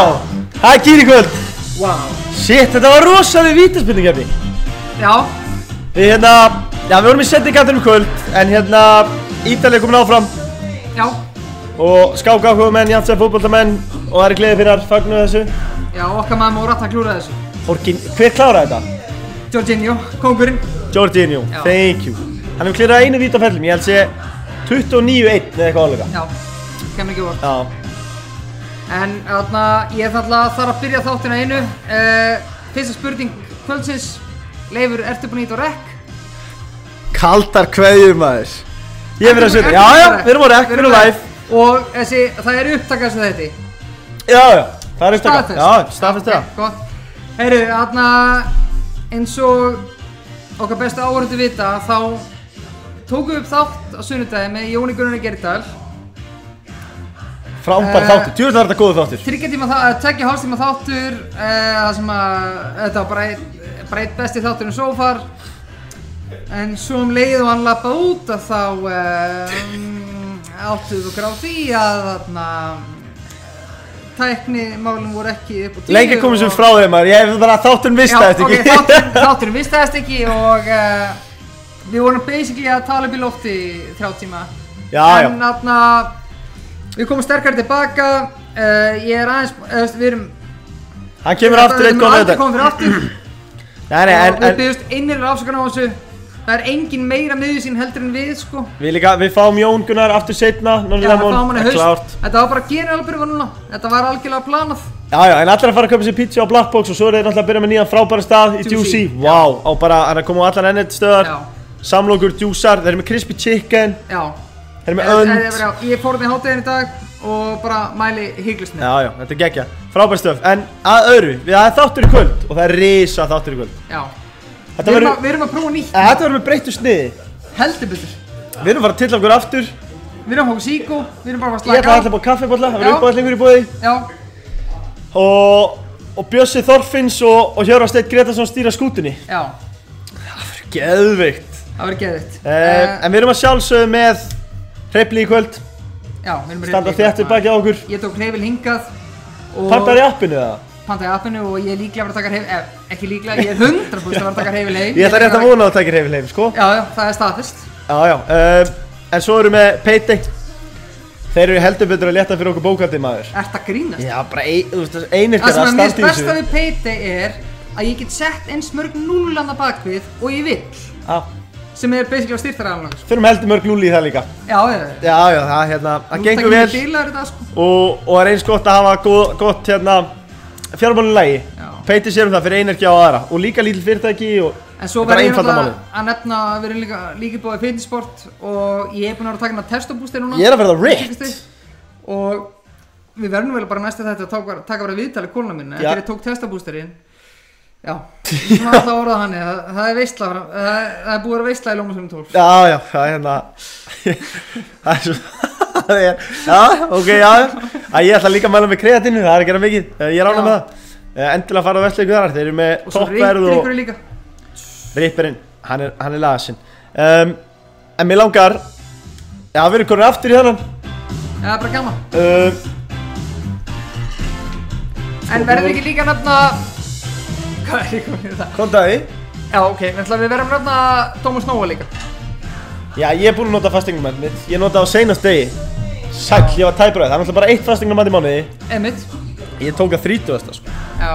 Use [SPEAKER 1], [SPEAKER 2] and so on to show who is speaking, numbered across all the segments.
[SPEAKER 1] Það er kýri kvöld
[SPEAKER 2] Wow.
[SPEAKER 1] Shit, þetta var rosalega vítaspilningefni
[SPEAKER 2] Já,
[SPEAKER 1] Við hérna, já við vorum í setningatunum kvöld En hérna, Ítalið komin áfram
[SPEAKER 2] já,
[SPEAKER 1] Og skákákumenn, Janssen fótboltamenn Og það er gleðið fyrir þar, fagnu þessu
[SPEAKER 2] já, okkar maður Morata klúraði þessu.
[SPEAKER 1] Orgin, hver kláraði þetta?
[SPEAKER 2] Jorginho, kongurinn.
[SPEAKER 1] Jorginho,
[SPEAKER 2] Já.
[SPEAKER 1] thank you Hann hefur klirrað einu vítaferlum, ég held sé 29-1 eða eitthvað álega
[SPEAKER 2] Já, kemur ekki vor.
[SPEAKER 1] Já,
[SPEAKER 2] En þarna, ég þarna þarf að byrja þáttina einu. Uh, fyrsta spurning kvöldsins. Leifur, ertu búinn í þetta rekk?
[SPEAKER 3] Kaldar kveðjur maður
[SPEAKER 1] ég hef verið að setja, já já, við erum á rekk, við erum live
[SPEAKER 2] Og þessi, það er upptakað sem þetta.
[SPEAKER 1] Já, já, það er upptaka,
[SPEAKER 2] Staðfest.
[SPEAKER 1] já, staðfest
[SPEAKER 2] Ok,
[SPEAKER 1] það
[SPEAKER 2] Gott. Herru, þarna, eins og okkar bestu áhörðu vita, þá tókum við upp þátt á sunnudagi með Jóni Gunnar Gerdal.
[SPEAKER 1] Frámbær
[SPEAKER 2] Eh,
[SPEAKER 1] þáttur, djúvill var þetta góðu þáttur
[SPEAKER 2] Tryggja tíma það, að tekja hálfstíma þáttur eh, Það sem að Þetta var bara einn- bara eitt besti þáttur en svo far En svo um leið og hann lappa út að þá um, áttuð okkur á því að þarna eh, tæknimálin voru ekki upp á tíu
[SPEAKER 1] Lengi komum sem frá þeim maður, ég hef bara þátturinn
[SPEAKER 2] Já,
[SPEAKER 1] vist það eftir
[SPEAKER 2] ok,
[SPEAKER 1] ekki
[SPEAKER 2] þátturinn þáttur, vistaðist ekki og uh, við vorum basically að tala upp í lofti í þrjá tíma
[SPEAKER 1] Já, já.
[SPEAKER 2] En þarna, við komum sterkar tilbaka, uh, ég er aðeins, uh, við erum
[SPEAKER 1] Hann kemur aftur einn góð
[SPEAKER 2] Við
[SPEAKER 1] þetta
[SPEAKER 2] komum aldrei komin fyrir aftur
[SPEAKER 1] Nei, nei,
[SPEAKER 2] og
[SPEAKER 1] en,
[SPEAKER 2] við
[SPEAKER 1] en
[SPEAKER 2] byggjumst einnir afsökan á þessu Það er engin meira miður sín heldur en við sko
[SPEAKER 1] við líka, við fáum Jón Gunnar aftur setna Nonni
[SPEAKER 2] Já, það fáum
[SPEAKER 1] Lemon,
[SPEAKER 2] hann í
[SPEAKER 1] það er klárt
[SPEAKER 2] haust Þetta var bara generalbyrfa núna Þetta var algjörlega planað
[SPEAKER 1] Já, já, en allir að fara að köpa sér pizza á Blackbox og svo eru þeir náttúrulega að byrja með nýjan frábæra stað í
[SPEAKER 2] Juicy,
[SPEAKER 1] Juicy Vá, á bara, hann er að koma á allan ennett stöðar
[SPEAKER 2] Já,
[SPEAKER 1] Samlokur, djúsar, þeir eru með crispy chicken,
[SPEAKER 2] já
[SPEAKER 1] þeir eru með
[SPEAKER 2] En- en-
[SPEAKER 1] önd
[SPEAKER 2] já, Ég fór þarna í hátíðin í dag og bara mæli hygglust með
[SPEAKER 1] Já, já, þetta er geggja, frábær stöf En að öðru, við það er þáttur í kvöld og það er risa þáttur í kvöld
[SPEAKER 2] Já Við
[SPEAKER 1] Þetta
[SPEAKER 2] erum,
[SPEAKER 1] verður,
[SPEAKER 2] að, við erum að prófa nýtt
[SPEAKER 1] eh, þetta verður með breyttu sniði
[SPEAKER 2] Heldur betur
[SPEAKER 1] Við erum bara að tilla okkur aftur Ég
[SPEAKER 2] Við erum að hóka síkó Við erum bara að
[SPEAKER 1] ætla
[SPEAKER 2] slaka
[SPEAKER 1] að ætla búið kaffibólla, það
[SPEAKER 2] Já.
[SPEAKER 1] verður uppáðlingur í búði
[SPEAKER 2] Já,
[SPEAKER 1] Og, og Bjössi Þorfinns og, og Hjörvar Steinn Gretarsson stýra skútunni
[SPEAKER 2] já
[SPEAKER 1] Geðveikt
[SPEAKER 2] Það verður Eh, geðvitt
[SPEAKER 1] uh, En við erum að sjálfsögðu með Hreyfli í kvöld,
[SPEAKER 2] Já, við erum að hérna.
[SPEAKER 1] standa þéttur baki á okkur
[SPEAKER 2] Ég tók hreyfil hingað og-
[SPEAKER 1] Pantar í appinu það
[SPEAKER 2] pantaði appinu og ég er líklega að vera að taka hreyfil, eh, ekki líklega, ég er 100% að vera að taka hreyfil heim.
[SPEAKER 1] Ég ætla rétt að
[SPEAKER 2] líka-
[SPEAKER 1] vona að það tekir hreyfli heim, sko
[SPEAKER 2] Já, já, það er staðfest.
[SPEAKER 1] Já, já, uh, en svo erum við Payday Þeir eru heldur betur að leta fyrir okkur bókaldið maður
[SPEAKER 2] Ert að grínast?
[SPEAKER 1] Já, bara ein, þú veist, einir
[SPEAKER 2] Það
[SPEAKER 1] þeirra
[SPEAKER 2] sem að
[SPEAKER 1] að
[SPEAKER 2] mér finnst
[SPEAKER 1] standa í
[SPEAKER 2] besta
[SPEAKER 1] þessu
[SPEAKER 2] við Payday er að ég get sett eins mörg núlanda bakvið og ég vill,
[SPEAKER 1] Já,
[SPEAKER 2] sem er basically á styrtaræðanlag.
[SPEAKER 1] þurfum heldur mörg núli í það líka
[SPEAKER 2] Já, já, já.
[SPEAKER 1] Já, já, það, hérna, það gengur
[SPEAKER 2] Nú, það
[SPEAKER 1] vel
[SPEAKER 2] getur bílar þetta, sko.
[SPEAKER 1] og, og er eins gott að hafa gott, gott hérna, fjármálinu lægi
[SPEAKER 2] Já.
[SPEAKER 1] Payday sér um það fyrir einirkja og aðra og líka lítil fyrirtæki og
[SPEAKER 2] En svo
[SPEAKER 1] Þetta er
[SPEAKER 2] verður hérna- ég
[SPEAKER 1] einfalda
[SPEAKER 2] náttúrulega að nefna að við erum líka, líka búið í fitnessport og ég er búinn að vera að taka hérna testobústir núna.
[SPEAKER 1] Ég er að verða ripped.
[SPEAKER 2] Og við verðum vel bara næstu þetta að taka, taka bara viðtalið kóluna minna
[SPEAKER 1] Já.
[SPEAKER 2] eftir ég tók testabústirinn. Já, ég var alltaf orðað hann, það, það er veistla, það, það er búið að vera veistla í Lómasum 12.
[SPEAKER 1] Já, já, það er hérna Það er svo það er, Já, ok, já að Ég ætla líka að mæla með kreatinu, það er ekki að gera mikið Eh, Ég rána
[SPEAKER 2] Já.
[SPEAKER 1] með það Eh, Endilega fara á vestlegu þar, þeir eru með
[SPEAKER 2] Og svo
[SPEAKER 1] toppverð
[SPEAKER 2] reyndir
[SPEAKER 1] og
[SPEAKER 2] ykkur líka.
[SPEAKER 1] ripperinn, hann er, hann er lasin um, En mér langar Já, við erum komin aftur í þennan
[SPEAKER 2] Já, það er bara gaman.
[SPEAKER 1] um,
[SPEAKER 2] En verður ekki líka að nefna... Hvað er ég komin í það?
[SPEAKER 1] Kontaði
[SPEAKER 2] Já, ok, en ætla við verðum að nefna Thomas Nóa líka.
[SPEAKER 1] Já, ég er búinn að nota fastingumat mitt Ég nota á seinast degi Sæll, ég var tæpur að það, það er náttúrulega bara eitt fastingumat í mánuði
[SPEAKER 2] Emmitt.
[SPEAKER 1] Ég tók að 30. sko
[SPEAKER 2] Já.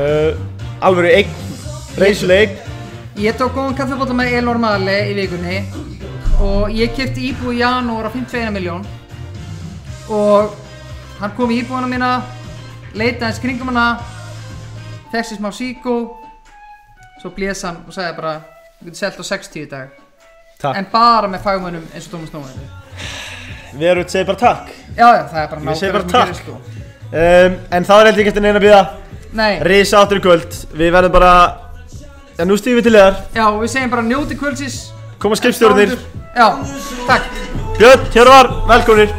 [SPEAKER 1] uh, Alvöru eign, reysileg eign
[SPEAKER 2] Ég tók góðan kaffibóta með Elor Mali í vikunni og ég kipti íbúi í janúar á 51 miljón og hann kom í íbúina mína, leitaði eins kringum hana, þessi smá síkó, svo blés hann og sagði bara, þú getur selt á 60 í dag.
[SPEAKER 1] Takk.
[SPEAKER 2] En bara með fagmönnum eins og Thomas Nóður.
[SPEAKER 1] Við erum að segja bara takk
[SPEAKER 2] Já, já, það er bara
[SPEAKER 1] Ég segi
[SPEAKER 2] nákvæmlega
[SPEAKER 1] bara
[SPEAKER 2] sem
[SPEAKER 1] takk.
[SPEAKER 2] gerist, sko.
[SPEAKER 1] um, En það er heldur ekki eftir neina að býða
[SPEAKER 2] Nei,
[SPEAKER 1] Rísa áttur í kvöld Við verðum bara Já, nú stýðum við til þér
[SPEAKER 2] já, við segjum bara njóti kvöldsins.
[SPEAKER 1] Koma skipstjórnir
[SPEAKER 2] Já, takk.
[SPEAKER 1] Björn, Hjörvar, velkominir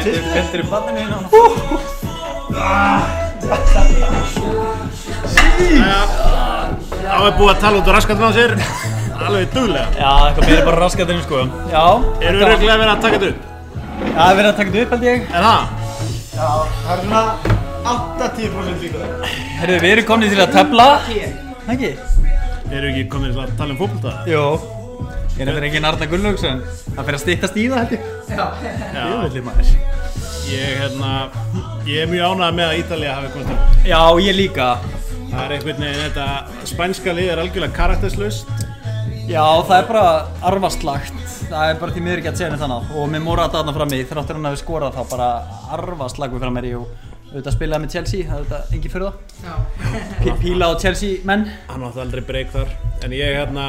[SPEAKER 4] Þetta er bandinu hérna Það var búið að tala út á raskatun á sér
[SPEAKER 5] alveg duglega
[SPEAKER 4] Já, eitthvað meira bara raskat inn sko
[SPEAKER 5] Já Eru
[SPEAKER 4] þetta-
[SPEAKER 5] örglega verið að taka þetta upp?
[SPEAKER 4] Já, við erum að taka þetta upp held ég
[SPEAKER 5] Er það?
[SPEAKER 1] Það er svona 8-10% líka
[SPEAKER 4] Herðu, við erum komnið til að tefla Ekki?
[SPEAKER 5] Eru ekki komin til að tala um fókbalta?
[SPEAKER 4] Jó Ég er þetta engin Arna Gunnlaugsson Það fyrir að styttast í það held ég
[SPEAKER 5] Já
[SPEAKER 4] Jöfnveldi maður
[SPEAKER 5] Ég, hérna, ég er mjög ánægð með að Ítalija hafi komist upp
[SPEAKER 4] Já, ég líka
[SPEAKER 5] Það er einhvern veginn þetta spænska lið er algjörlega karakterslaust
[SPEAKER 4] Já, það er bara arfaslagt Það er bara því miður ekki að segja neitt þannig Og með Morata þarna frammi, þráttur hann hafi skorað þá bara arfaslag við frammeiri og auðvitað spilaði með Chelsea, það er auðvitað engin fyrir það Pí- Píla á Chelsea menn
[SPEAKER 5] Hann átti aldrei breyk þar En ég, hérna,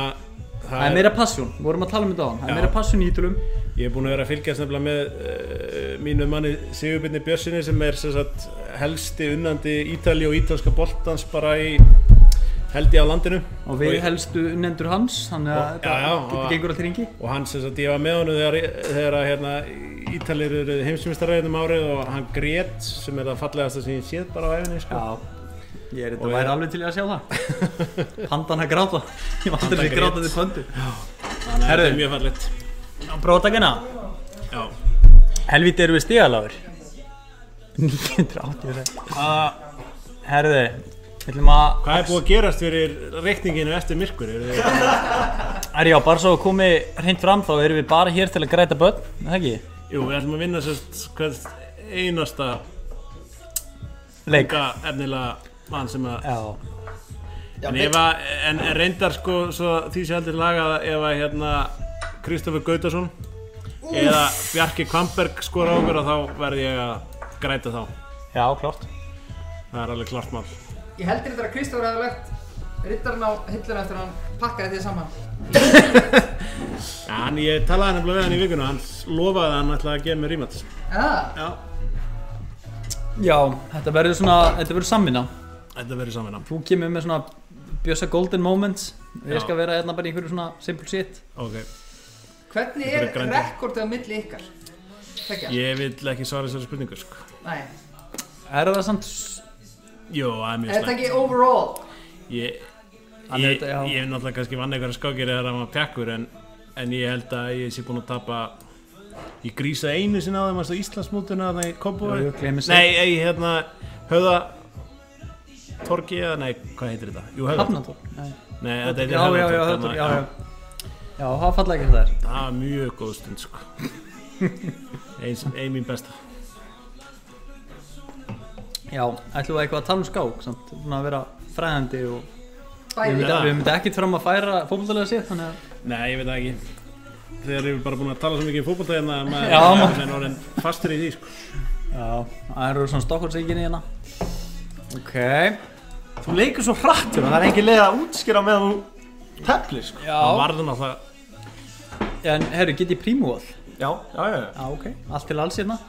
[SPEAKER 4] Það er meira passjón, við vorum að tala um þetta á hann Það
[SPEAKER 5] Já.
[SPEAKER 4] er meira passjón í ítölum
[SPEAKER 5] Ég er búinn að vera að fylgjast nefnilega með uh, mínu manni Sigurbyrni Björnssoni sem er sem sagt, helsti unnandi Ítali og ítalska boltans bara í held ég á landinu
[SPEAKER 4] Og við
[SPEAKER 5] ég-
[SPEAKER 4] helstu unnendur hans, þannig að
[SPEAKER 5] Og-
[SPEAKER 4] þetta
[SPEAKER 5] já, já, og-
[SPEAKER 4] þetta gengur alltaf ringi
[SPEAKER 5] og hann sem sagt, ég var með honum þegar, þegar að, hérna, Ítalir eru heimsumistaræðinum árið og hann grét sem er það fallegasta sem ég séð bara á æfinni sko.
[SPEAKER 4] Já, ég
[SPEAKER 5] Og
[SPEAKER 4] er þetta væri
[SPEAKER 5] ég-
[SPEAKER 4] alveg til í að sjá það Pandan að gráta Ég var aldrei
[SPEAKER 5] grét.
[SPEAKER 4] grátað í pöndu
[SPEAKER 5] Þannig að
[SPEAKER 4] Herðu.
[SPEAKER 5] þetta er mjög fallegt
[SPEAKER 4] Brótakana
[SPEAKER 5] Já.
[SPEAKER 4] Helvíti erum við stígaláður 986 Uh, Herðu, við ætlum að
[SPEAKER 5] Hvað er búið að gerast fyrir reikninginu eftir myrkur? Eru þið-
[SPEAKER 4] Er já, bara svo komið hreint fram þá erum við bara hér til að græta börn, er það ekki?
[SPEAKER 5] Jú, við ætlum að vinna sérst hvert einasta
[SPEAKER 4] Leik
[SPEAKER 5] unga efnilega mann sem að
[SPEAKER 4] Já,
[SPEAKER 5] En, ef að, en en reyndar sko svo því sem heldur lagað ef að hérna Kristoffer Gautason eða Bjarki Kvamberg skora á okkur að þá verð ég að græta þá.
[SPEAKER 4] já, klárt
[SPEAKER 5] Það er alveg klart mál.
[SPEAKER 2] Ég heldur þetta að Kristófur hefði lagt rittarinn á hilluna eftir að hann pakkaði því saman.
[SPEAKER 5] Ja, hann, ég talaði nefnilega við hann í vikuna, hann lofaði að hann ætlaði að gefa mér rímat.
[SPEAKER 2] Já,
[SPEAKER 5] Já,
[SPEAKER 4] Já, þetta verður svona, þetta verður samvinna
[SPEAKER 5] þetta verður samvinna.
[SPEAKER 4] Þú kemur með svona Bjössa Golden Moments og
[SPEAKER 5] Já.
[SPEAKER 4] Ég skal vera hérna bara í einhverju svona simple shit
[SPEAKER 5] Ok,
[SPEAKER 2] hvernig
[SPEAKER 5] Þetta
[SPEAKER 2] er
[SPEAKER 5] er grænt.
[SPEAKER 2] rekordið á milli ykkar? Þekkja?
[SPEAKER 5] ég vil ekki svara þessari spurningu sko.
[SPEAKER 2] Nei.
[SPEAKER 4] Er það samt s-
[SPEAKER 5] Jó, það er
[SPEAKER 2] Er
[SPEAKER 5] mjög
[SPEAKER 2] þetta
[SPEAKER 5] slæmt.
[SPEAKER 2] ekki overall?
[SPEAKER 5] Ég,
[SPEAKER 4] Hann er
[SPEAKER 5] ég, ég,
[SPEAKER 4] þetta- já.
[SPEAKER 5] hef náttúrulega kannski vann einhverja skákir eða hann var pjakkur en, en ég held að ég sé búinn að tapa ég grísa einu sinna á þeim að Íslandsmótuna þannig í Kópavói
[SPEAKER 4] Jú, jú, gleymir sér.
[SPEAKER 5] nei, ei, hérna höfða Torgi eða, nei, hvað heitir þetta? Jú, höfða
[SPEAKER 4] Hafnatór Nei.
[SPEAKER 5] Nei, þetta
[SPEAKER 4] Já,
[SPEAKER 5] heitir
[SPEAKER 4] já, já,
[SPEAKER 5] Höfðatorg,
[SPEAKER 4] já,
[SPEAKER 5] þannig
[SPEAKER 4] þetta-
[SPEAKER 5] að-
[SPEAKER 4] já, já Já, það falla ekki þetta
[SPEAKER 5] Það var Ah, mjög góð stund, sko Ein, sem- ein mín besta
[SPEAKER 4] þær Já, ætlum við eitthvað að tala um skák samt Svona að vera fræðandi og Við
[SPEAKER 2] Bæði.
[SPEAKER 5] Já.
[SPEAKER 4] höfum þetta ekkert fram að færa fótbollulega sér Þannig að
[SPEAKER 5] Nei, ég veit það ekki Þegar eru bara búin að tala svo mikið um fótbolta hérna að maður
[SPEAKER 4] Já,
[SPEAKER 5] er
[SPEAKER 4] maður-
[SPEAKER 5] einhvern veginn orðinn fastur í því, sko
[SPEAKER 4] Já, það eru svona stokkvarsíkinni hérna Ok Þú leikur svo hratt
[SPEAKER 1] Það er engin leið að útskýra með þú teplir sko
[SPEAKER 5] Það
[SPEAKER 4] Já,
[SPEAKER 5] varður náttúrulega
[SPEAKER 4] en herru, get ég prímúval?
[SPEAKER 1] Já, já, já, já
[SPEAKER 4] Já, ok, allt til alls hérna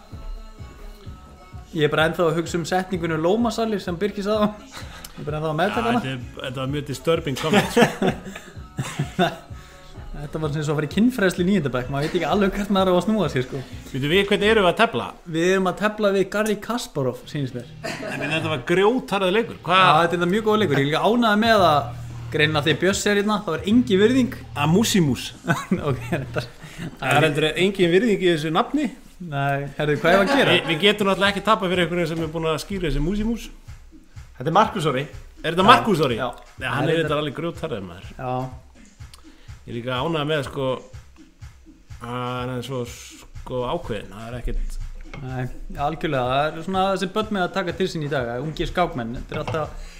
[SPEAKER 4] Ég er bara ennþá að hugsa um setningunum Lómasalli sem Birkir sagði á. Ég er bara ennþá að
[SPEAKER 5] Já,
[SPEAKER 4] meðtaka hana
[SPEAKER 5] Þetta er- þetta var mjög disturbing comment, sko
[SPEAKER 4] Þetta var sem svo að fara í kinnfræðslu í nýjöndabæk maður veit ekki alveg hvert maður á að snúa sér sko
[SPEAKER 5] Veitum við hvernig erum við að tefla?
[SPEAKER 4] Við erum að tefla við Garri Kasparov, sýnist mér Já,
[SPEAKER 5] Nei, menn þetta var grjótarðið leikur. Hvað?
[SPEAKER 4] þetta er það mjög góð leikur, ég er líka ánægði með að greina því að Bjöss er hérna, það var engi virðing
[SPEAKER 5] Að músimús.
[SPEAKER 4] Ok, þetta
[SPEAKER 5] Það er endur engin virðing í þessu nafni.
[SPEAKER 4] Nei, herðu, hvað er að
[SPEAKER 5] Vi,
[SPEAKER 4] gera?
[SPEAKER 5] við getum náttúrulega ekki tapað fyrir einhverjum sem er búin að skýra þessi músimús.
[SPEAKER 1] Þetta er Markus Orri
[SPEAKER 5] Er þetta Markus Þóri?
[SPEAKER 4] já.
[SPEAKER 5] Nei, hann er þetta alveg grjótarðið maður.
[SPEAKER 4] Já,
[SPEAKER 5] Ég er líka ánægð með sko að hann er svo sko ákveðin. Það er ekkert...
[SPEAKER 4] nei, algjörlega það er svona þessi börn með að taka til sín í dag að ungi skákmenn, þetta er alltaf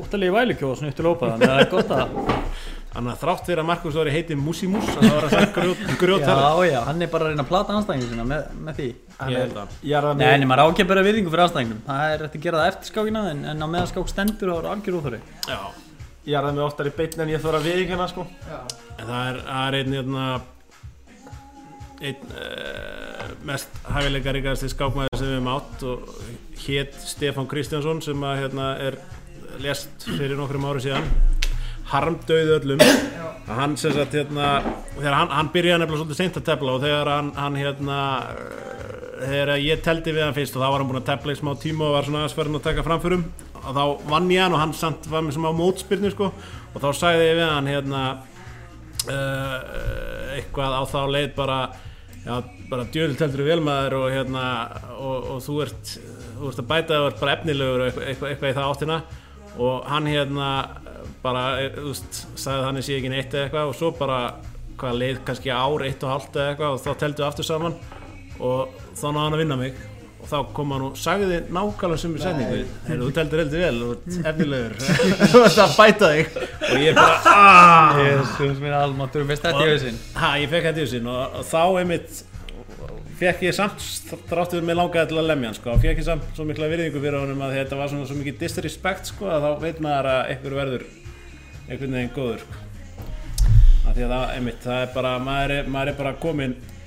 [SPEAKER 4] óttalegi vælukjóð og svona upp til ópað þannig að það er gott að
[SPEAKER 5] Þannig að þrátt fyrir að Markus Þóri heiti músimús, þá er það grjót, grjótarðið.
[SPEAKER 4] Já, já, hann er bara að reyna að plata anstæðingum sína með, með því
[SPEAKER 5] Ég held að.
[SPEAKER 1] Ég er það
[SPEAKER 4] Nei, en maður ákjör bara virðingu fyrir anstæðingum Það er hægt að gera það eftir skákina en, en á meðan skák stendur þá er algjör óþóri
[SPEAKER 5] Já.
[SPEAKER 1] Ég er það með oftar í beitni en ég þóra við hérna sko
[SPEAKER 5] En það er, það er einn hérna einn uh, mest hæfileikaríkasti skákmaður sem við höfum átt og hét Stefán Kristjánsson sem að hérna er lest fyrir nokkrum ári síðan harmdauði öllum að hann sem sagt hérna þegar hann, hann byrjaði nefnilega svolítið seint að tefla og þegar hann, hann hérna eh, þegar ég teldi við hann fyrst og þá var hann búinn að tefla í smá tíma og var svona aðsverðin að taka framförum og þá vann ég hann og hann samt var með smá mótspyrnu sko og þá sagði ég við hann hérna uh, eitthvað á þá leið bara já, bara djöðult heldur vel maður og hérna og, og þú ert þú ert að bæta og ert bara efnilegur og eitthvað, eitthvað, eitthvað í það áttina og hann hérna bara, eh, þú veist, sagði að hann sé ekki neitt eða eitthvað og svo bara hvað leið kannski ár, eitt og halvt eða eitthvað og þá teldu aftur saman og þá náði hann að vinna mig og þá kom hann og sagði nákvæmlega sömu setningu Heyrðu, þú teldur heldur vel, þú ert efnilegur þú ert að bæta þig og ég bara, aaaah
[SPEAKER 4] Jésus minn almatur, veist þetta í hausinn
[SPEAKER 5] Ha, ég fekk þetta í hausinn og, og þá einmitt fekk ég samt, þráttur mig langaði til að lemja hann sko, og fekk ég samt svo mikla virðingu fyrir honum að þetta var svona svo mikið disrespect sko, að þá veit maður að einhver verður einhvern veginn góður sko. Af því að það, einmitt, það er bara, maður er, maður er bara kominn ef,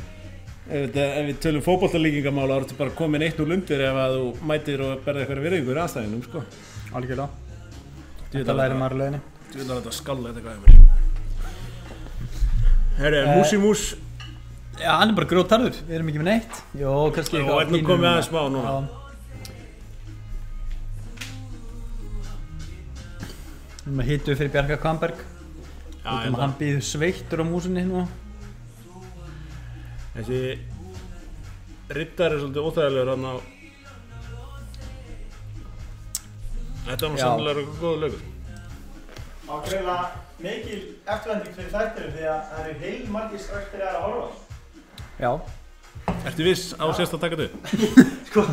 [SPEAKER 5] þetta- ef við tölum fótboltalíkingamála þá ertu bara kominn eitt úr lundir ef að þú mætir og berði eitthvað virðingu fyrir aðstæðinum sko.
[SPEAKER 4] Algjörlega,
[SPEAKER 5] Djú,
[SPEAKER 4] þetta læri maður leðinni
[SPEAKER 5] Þú vil að þetta skalla þetta hvað hefur Herri,
[SPEAKER 4] Eh,
[SPEAKER 5] músi mús
[SPEAKER 4] Já, hann er bara grótarður, við erum ekki með neitt Jó, hérna kannski
[SPEAKER 5] Og er nú
[SPEAKER 4] pínu
[SPEAKER 5] komið
[SPEAKER 4] núna.
[SPEAKER 5] aðeins smá núna
[SPEAKER 4] Já. Núna hittu við fyrir Bjarka Kvamberg
[SPEAKER 5] Já,
[SPEAKER 4] Þú
[SPEAKER 5] hérna,
[SPEAKER 4] hann býður sveittur á músinni nú
[SPEAKER 5] Þessi Riddar er svolítið óþægilegur hann á Þetta var nú
[SPEAKER 4] Já.
[SPEAKER 5] sannlega eitthvað góð lögur
[SPEAKER 1] Á greila mikil eftirlending fyrir þættirum því að það eru heil margir ströktir að horfa
[SPEAKER 4] Já,
[SPEAKER 5] Ertu viss á sérst að taka þetta?
[SPEAKER 1] Sko,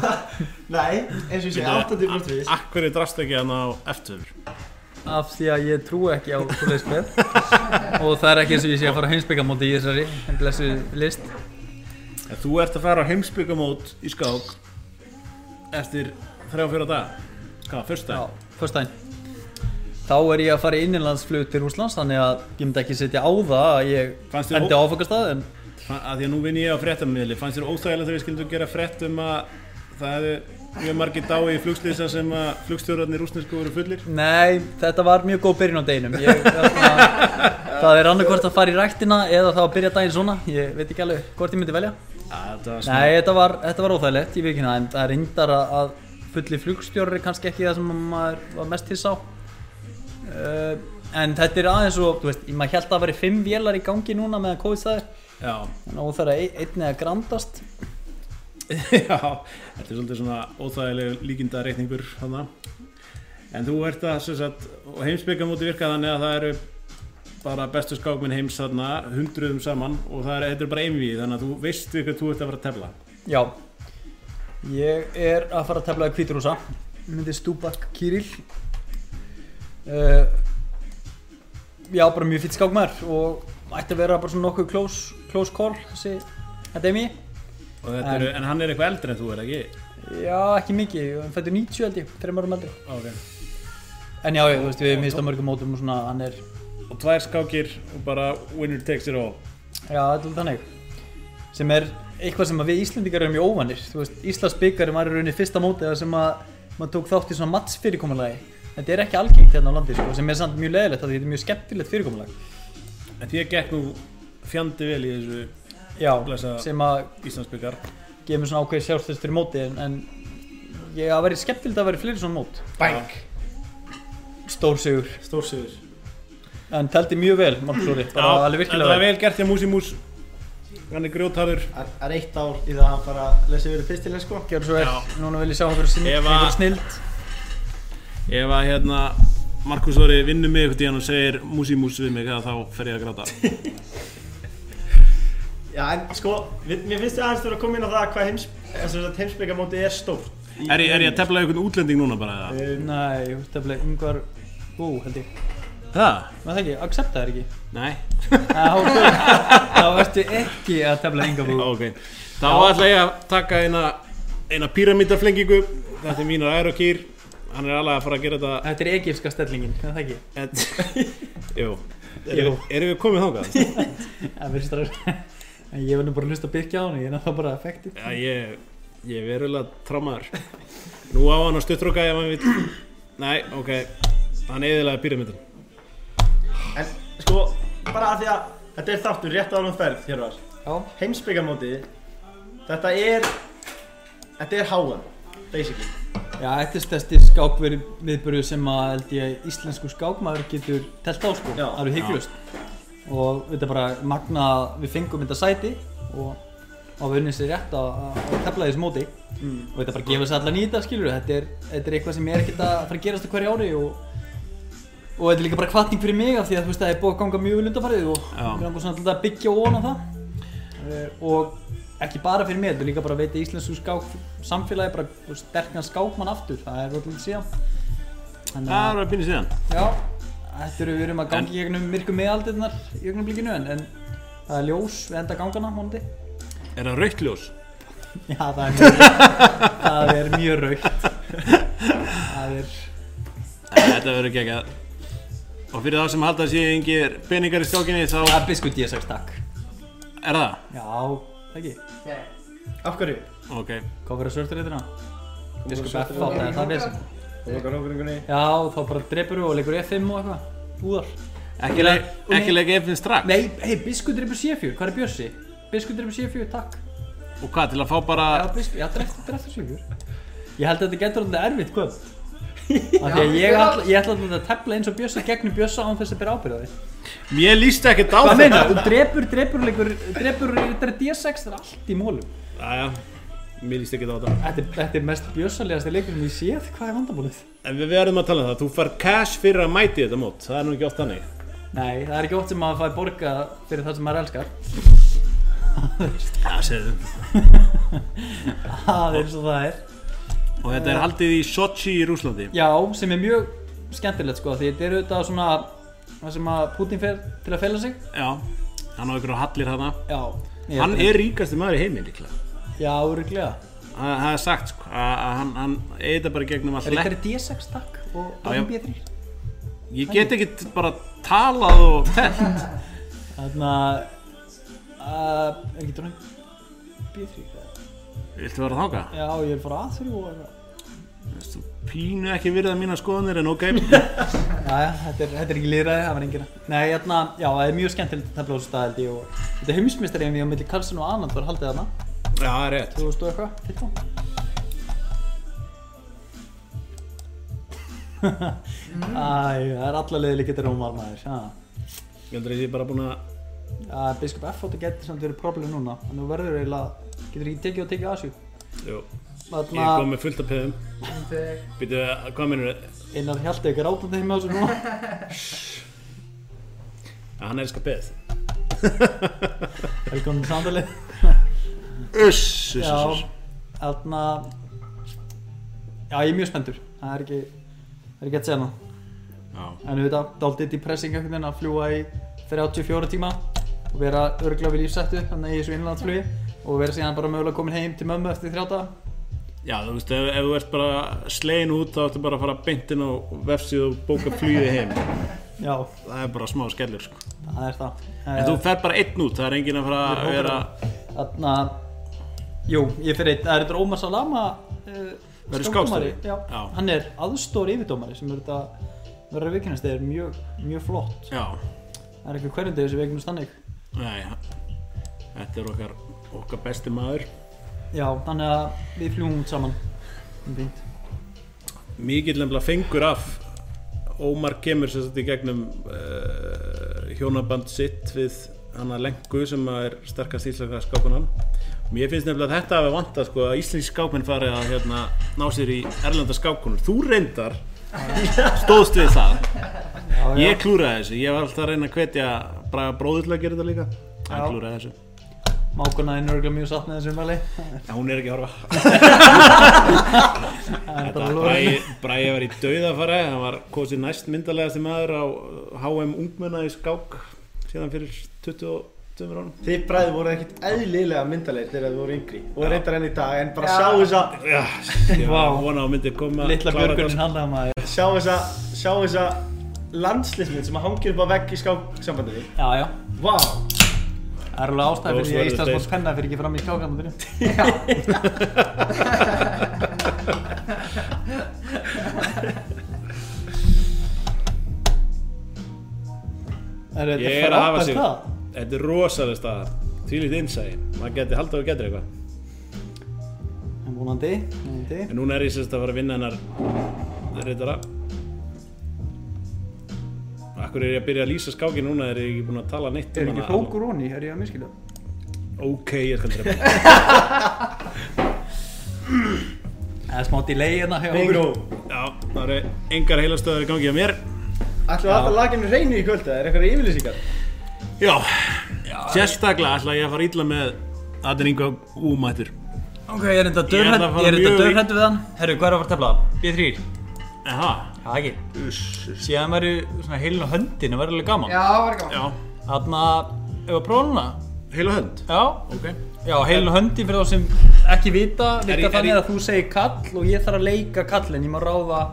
[SPEAKER 1] nei, eins og ég segi, 80% viss
[SPEAKER 5] Akkur drast ekki hann á F2
[SPEAKER 4] af því að ég trúi ekki á svoleiðis með og það er ekki eins og ég sé að fara á heimsbyggamóti í þessari blessu list
[SPEAKER 5] En Þú ert að fara á heimsbyggamót í skák Eftir þrjá fjóra dag Hvað, fyrsta?
[SPEAKER 4] Já, fyrst dæn Þá er ég að fara í innanlandsflug til Rúslands þannig að ég myndi ekki setja á það að ég
[SPEAKER 5] Fannst þér
[SPEAKER 4] endi á áfangastað en
[SPEAKER 5] að því að nú vinn ég á fréttamiðli fannst þér óþægilega þegar við skildum gera frétt um að það hefði mjög margir dái í flugslýsa sem að flugstjórarnir rúsnesku voru fullir
[SPEAKER 4] Nei, þetta var mjög góð byrjun á deginum ég, þarna, Það er annarkvort að fara í ræktina eða þá að byrja daginn svona Ég veit ekki alveg hvort ég myndi velja
[SPEAKER 5] Nei,
[SPEAKER 4] Nei, þetta var, þetta var óþægilegt, ég veit ekki það En það er reyndar að, að fulli flugstjóri er kannski ekki það sem maður var mest hiss á uh, En þetta er aðeins og, þú veist, maður held að það væri fimm vélar í gangi núna meðan COVID staðir
[SPEAKER 5] Já,
[SPEAKER 4] Þannig að óþæra einni að grandast
[SPEAKER 5] já, þetta er svolítið svona óþægileg líkinda reikningur hana. En þú ert að, sem sagt, og heimsbyggamóti virka þannig að það eru bara bestu skákminn heims þarna, hundruðum saman og það er, þetta er bara einvið, þannig að þú veist við hvað þú ert að fara að tefla.
[SPEAKER 4] Já Ég er að fara að tefla í Hvíturúsa myndi Stúbak Kýril uh, Já, bara mjög fýtt skákmaður og ætti að vera bara svona nokkuð close, close call þessi, þetta er mér
[SPEAKER 5] Og þetta
[SPEAKER 4] En-
[SPEAKER 5] eru, en hann er eitthvað eldri en þú er ekki?
[SPEAKER 4] Já, ekki mikið, hann fættur 90 held ég, þreim árum eldri
[SPEAKER 5] Ok.
[SPEAKER 4] En já, ég, þú veist, við hefum hýst á mörgum mótum og svona, hann er,
[SPEAKER 5] Og tvær skákir og bara winner takes it all.
[SPEAKER 4] já, þetta er þannig sem er eitthvað sem að við Íslendingar erum í óvanir, þú veist, Íslands byggari var í rauninni fyrsta mótið þar sem að maður tók þátt í svona matts fyrirkomulagi þetta er ekki algengt hérna á landi, sko, sem er samt mjög leðilegt því þetta er mjög skemmtilegt fyrirkomulag
[SPEAKER 5] En því að gekk nú fjandi vel í þessu
[SPEAKER 4] já,
[SPEAKER 5] Blessaða.
[SPEAKER 4] sem að
[SPEAKER 5] Íslandsbyggar
[SPEAKER 4] gefa mér svona ákveði sjálfstöðst fyrir móti en, en ég hafa verið skemmtilegt að vera í fleiri svona mót
[SPEAKER 5] Bang!
[SPEAKER 4] stór sigur,
[SPEAKER 5] Stórsigur
[SPEAKER 4] en teldi mjög vel Marklóri, bara
[SPEAKER 5] Það
[SPEAKER 4] alveg virkilega
[SPEAKER 5] er vel gert hjá Músi Mús Hann er grjótarður
[SPEAKER 3] Það er- það er eitt ár í það að hann fara að lesa yfir pistilinn sko
[SPEAKER 4] Gjörðu svo vel,
[SPEAKER 5] Já.
[SPEAKER 4] núna vil ég sjá einhverju snild,
[SPEAKER 5] Ef að-
[SPEAKER 4] einhver snild.
[SPEAKER 5] Ef að hérna Markus Þóri vinnur mig eitthvað tíðan og segir Músi Mús við mig að þá fer ég að gráta
[SPEAKER 3] Já, en sko, við, mér finnst þið aðeins þurfa að koma inn á það hvað heims, heimsbyggamótið er stórt Í-
[SPEAKER 5] Er ég, er ég að tefla einhvern útlending núna bara eða?
[SPEAKER 3] Um,
[SPEAKER 4] Nei, þú veist, það er yngvar Bú, held ég,
[SPEAKER 5] Það?
[SPEAKER 4] maður það ekki, accepta það ekki
[SPEAKER 5] Nei
[SPEAKER 4] Þá ertu ekki að tefla ynga bú
[SPEAKER 5] Ok Þá ætla ég að taka eina eina píramítaflengingu Þetta er mínar aerokýr Hann er alveg að fara að gera þetta
[SPEAKER 4] Þetta er egypska stellingin, er það ekki?
[SPEAKER 5] Jú
[SPEAKER 4] Jú.
[SPEAKER 5] Erum erum við komið þákað?
[SPEAKER 4] Það verður stráður En ég verður nú bara að hlusta að byrkja á hann Ég er náttúrulega bara effektið
[SPEAKER 5] Já, ég, ég er verulega trámaður. Nú á hann að stuttroka ef hann vil. Nei, ok. Hann eðilaði píramítan.
[SPEAKER 3] En sko, bara að því að þetta er þáttur rétt árum ferð hér var
[SPEAKER 4] Já.
[SPEAKER 3] Heimsbyggamótið, þetta er, þetta er háan, basically
[SPEAKER 4] Já, þetta er stærsti skákverið viðbörðu sem að held ég íslensku skákmaður getur telt á sko
[SPEAKER 3] Já.
[SPEAKER 4] Það eru hyggjulust og þetta er bara magna að við fengum þetta sæti og og við unnum sér rétt að- að að tefla í þessu móti og þetta er bara að gefa sér allan í þetta skilur þetta er, þetta er eitthvað sem er ekkert að fara að gerast á hverju ári og, og þetta er líka bara kvartning fyrir mig af því að þú veist það er búið að ganga mjög vel undanfarið og
[SPEAKER 5] Já.
[SPEAKER 4] við langar svona til að byggja ofan á það Eh, og ekki bara fyrir mig, þetta er líka bara að veita íslensku skák samfélagi bara sterkan skákmann aftur, það er allir síðan þannig
[SPEAKER 5] Það var að býna síðan
[SPEAKER 4] Já, þetta eru við erum að gangi í gegnum myrku meðaldirnar í augnablikinu en, en það er ljós við enda gangana hóndi.
[SPEAKER 5] Er það raukt ljós?
[SPEAKER 4] Já, það er mjög, það er mjög raukt. Það er,
[SPEAKER 5] Þetta verður ekki ekki að Og fyrir þá sem halda að séu yngir peningar í skákinni þá
[SPEAKER 4] það er biskut ég sagt takk.
[SPEAKER 5] er það
[SPEAKER 4] Já, það ekki.
[SPEAKER 1] Af hverju?
[SPEAKER 5] Ok,
[SPEAKER 4] Hvað verður svörturreitina? Biskup F,
[SPEAKER 2] hérna.
[SPEAKER 4] það er það vesen.
[SPEAKER 1] Þú okkar hópingunni
[SPEAKER 4] Já, þá bara drepur og leikur F5 og eitthvað. Búðar.
[SPEAKER 5] ekki, leik, ekki leika efinn strax
[SPEAKER 4] Nei, hei, biskut drepur C4, hvað er Björsi? Biskut drepur C4, takk.
[SPEAKER 5] Og hvað, til að fá bara
[SPEAKER 4] Já, biskup, já, dreftu, dreftu sigur Ég held að þetta getur þetta erfitt kvöld Af því að ég, ætla, ég ætla alltaf að tefla eins og Bjössa gegnum Bjössa án þess að byrja ábyrða því
[SPEAKER 5] Mér líst ekkert á
[SPEAKER 4] Hvað
[SPEAKER 5] þetta
[SPEAKER 4] meina, þú drepur, drepur, leikur, drepur, þetta er D6, það er allt í mólum
[SPEAKER 5] Jæja, mér líst ekkert á þetta
[SPEAKER 4] Þetta, er- þetta er mest Bjössalegasti leikur sem ég séð, hvað er vandamálið?
[SPEAKER 5] En við verðum að tala um það, þú fær cash fyrir að mæti þetta mót Það er nú ekki oft þannig
[SPEAKER 4] Nei, það er ekki oft sem maður fæ borga fyrir það sem maður elskar
[SPEAKER 5] Já, segðu
[SPEAKER 4] Það er eins og það er
[SPEAKER 5] Og þetta er haldið í Sochi í Rúslandi
[SPEAKER 4] Já, sem er mjög skemmtilegt sko, því þetta er auðvitað svona það sem að Putin fer til að fela sig
[SPEAKER 5] Já, hann á ykkur hallir þarna
[SPEAKER 4] Já, ég-
[SPEAKER 5] Hann er ríkasti maður í heiminn líklega
[SPEAKER 4] Já, öruglega
[SPEAKER 5] Það það er sagt sko, að að hann, hann eigi þetta bara í gegnum allt
[SPEAKER 4] Er þetta
[SPEAKER 5] lekk.
[SPEAKER 4] er D6 takk og
[SPEAKER 5] Já, já.
[SPEAKER 4] um B3
[SPEAKER 5] Ég get ekki bara talað og telt.
[SPEAKER 4] Þannig að uh, Er ekki drónum B3
[SPEAKER 5] Viltu vera þáka?
[SPEAKER 4] Já, ég er frá A3 og eitthvað
[SPEAKER 5] Þú pínu ekki virða mína skoðanir en ok.
[SPEAKER 4] Jæja, þetta er, þetta er ekki líðræði, það var engina Nei, hérna, já, það er mjög skemmtilegt að tefla á þessu stað held ég og Þetta er heimsmeistari en við á milli Karlsson og Anand var haldið þarna
[SPEAKER 5] Já, það er rétt.
[SPEAKER 4] 2000 og eitthvað, 15 Æ, það er alla leiðileg getur rómar maður Já,
[SPEAKER 5] Ég heldur að ég sé bara búin að...
[SPEAKER 4] Já, Biskup F átti getur samt verið problem núna en þú verður eiginlega, getur ekki tekið og tekið að þessu
[SPEAKER 5] Jú, ég
[SPEAKER 4] Þarna,
[SPEAKER 5] er komið fullt af peðum. Býtu, hvað minnur þið?
[SPEAKER 4] Einar Hjalti ekki rátandi heim á þessu núna
[SPEAKER 5] Hann elskar peð.
[SPEAKER 4] Velkomin í samtalið
[SPEAKER 5] Uss, uss,
[SPEAKER 4] Já,
[SPEAKER 5] uss, uss.
[SPEAKER 4] þarna Já, ég er mjög spenntur Það er ekki, það er ekki að segja það
[SPEAKER 5] Já.
[SPEAKER 4] En auðvitað, daldið depressing einhvern veginn að fljúa í 34 tíma og vera örgla við lífsættu þannig að ég er svo innlandsflugi og vera síðan bara mögulega komin heim til mömmu eftir 30
[SPEAKER 5] Já, þú veist, ef, ef þú ert bara slegin út þá ertu bara að fara beintinn á vefsíðu og bóka flýði heim.
[SPEAKER 4] Já,
[SPEAKER 5] Það er bara smá skellir, sko.
[SPEAKER 4] það er það
[SPEAKER 5] En þú fer bara einn út, það er enginn að fara að vera...
[SPEAKER 4] Þarna, jú, ég fyrir eitt, það er þetta Ómar Salama uh,
[SPEAKER 5] Verður
[SPEAKER 4] skókdómari,
[SPEAKER 5] skákstjóri?
[SPEAKER 4] já,
[SPEAKER 5] Já.
[SPEAKER 4] hann er aðstór yfirdómari sem verður þetta verður að vikinnast, það er mjög, mjög flott
[SPEAKER 5] Já,
[SPEAKER 4] það er ekki á hverjum degi sem vikinnast þannig
[SPEAKER 5] Nei, þetta er okkar, okkar besti maður.
[SPEAKER 4] já, þannig að við fljúum út saman Það er fínt.
[SPEAKER 5] Mikið lemla fengur af. Ómar kemur sér þetta í gegnum uh, hjónaband sitt við hana lengu sem að er sterkast íslenska skákunan. Mér finnst nefnilega að þetta hafi vantað sko að íslensk skákminn fari að hérna, ná sér í erlenda skákunum. Þú reyndar stóðst við það.
[SPEAKER 4] já, já,
[SPEAKER 5] Ég klúraði þessu. Ég var alltaf að reyna að hvetja Braga bróður til að gera þetta líka. Hann
[SPEAKER 4] Já.
[SPEAKER 5] klúraði þessu.
[SPEAKER 4] mákonaðin er örgulega mjög satt með þessum vali það
[SPEAKER 5] En hún er ekki að horfa.
[SPEAKER 4] er bara að lóra
[SPEAKER 5] Bræði Bræði var í dauðafæri, hann var kosið næst myndalegasti maður á HM ungmenna í skák síðan fyrir 22 árum.
[SPEAKER 1] Þið bræði voru ekkert eðlilega myndalegir þegar þið voru yngri og reyndar enn í dag en bara sjá þessa
[SPEAKER 5] Já, ég var að vona að myndi koma
[SPEAKER 4] litla
[SPEAKER 5] klára
[SPEAKER 4] björgunin hann að maður
[SPEAKER 1] sjá þessa sjá þessa landslismin sem að hangir upp á vegg í skáksambandinni
[SPEAKER 4] já, já,
[SPEAKER 1] Vá
[SPEAKER 4] það er alveg
[SPEAKER 5] Og
[SPEAKER 4] ástæði fyrir
[SPEAKER 5] svo
[SPEAKER 4] því
[SPEAKER 5] er
[SPEAKER 4] að Íslands
[SPEAKER 5] þetta-
[SPEAKER 4] mót penna fyrir ekki fram í skákanum
[SPEAKER 5] þetta.
[SPEAKER 4] fyrir
[SPEAKER 5] Ég er að hafa sig. Þetta er rosalega staða. Tvílíkt innsæði. Maður geti haldið og getur eitthvað.
[SPEAKER 4] En vonandi, vonandi
[SPEAKER 5] En núna er ég sérst að fara að vinna hennar reytara. Akkur Akkur er ég að byrja að lýsa skákin núna, er ég ekki búin að tala neitt um
[SPEAKER 4] Er ekki
[SPEAKER 5] hana?
[SPEAKER 4] flókur onni, er ég að miskila?
[SPEAKER 5] Ok, ég skal drepa
[SPEAKER 4] Það er smá delay hérna hjá okkur.
[SPEAKER 3] Bingo.
[SPEAKER 5] Já, það eru engar heilastöðar í gangi á mér
[SPEAKER 3] Ætlum við að alltaf laginu reynu í kvölda, er eitthvað yfirlýsingar?
[SPEAKER 5] Já, sérstaklega ætla ég að fara illa með Adin Ingo úmættur
[SPEAKER 4] Ok, ég er
[SPEAKER 5] Ég ætla
[SPEAKER 4] enda
[SPEAKER 5] að
[SPEAKER 4] dörrhætt
[SPEAKER 5] fara
[SPEAKER 4] Ég er enda
[SPEAKER 5] mjög í-
[SPEAKER 4] dörrhættu við hann Herru, hvað er að fara að tefla það? B3
[SPEAKER 5] Eha,
[SPEAKER 4] Já, ekki Síðan væri svona heilin á höndin Það væri alveg gaman
[SPEAKER 2] Já, það var gaman
[SPEAKER 5] já,
[SPEAKER 4] Þarna, ef að prófa núna
[SPEAKER 5] heil og hönd
[SPEAKER 4] Já
[SPEAKER 5] Ok,
[SPEAKER 4] Já, heilin á höndin fyrir þá sem ekki vita Virka
[SPEAKER 5] ég- er
[SPEAKER 4] þannig
[SPEAKER 5] ég-
[SPEAKER 4] að þú segir kall Og ég þarf að leika kallin Ég má ráða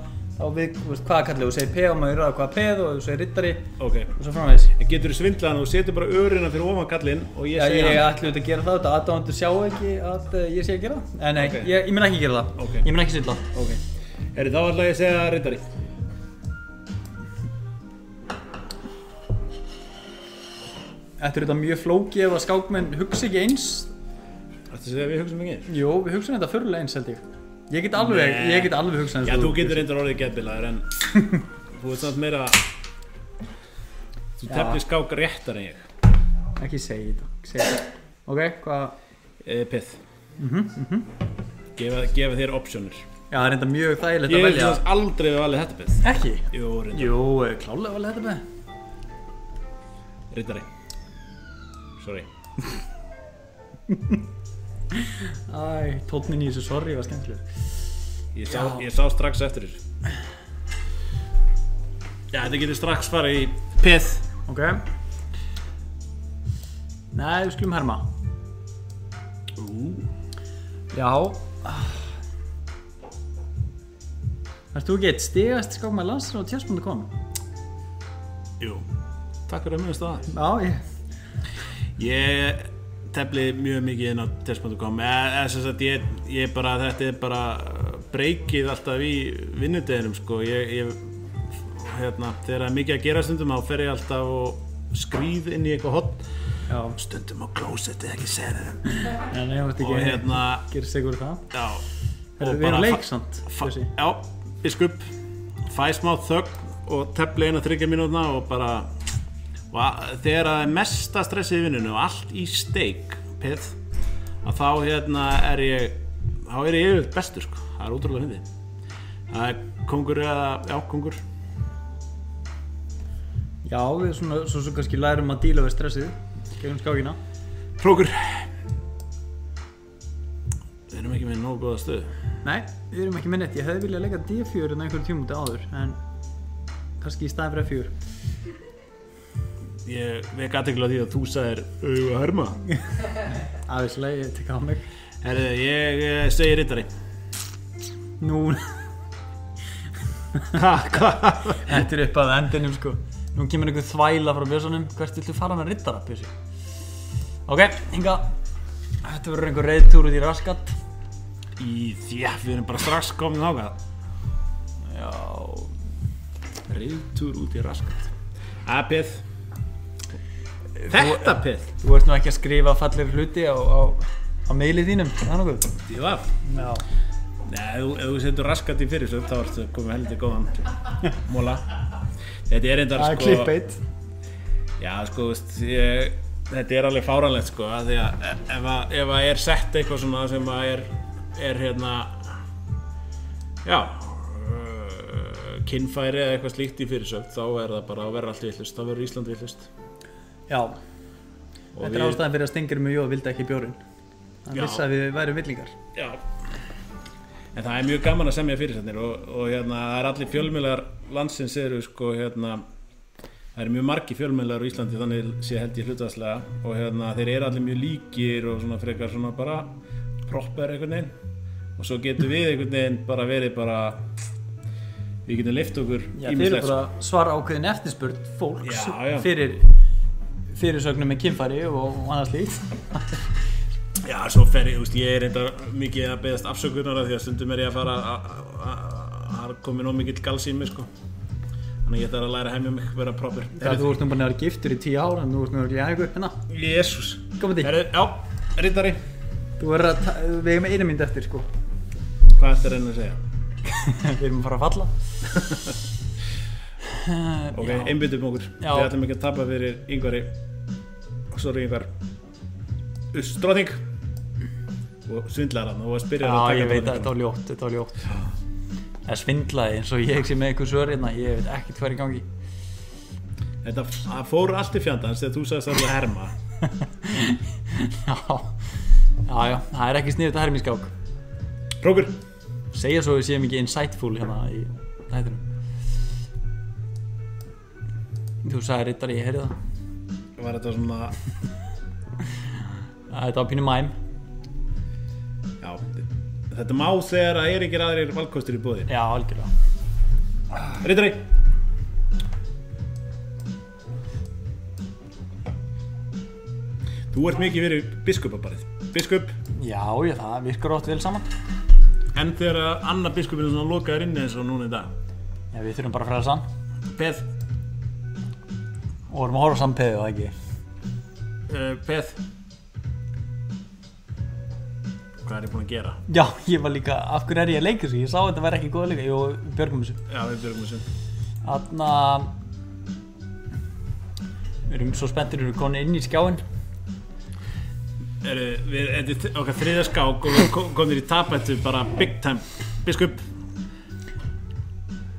[SPEAKER 4] á við þú veist, hvaða kalli Þú segir peð og maður ráða hvaða peð Og þú segir rittari
[SPEAKER 5] ok
[SPEAKER 4] Og svo framvegis
[SPEAKER 5] En getur þú svindlað hann og setur bara örina fyrir ofan kallinn og ég
[SPEAKER 4] Já,
[SPEAKER 5] segja
[SPEAKER 4] ég
[SPEAKER 5] hann
[SPEAKER 4] ætli auðvitað að gera það, þetta aðdóðandur sjá ekki að eh, ég sé að gera það. En nei,
[SPEAKER 5] Ok.
[SPEAKER 4] ég, ég mun ekki gera það.
[SPEAKER 5] Ok.
[SPEAKER 4] Ég mun ekki silla.
[SPEAKER 5] Ok, herri þá ætla ég að segja reyndari
[SPEAKER 4] Þetta er auðvitað mjög flókið ef að skákmenn hugsa ekki eins
[SPEAKER 5] Þetta segja að við um hugsaum ekki eins
[SPEAKER 4] Jó, við hugsaum þetta fyrirlega eins held ég Ég get alveg,
[SPEAKER 5] Nei.
[SPEAKER 4] ég get alveg hugsað eins
[SPEAKER 5] Já,
[SPEAKER 4] og
[SPEAKER 5] þú getur reyndar orðið getbilaður en þú ert samt meira Þú
[SPEAKER 4] Já.
[SPEAKER 5] tefnir skák réttar en ég
[SPEAKER 4] Ekki segja þetta, ekki segja þetta Ok, hvað
[SPEAKER 5] eða Eh, pith
[SPEAKER 4] Mhm,
[SPEAKER 5] gefa, gefa þér optionir
[SPEAKER 4] Já, það er enda mjög þægilegt
[SPEAKER 5] Ég
[SPEAKER 4] að
[SPEAKER 5] hef
[SPEAKER 4] velja
[SPEAKER 5] þess aldrei valið þetta pith
[SPEAKER 4] Ekki?
[SPEAKER 5] Jú, reyndar,
[SPEAKER 4] Jú, eh, klálega valið þetta með
[SPEAKER 5] reyndari Sorry
[SPEAKER 4] Æ, tónnin í þessu sorry var skemmtileg
[SPEAKER 5] Ég sá, ég sá strax eftir þér Já, þetta getur strax farið í pith
[SPEAKER 4] Ok Nei, við skulum herma
[SPEAKER 5] Ú,
[SPEAKER 4] Já Erst þú ekki eitt stigast skákmaður landsins á tjens.com?
[SPEAKER 5] jú Takk fyrir að minnast á það
[SPEAKER 4] Já, ég
[SPEAKER 5] Ég tefli mjög mikið inn á test.com eða eða sem sagt ég, ég bara þetta er bara uh, breykið alltaf í vinnudeginum sko ég, ég hérna, þegar það er mikið að gera stundum þá fer ég alltaf og skrýð inn í eitthvað hot
[SPEAKER 4] Já,
[SPEAKER 5] stundum á klósetti ekki segja þeim
[SPEAKER 4] en ég vart ekki
[SPEAKER 5] og hérna
[SPEAKER 4] Gerist segur það
[SPEAKER 5] já
[SPEAKER 4] Herðu,
[SPEAKER 5] og
[SPEAKER 4] Við erum
[SPEAKER 5] bara
[SPEAKER 4] leik
[SPEAKER 5] fa-
[SPEAKER 4] samt
[SPEAKER 5] fa-
[SPEAKER 4] Bjössi.
[SPEAKER 5] já, biskup fæ smá þögg og tefli eina þryggja mínútna og bara og að, þegar það er mesta stressið í vinnunni og allt í steik pið, að þá hérna er ég þá er ég yfirleitt bestur sko, það er útrúlega hindi það er kongur eða, já, kongur
[SPEAKER 4] Já, við svona, svo, svo kannski lærum að díla við stressið gegnum skákina.
[SPEAKER 5] hrókur við erum ekki með nógu góða stöðu
[SPEAKER 4] Nei, við erum ekki með neitt. Ég hefði viljað leika D4 en einhverjum tímúti áður, en kannski í staðin fyrir F4.
[SPEAKER 5] ég vek aðtekla því að þú sagðir auðvitað herma
[SPEAKER 4] Aðeinslega, ég tek á mig.
[SPEAKER 5] Herðu, ég eh, segi rittari
[SPEAKER 4] Nú, þetta er upp að endinum, sko. Nú kemur einhver þvæla frá Björnssonum. Hvert viltu fara með rittara, Björnsi? Ok, hinga. Þetta verður einhver reyðtúr út í raskat.
[SPEAKER 5] Í þjá, við erum bara strax komin ákvað
[SPEAKER 4] Já,
[SPEAKER 5] Riðtúr út í raskat Eh, Apið Þetta pið
[SPEAKER 4] þú ert nú ekki að skrifa fallir hluti á, á, á meilið þínum, er það nokkuð?
[SPEAKER 5] Já
[SPEAKER 4] Já.
[SPEAKER 5] Nei, ef þú- ef þú setur raskat í fyrir svo þá ertu komið heldur góðan Móla Þetta er reyndar
[SPEAKER 4] Það er
[SPEAKER 5] sko
[SPEAKER 4] klippeitt.
[SPEAKER 5] Já, sko, veist, ég, þetta er alveg fáranlegt sko af Því að e- ef að, ef að er sett eitthvað svona sem að er, er hérna Já uh, kynfæri eða eitthvað slíkt í fyrirsögn þá er það bara að vera allt villust þá verður Ísland villust
[SPEAKER 4] Já,
[SPEAKER 5] Og
[SPEAKER 4] Þetta er
[SPEAKER 5] við-
[SPEAKER 4] ástæðan fyrir að Stingir mjög jóð vildi ekki bjórin. Hann
[SPEAKER 5] Já.
[SPEAKER 4] vissi að við værum villingar.
[SPEAKER 5] Já En það er mjög gaman að semja fyrirsætnir og, og hérna, það er allir fjölmiðlar landsins eru sko hérna það eru mjög margi fjölmiðlar á Íslandi þannig sé held ég hlutastlega og hérna þeir eru allir mjög líkir og svona frekar svona bara proper einhvern veginn og svo getum við einhvern veginn bara verið bara við getum lift okkur
[SPEAKER 4] Já, þeir eru
[SPEAKER 5] ýmislegt, sko.
[SPEAKER 4] bara svara ákveðin eftirspurn fólks
[SPEAKER 5] Já, já.
[SPEAKER 4] fyrir fyrirsögnum með kynfæri og og annað slíkt.
[SPEAKER 5] sko. Já, svo fer ég, þú veist, ég er reyndar mikið að beðast afsökunar af því að stundum er ég að fara að- að- að það er komið nóg mikill gals í mig sko þannig að ég þarf að læra að hemja mig vera proper
[SPEAKER 4] Já, þú ert nú bara að vera giftur í tíu ára en þú ert nú að glæða ykkur. Hérna,
[SPEAKER 5] Jésús
[SPEAKER 4] komum því.
[SPEAKER 5] Herru, já, rittari
[SPEAKER 4] Þú verður að, ta- við erum með einu mynd eftir sko.
[SPEAKER 5] Hvað ertu að reyna að segja?
[SPEAKER 4] við erum að fara að falla. Ok,
[SPEAKER 5] Ok, einbyttum okkur
[SPEAKER 4] Eh, Já.
[SPEAKER 5] Við ætlum ekki að tapa fyrir yngvari Sorry yngvar Stróðing Og svindlar hann og að spyrja
[SPEAKER 4] Já,
[SPEAKER 5] að
[SPEAKER 4] ég veit að
[SPEAKER 5] þetta
[SPEAKER 4] þetta var ljótt, þetta var ljótt. Það svindlaði eins og ég sé með einhver svör hérna, ég veit ekkert hvað er í gangi.
[SPEAKER 5] Þetta það fór allt í fjandans þegar þú sagðist að það herma
[SPEAKER 4] Já, já, já, það er ekki sniðið að hermi í skák.
[SPEAKER 5] Prókur,
[SPEAKER 4] Segja svo við séum ekki insightful hérna í þættinum. Þú sagði rittari, ég heyrði það.
[SPEAKER 5] var þetta svona
[SPEAKER 4] Æ, Þetta var pínu mæm.
[SPEAKER 5] Já, þetta má þegar að er ekki aðrir valkostur í búði
[SPEAKER 4] Já, algjörlega.
[SPEAKER 5] Rittari Þú ert mikið verið biskupabarið Biskup,
[SPEAKER 4] Já, já, það virkar ótt vel saman.
[SPEAKER 5] en þegar að annar biskupin er svona lokaður inni eins og núna í dag
[SPEAKER 4] Já, við þurfum bara að fræða sann.
[SPEAKER 5] Beð,
[SPEAKER 4] Og vorum að horfa á saman peðið, það ekki?
[SPEAKER 5] uh, Beð Hvað er ég búinn að gera?
[SPEAKER 4] Já, ég var líka, af hverju er ég að leika þessu? Ég sá að þetta væri ekki góð leika. Jó, við björgum þessu.
[SPEAKER 5] Já, við björgum þessu
[SPEAKER 4] Þarna Við erum svo spenntir Við erum komin inn í skjáin
[SPEAKER 5] Eru, við, þetta er þ- okkar þriðja skák og við ko- komum þér í tapættu bara big time Biskup,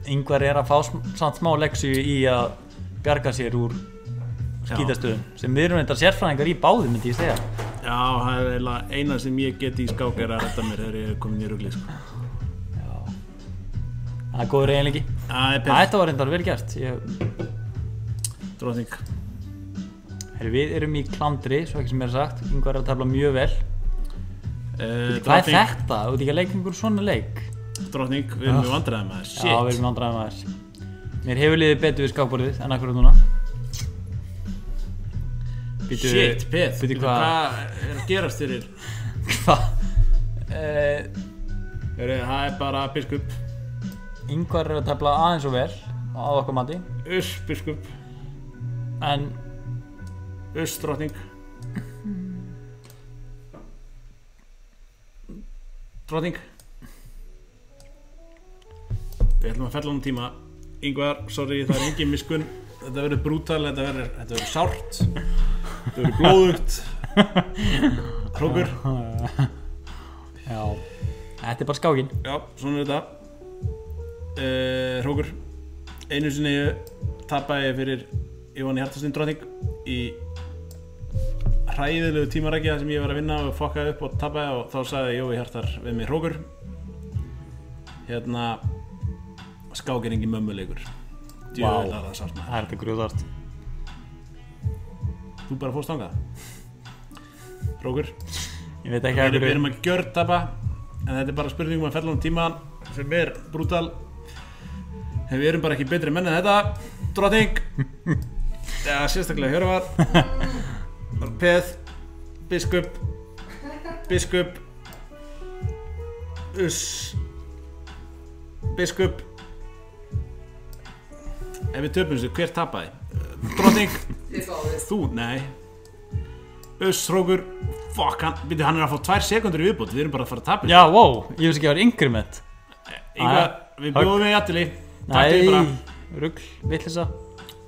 [SPEAKER 4] Yngvar er að fá sm- samt smá leksu í að bjarga sér úr skítastöðum sem við erum þetta sérfræðingar í báðum myndi ég segja
[SPEAKER 5] já, það er eiginlega eina sem ég geti í skák er að redda mér þegar ég er komin í rugli sko.
[SPEAKER 4] Það er góður eiginleiki
[SPEAKER 5] Það er
[SPEAKER 4] Það
[SPEAKER 5] Beð,
[SPEAKER 4] þetta var reyndar vel gert ég,
[SPEAKER 5] dróðning
[SPEAKER 4] her, Við erum í klandri, svo ekki sem er sagt Yngvar er að tafla mjög vel
[SPEAKER 5] uh,
[SPEAKER 4] Hvað er þetta? Þú ert ekki að leika einhver svona leik?
[SPEAKER 5] Dróðning, við erum við vandræðum að
[SPEAKER 4] Ah. Já, við erum andræðum að þess Mér hefur liðið betur við skákborðið en akkur núna Bíddu-
[SPEAKER 5] Shit, Beð,
[SPEAKER 4] bíddu hvað
[SPEAKER 5] hvað er að gerast þér?
[SPEAKER 4] Hva? Uh,
[SPEAKER 5] Það er bara biskup
[SPEAKER 4] yngvar er að tefla aðeins og vel á okkar mati
[SPEAKER 5] Uss, biskup,
[SPEAKER 4] en
[SPEAKER 5] uss, dróðning Dróðning Við ætlum að fella honum tíma Yngvar, sorry, það er engin miskun Þetta verður brútal, þetta verður, þetta verður sárt Þetta verður blóðugt Krókur
[SPEAKER 4] já, þetta er bara skákin
[SPEAKER 5] Já, svona er þetta uh, Hrókur Einu sinni tappaði ég fyrir Jóhann Hjartarsson drotting í hræðilegu tímarækja sem ég var að vinna og fokkaði upp og tappaði og þá sagði Jói Hjartar við mig Hrókur hérna skák er engin mömmuleikur
[SPEAKER 4] Vá.
[SPEAKER 5] djöðlega það sátt maður
[SPEAKER 4] það er þetta grjóðart
[SPEAKER 5] þú bara fórst þangað Hrókur
[SPEAKER 4] ég veit
[SPEAKER 5] Við erum,
[SPEAKER 4] ekki að
[SPEAKER 5] við
[SPEAKER 4] hverju
[SPEAKER 5] erum að gjörtapa en þetta er bara spurning um að fella um tíman sem er brútal en við erum bara ekki betri menn en þetta drotting eða sérstaklega Hjörvar Peð Biskup Biskup Uss Biskup Ef við töpum þessu, hver tapaði? Drotting
[SPEAKER 2] Þið báðið.
[SPEAKER 5] Þú, nei Uss, Rókur Fuck, hann, byrju, hann er að fá tvær sekundur í viðbót Við erum bara að fara að tapa
[SPEAKER 4] já, wow, ég veist ekki að það er increment
[SPEAKER 5] Inga,
[SPEAKER 4] Jæja.
[SPEAKER 5] Við bjóðum við Jatili Takk til bara
[SPEAKER 4] nei, rugg, vittlisa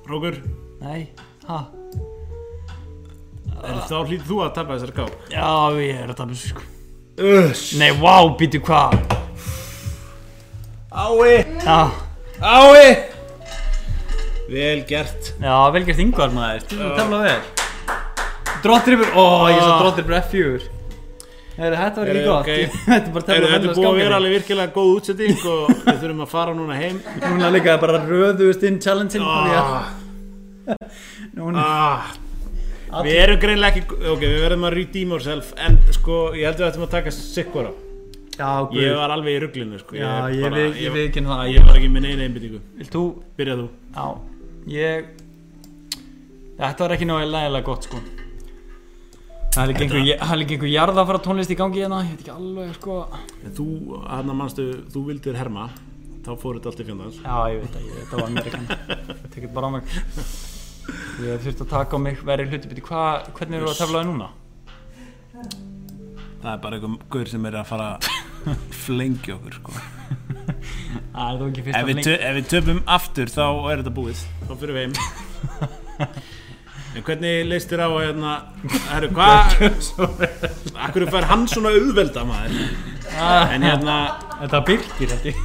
[SPEAKER 5] Rókur,
[SPEAKER 4] nei, ha
[SPEAKER 5] en þá hlýtur þú að tapa þessar gáp
[SPEAKER 4] já, ég er að tala um þessu sko
[SPEAKER 5] Uss
[SPEAKER 4] nei, wow, býtu hvað
[SPEAKER 5] Ái
[SPEAKER 4] já,
[SPEAKER 5] Ái Vel gert
[SPEAKER 4] já vel gert yngvar maður þú tefla vel drottripur, ó, ég svo drottripur F4 Heru, þetta var ekki
[SPEAKER 5] Heyrðu, Ah.
[SPEAKER 4] gott
[SPEAKER 5] ok.
[SPEAKER 4] þetta er bara
[SPEAKER 5] Eru
[SPEAKER 4] tefla
[SPEAKER 5] þetta er búið að vera alveg virkilega góð útsetting og við þurfum að fara núna heim
[SPEAKER 4] Núna líka bara röðuðust inn challenge-in
[SPEAKER 5] ah,
[SPEAKER 4] Núna
[SPEAKER 5] ah, Við erum greinlega ekki Ok, við verðum að redeem ourself En sko, ég held að við ættum að taka sikkur á
[SPEAKER 4] Já, guð
[SPEAKER 5] Ég var alveg í ruglinu sko
[SPEAKER 4] Já,
[SPEAKER 5] er
[SPEAKER 4] ég,
[SPEAKER 5] bara-
[SPEAKER 4] við, ég veit ekki um það
[SPEAKER 5] Ég var ekki með neina einbyttingu
[SPEAKER 4] Vilt þú?
[SPEAKER 5] Byrja þú
[SPEAKER 4] Já Ég Þetta var ekki náðu lægilega gott sko Það er líka einhver, það er líka einhver jarða að fara tónlist í gangi hérna Ég veit ekki alveg sko
[SPEAKER 5] En þú, hann að mannstu, þú vildir herma Þá fór þetta allt í fjandans
[SPEAKER 4] Já, ég veit að ég, þetta var Amerikan Ég tek þetta bara á mig Ég þurfti að taka á mig verið hluti byrju Hvað, hvernig eru að teflaði núna?
[SPEAKER 5] Það er bara einhver guður sem er að fara að flengja okkur sko
[SPEAKER 4] Það er þó ekki
[SPEAKER 5] Ef
[SPEAKER 4] fyrsta
[SPEAKER 5] við, tö, ef við töpum aftur þá er þetta búið Þá fyrir við heim En hvernig leist þér á að hérna Herru, hvað Akkur fær hann svona auðvelda maður En hérna
[SPEAKER 4] Þetta byrkir held ég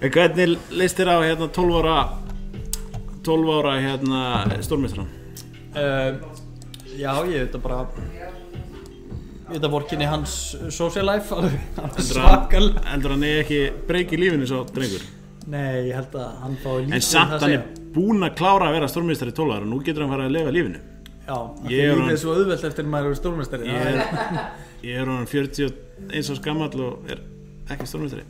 [SPEAKER 5] en Hvernig leist þér á hérna 12 ára 12 ára hérna stórmestran
[SPEAKER 4] uh, Já, ég veit að bara Ég veit að vorkinni hans social life alveg hann er svakal
[SPEAKER 5] Endur hann eigi ekki breyki lífinu svo drengur
[SPEAKER 4] Nei, ég held að hann fái lítið
[SPEAKER 5] En
[SPEAKER 4] um
[SPEAKER 5] samt
[SPEAKER 4] það að
[SPEAKER 5] hann er
[SPEAKER 4] segja.
[SPEAKER 5] búinn að klára að vera stórmestari 12 ára Nú getur hann farið að lifa lífinu
[SPEAKER 4] Já, af því
[SPEAKER 5] Ég er
[SPEAKER 4] lífið
[SPEAKER 5] hann-
[SPEAKER 4] er svo auðvelt eftir en maður er stórmestari
[SPEAKER 5] Ég er, ég er hann 41 árs gammal og er ekki stórmestari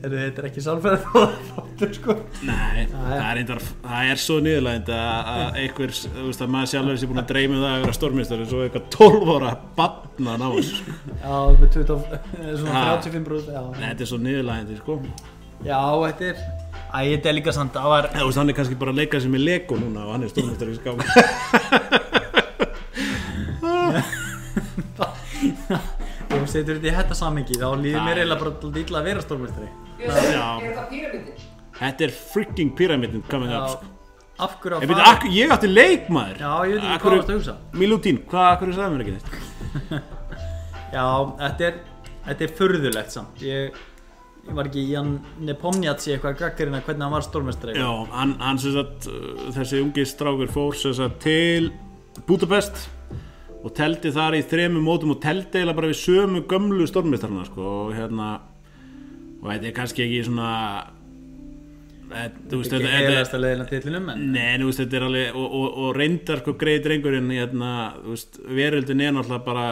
[SPEAKER 4] Heyrðu, Þetta er ekki sálfræðið sko.
[SPEAKER 5] Nei, það er, eindar, það er svo niðurlægend að, að einhver, þú veist að maður sjálfur sé búin að dreyma um það að vera stórmestari svo eitthvað 12 ára batna ná þessu, sko.
[SPEAKER 4] Já, með 20, svona
[SPEAKER 5] Ha.
[SPEAKER 4] 35 brúð já.
[SPEAKER 5] Nei, Þetta er svo niðurlægend, sko Þú
[SPEAKER 4] já, þetta er Æ, þetta er líka samt Það var
[SPEAKER 5] veist, hann er kannski bara að leika sér með Lego núna og hann er stórmestari í skáka
[SPEAKER 4] Ef þú setur þetta í þetta samengi þá líður mér eiginlega bara alltaf illa að vera stórmestari
[SPEAKER 5] Já.
[SPEAKER 2] Er þetta píramíti?
[SPEAKER 5] Þetta er freaking pyramidin coming up, sko
[SPEAKER 4] Af hverju
[SPEAKER 5] Ég,
[SPEAKER 4] að
[SPEAKER 5] byrja, akkur, ég átti leikmaður
[SPEAKER 4] Já, ég veit ekki hvað varst að hugsa
[SPEAKER 5] Milutín, hvað, akkur sagði mér ekki neitt?
[SPEAKER 4] Já, þetta er, þetta er furðulegt samt Ég, ég var ekki í hann Nepomniatsi eitthvað gaggarinn að hvernig hann var stórmestari
[SPEAKER 5] Já, hann, hann sem sagt, uh, þessi ungi strákur fór sem sagt til Budapest og teldi þar í þremur mótum og teldi eiginlega bara við sömu gömlu stormistarna sko og hérna og þetta er kannski ekki svona þetta, þú veist,
[SPEAKER 4] Ekki
[SPEAKER 5] þetta,
[SPEAKER 4] heilast
[SPEAKER 5] þetta
[SPEAKER 4] að leiðina titlinum en
[SPEAKER 5] Nei, en þú veist, þetta er alveg og, og, og reyndar sko greið drengurinn hérna, þú veist, veröldin er náttúrulega bara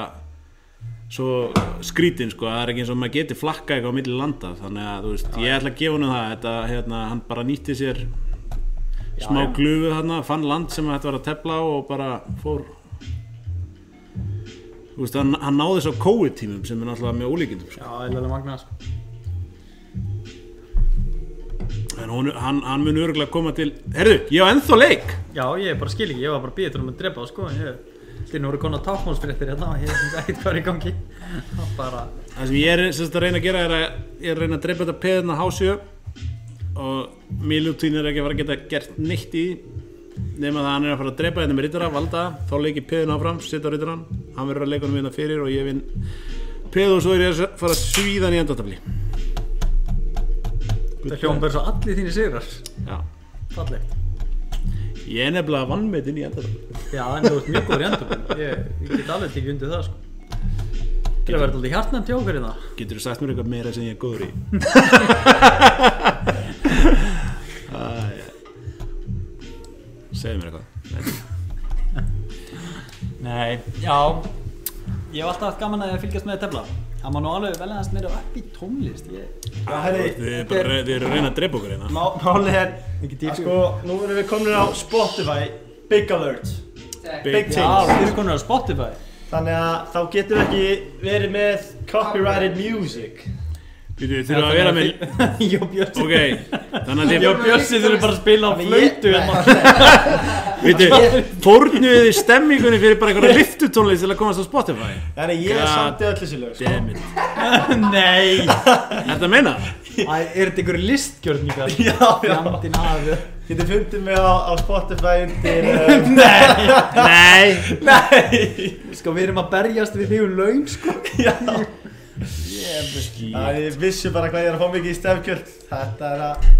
[SPEAKER 5] svo skrítin sko, það er ekki eins og maður geti flakka eitthvað á milli landa, þannig að þú veist, ég ætla að gefa honum það, þetta, hérna, hann bara nýtti sér smá
[SPEAKER 4] já.
[SPEAKER 5] glufu þarna, fann land sem þetta var að tefla á og bara fór þú veist, hann, hann náði svo COVID tímum sem er náttúrulega mjög ólíkindum sko.
[SPEAKER 4] Já, eiginlega magnað sko
[SPEAKER 5] en hún, hann, hann mun örgulega koma til herðu, ég á ennþá leik
[SPEAKER 4] Já, ég bara skil ekki, ég var bara býður um að drepa það sko en ég Þínu voru konar tákmálsfréttir hérna og ég finnst ekkert hvað er í gangi Það bara,
[SPEAKER 5] Það sem ég er semst að reyna að gera er að ég er að reyna að dreipa þetta peðina hásjö og Milutín er ekki að fara að geta gert neitt í því nema það hann er að fara að dreipa þetta með rittara, valda það, þá leikir peðin áfram, setja rittaran hann verður að leika hann minna fyrir og ég vinn peð og svo er ég að fara að svíða hann í endartafli
[SPEAKER 4] það hljóðum bara svo allir þínir sigrar
[SPEAKER 5] Já,
[SPEAKER 4] Fallegt
[SPEAKER 5] ég er nefnilega vannmetinn í endartafli
[SPEAKER 4] Já, en þú ert mjög góður í endurbúin Ég, ég get alveg tekið undir það sko Til að vera alltaf hjartnæmt hjá okkur hérna? í það
[SPEAKER 5] Getur þú sagt mér eitthvað meira sem ég er góður í? Æ, Segðu mér eitthvað
[SPEAKER 4] Nei, já Ég hef alltaf haft gaman að fylgjast með tefla Það má nú alveg vel aðeins meira upp í tónlist ég...
[SPEAKER 5] Þið eru bara þið eru að reyna að dreipa okkur hérna
[SPEAKER 1] Má- Málið er
[SPEAKER 4] Ekki dýr
[SPEAKER 1] að sko, nú erum við komin á Spotify Big Alert Big Things
[SPEAKER 4] Já, þið eru konur á Spotify
[SPEAKER 1] Þannig að þá getum við ekki verið með copyrighted music
[SPEAKER 5] Býtu, þurfum að vera með
[SPEAKER 4] Jó, Björsi
[SPEAKER 5] Ok, þannig að
[SPEAKER 4] Jó,
[SPEAKER 5] þið
[SPEAKER 4] Bjössi þurfi bara að spila á flöytu
[SPEAKER 5] Býtu, fórnuðu þið stemmingunni fyrir bara einhverja liftutónlist til að komast á Spotify
[SPEAKER 1] Þannig að ég
[SPEAKER 5] God
[SPEAKER 1] samti öll þessi lög sko.
[SPEAKER 5] Dammit,
[SPEAKER 4] Nei
[SPEAKER 5] þetta meina?
[SPEAKER 4] Æ, er þetta ykkur listgjörningar?
[SPEAKER 1] Já, já
[SPEAKER 4] Fjandinn hafi
[SPEAKER 1] Getið fundið mig á, á Spotify undir um,
[SPEAKER 4] Nei
[SPEAKER 5] Nei
[SPEAKER 4] Sko, við erum að berjast við þig um laun, sko
[SPEAKER 1] að Ég vissi bara hvað ég er að fá mikið í stefkjöld Þetta er að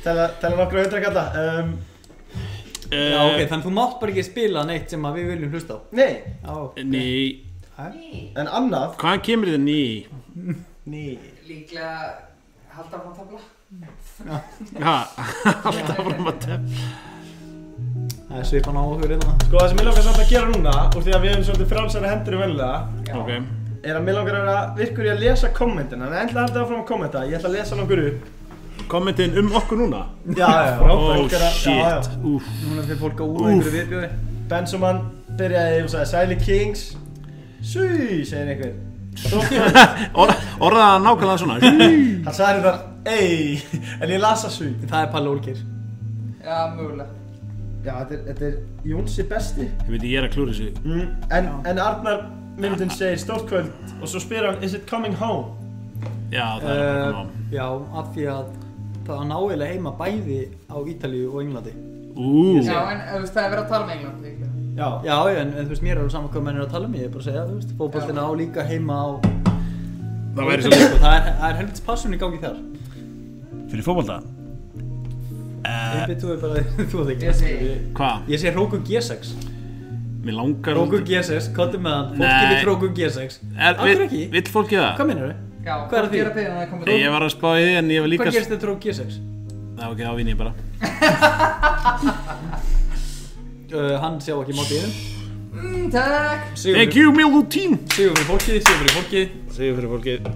[SPEAKER 1] Tella, tella nokkru hundra kalla um,
[SPEAKER 5] Eh,
[SPEAKER 4] Já, ok, þannig að þú mátt bara ekki spila neitt sem að við viljum hlusta á
[SPEAKER 1] Nei,
[SPEAKER 4] Já, ok.
[SPEAKER 5] Ný,
[SPEAKER 1] en annað
[SPEAKER 5] hvaðan kemur þetta ný?
[SPEAKER 1] Ný
[SPEAKER 2] Líklega halda áfram tabla
[SPEAKER 5] Ha, alltaf fram að tefn
[SPEAKER 4] Það er svipan á okkur hérna. innan
[SPEAKER 1] Sko það sem ég langar samt að gera núna Úr því að við hefum svolítið frálsara hendur um venlega
[SPEAKER 5] Ok,
[SPEAKER 1] er að mig langar að vera virkur í að lesa kommentin en ætla að halda áfram að kommenta, ég ætla að lesa nokkur upp
[SPEAKER 5] kommentin um okkur núna
[SPEAKER 1] Já, já,
[SPEAKER 5] Oh
[SPEAKER 1] frábært
[SPEAKER 5] shit, úf
[SPEAKER 4] Núna fyrir fólk að úr einhverju viðbjóði
[SPEAKER 1] Bensoman byrjaði og sagði Sæli Kings Sui, segir einhver
[SPEAKER 5] Orð- Orðaði það nákvæmlega svona
[SPEAKER 1] Hann sagði þar, ei, en ég lasa Sui
[SPEAKER 4] Það er Palli Olgir
[SPEAKER 2] Já, mögulega
[SPEAKER 1] Já, þetta er, þetta er Jónsi besti
[SPEAKER 5] Ég veit, ég er að klúra þessu
[SPEAKER 3] Mm,
[SPEAKER 1] En, en Arnar myndin segir stórt kvöld og svo spyr hann, is it coming home?
[SPEAKER 5] Já, það er bara að
[SPEAKER 4] uh,
[SPEAKER 5] koma á.
[SPEAKER 4] já, af því að það náiðlega heima bæði á Ítalíu og Englandi
[SPEAKER 5] Ú,
[SPEAKER 2] Já, en þú veist, það er verið að tala með England líka.
[SPEAKER 3] Já,
[SPEAKER 4] Já, já, en, en þú veist, mér er alveg saman hvað menn er að tala um, ég er bara að segja, þú veist, fótboltina á líka heima á
[SPEAKER 5] það væri svo
[SPEAKER 4] Og það er, það er helvits passun í gangi þar
[SPEAKER 5] Fyrir fótbolta?
[SPEAKER 4] Ég byrði þú er bara, þú veist
[SPEAKER 2] Ég
[SPEAKER 4] ekki
[SPEAKER 2] segi-
[SPEAKER 5] Hvað?
[SPEAKER 4] Ég segi Roku G6
[SPEAKER 5] Mér langar
[SPEAKER 4] Roku G6, kottum með hann, fólki
[SPEAKER 5] Nei.
[SPEAKER 4] við Roku G6
[SPEAKER 5] Er-
[SPEAKER 4] Akkur
[SPEAKER 5] vill-
[SPEAKER 4] ekki?
[SPEAKER 5] Vill fólki það?
[SPEAKER 4] Hvað minnur þau?
[SPEAKER 2] Já,
[SPEAKER 4] Hvað er að því?
[SPEAKER 2] Hvað er að því? Það er komið
[SPEAKER 5] Ég var að spá í því en ég var líka
[SPEAKER 4] Hvað gerist þetta Roku G6?
[SPEAKER 5] Já, ok, þá vinn ég bara
[SPEAKER 4] Uh, hann sjá ekki mátt í þeim
[SPEAKER 2] Mm, takk.
[SPEAKER 4] Sigur
[SPEAKER 5] Thank you, Milo team
[SPEAKER 4] sigur fyrir fólkið, sigur fyrir fólkið
[SPEAKER 5] Segjum fyrir fólkið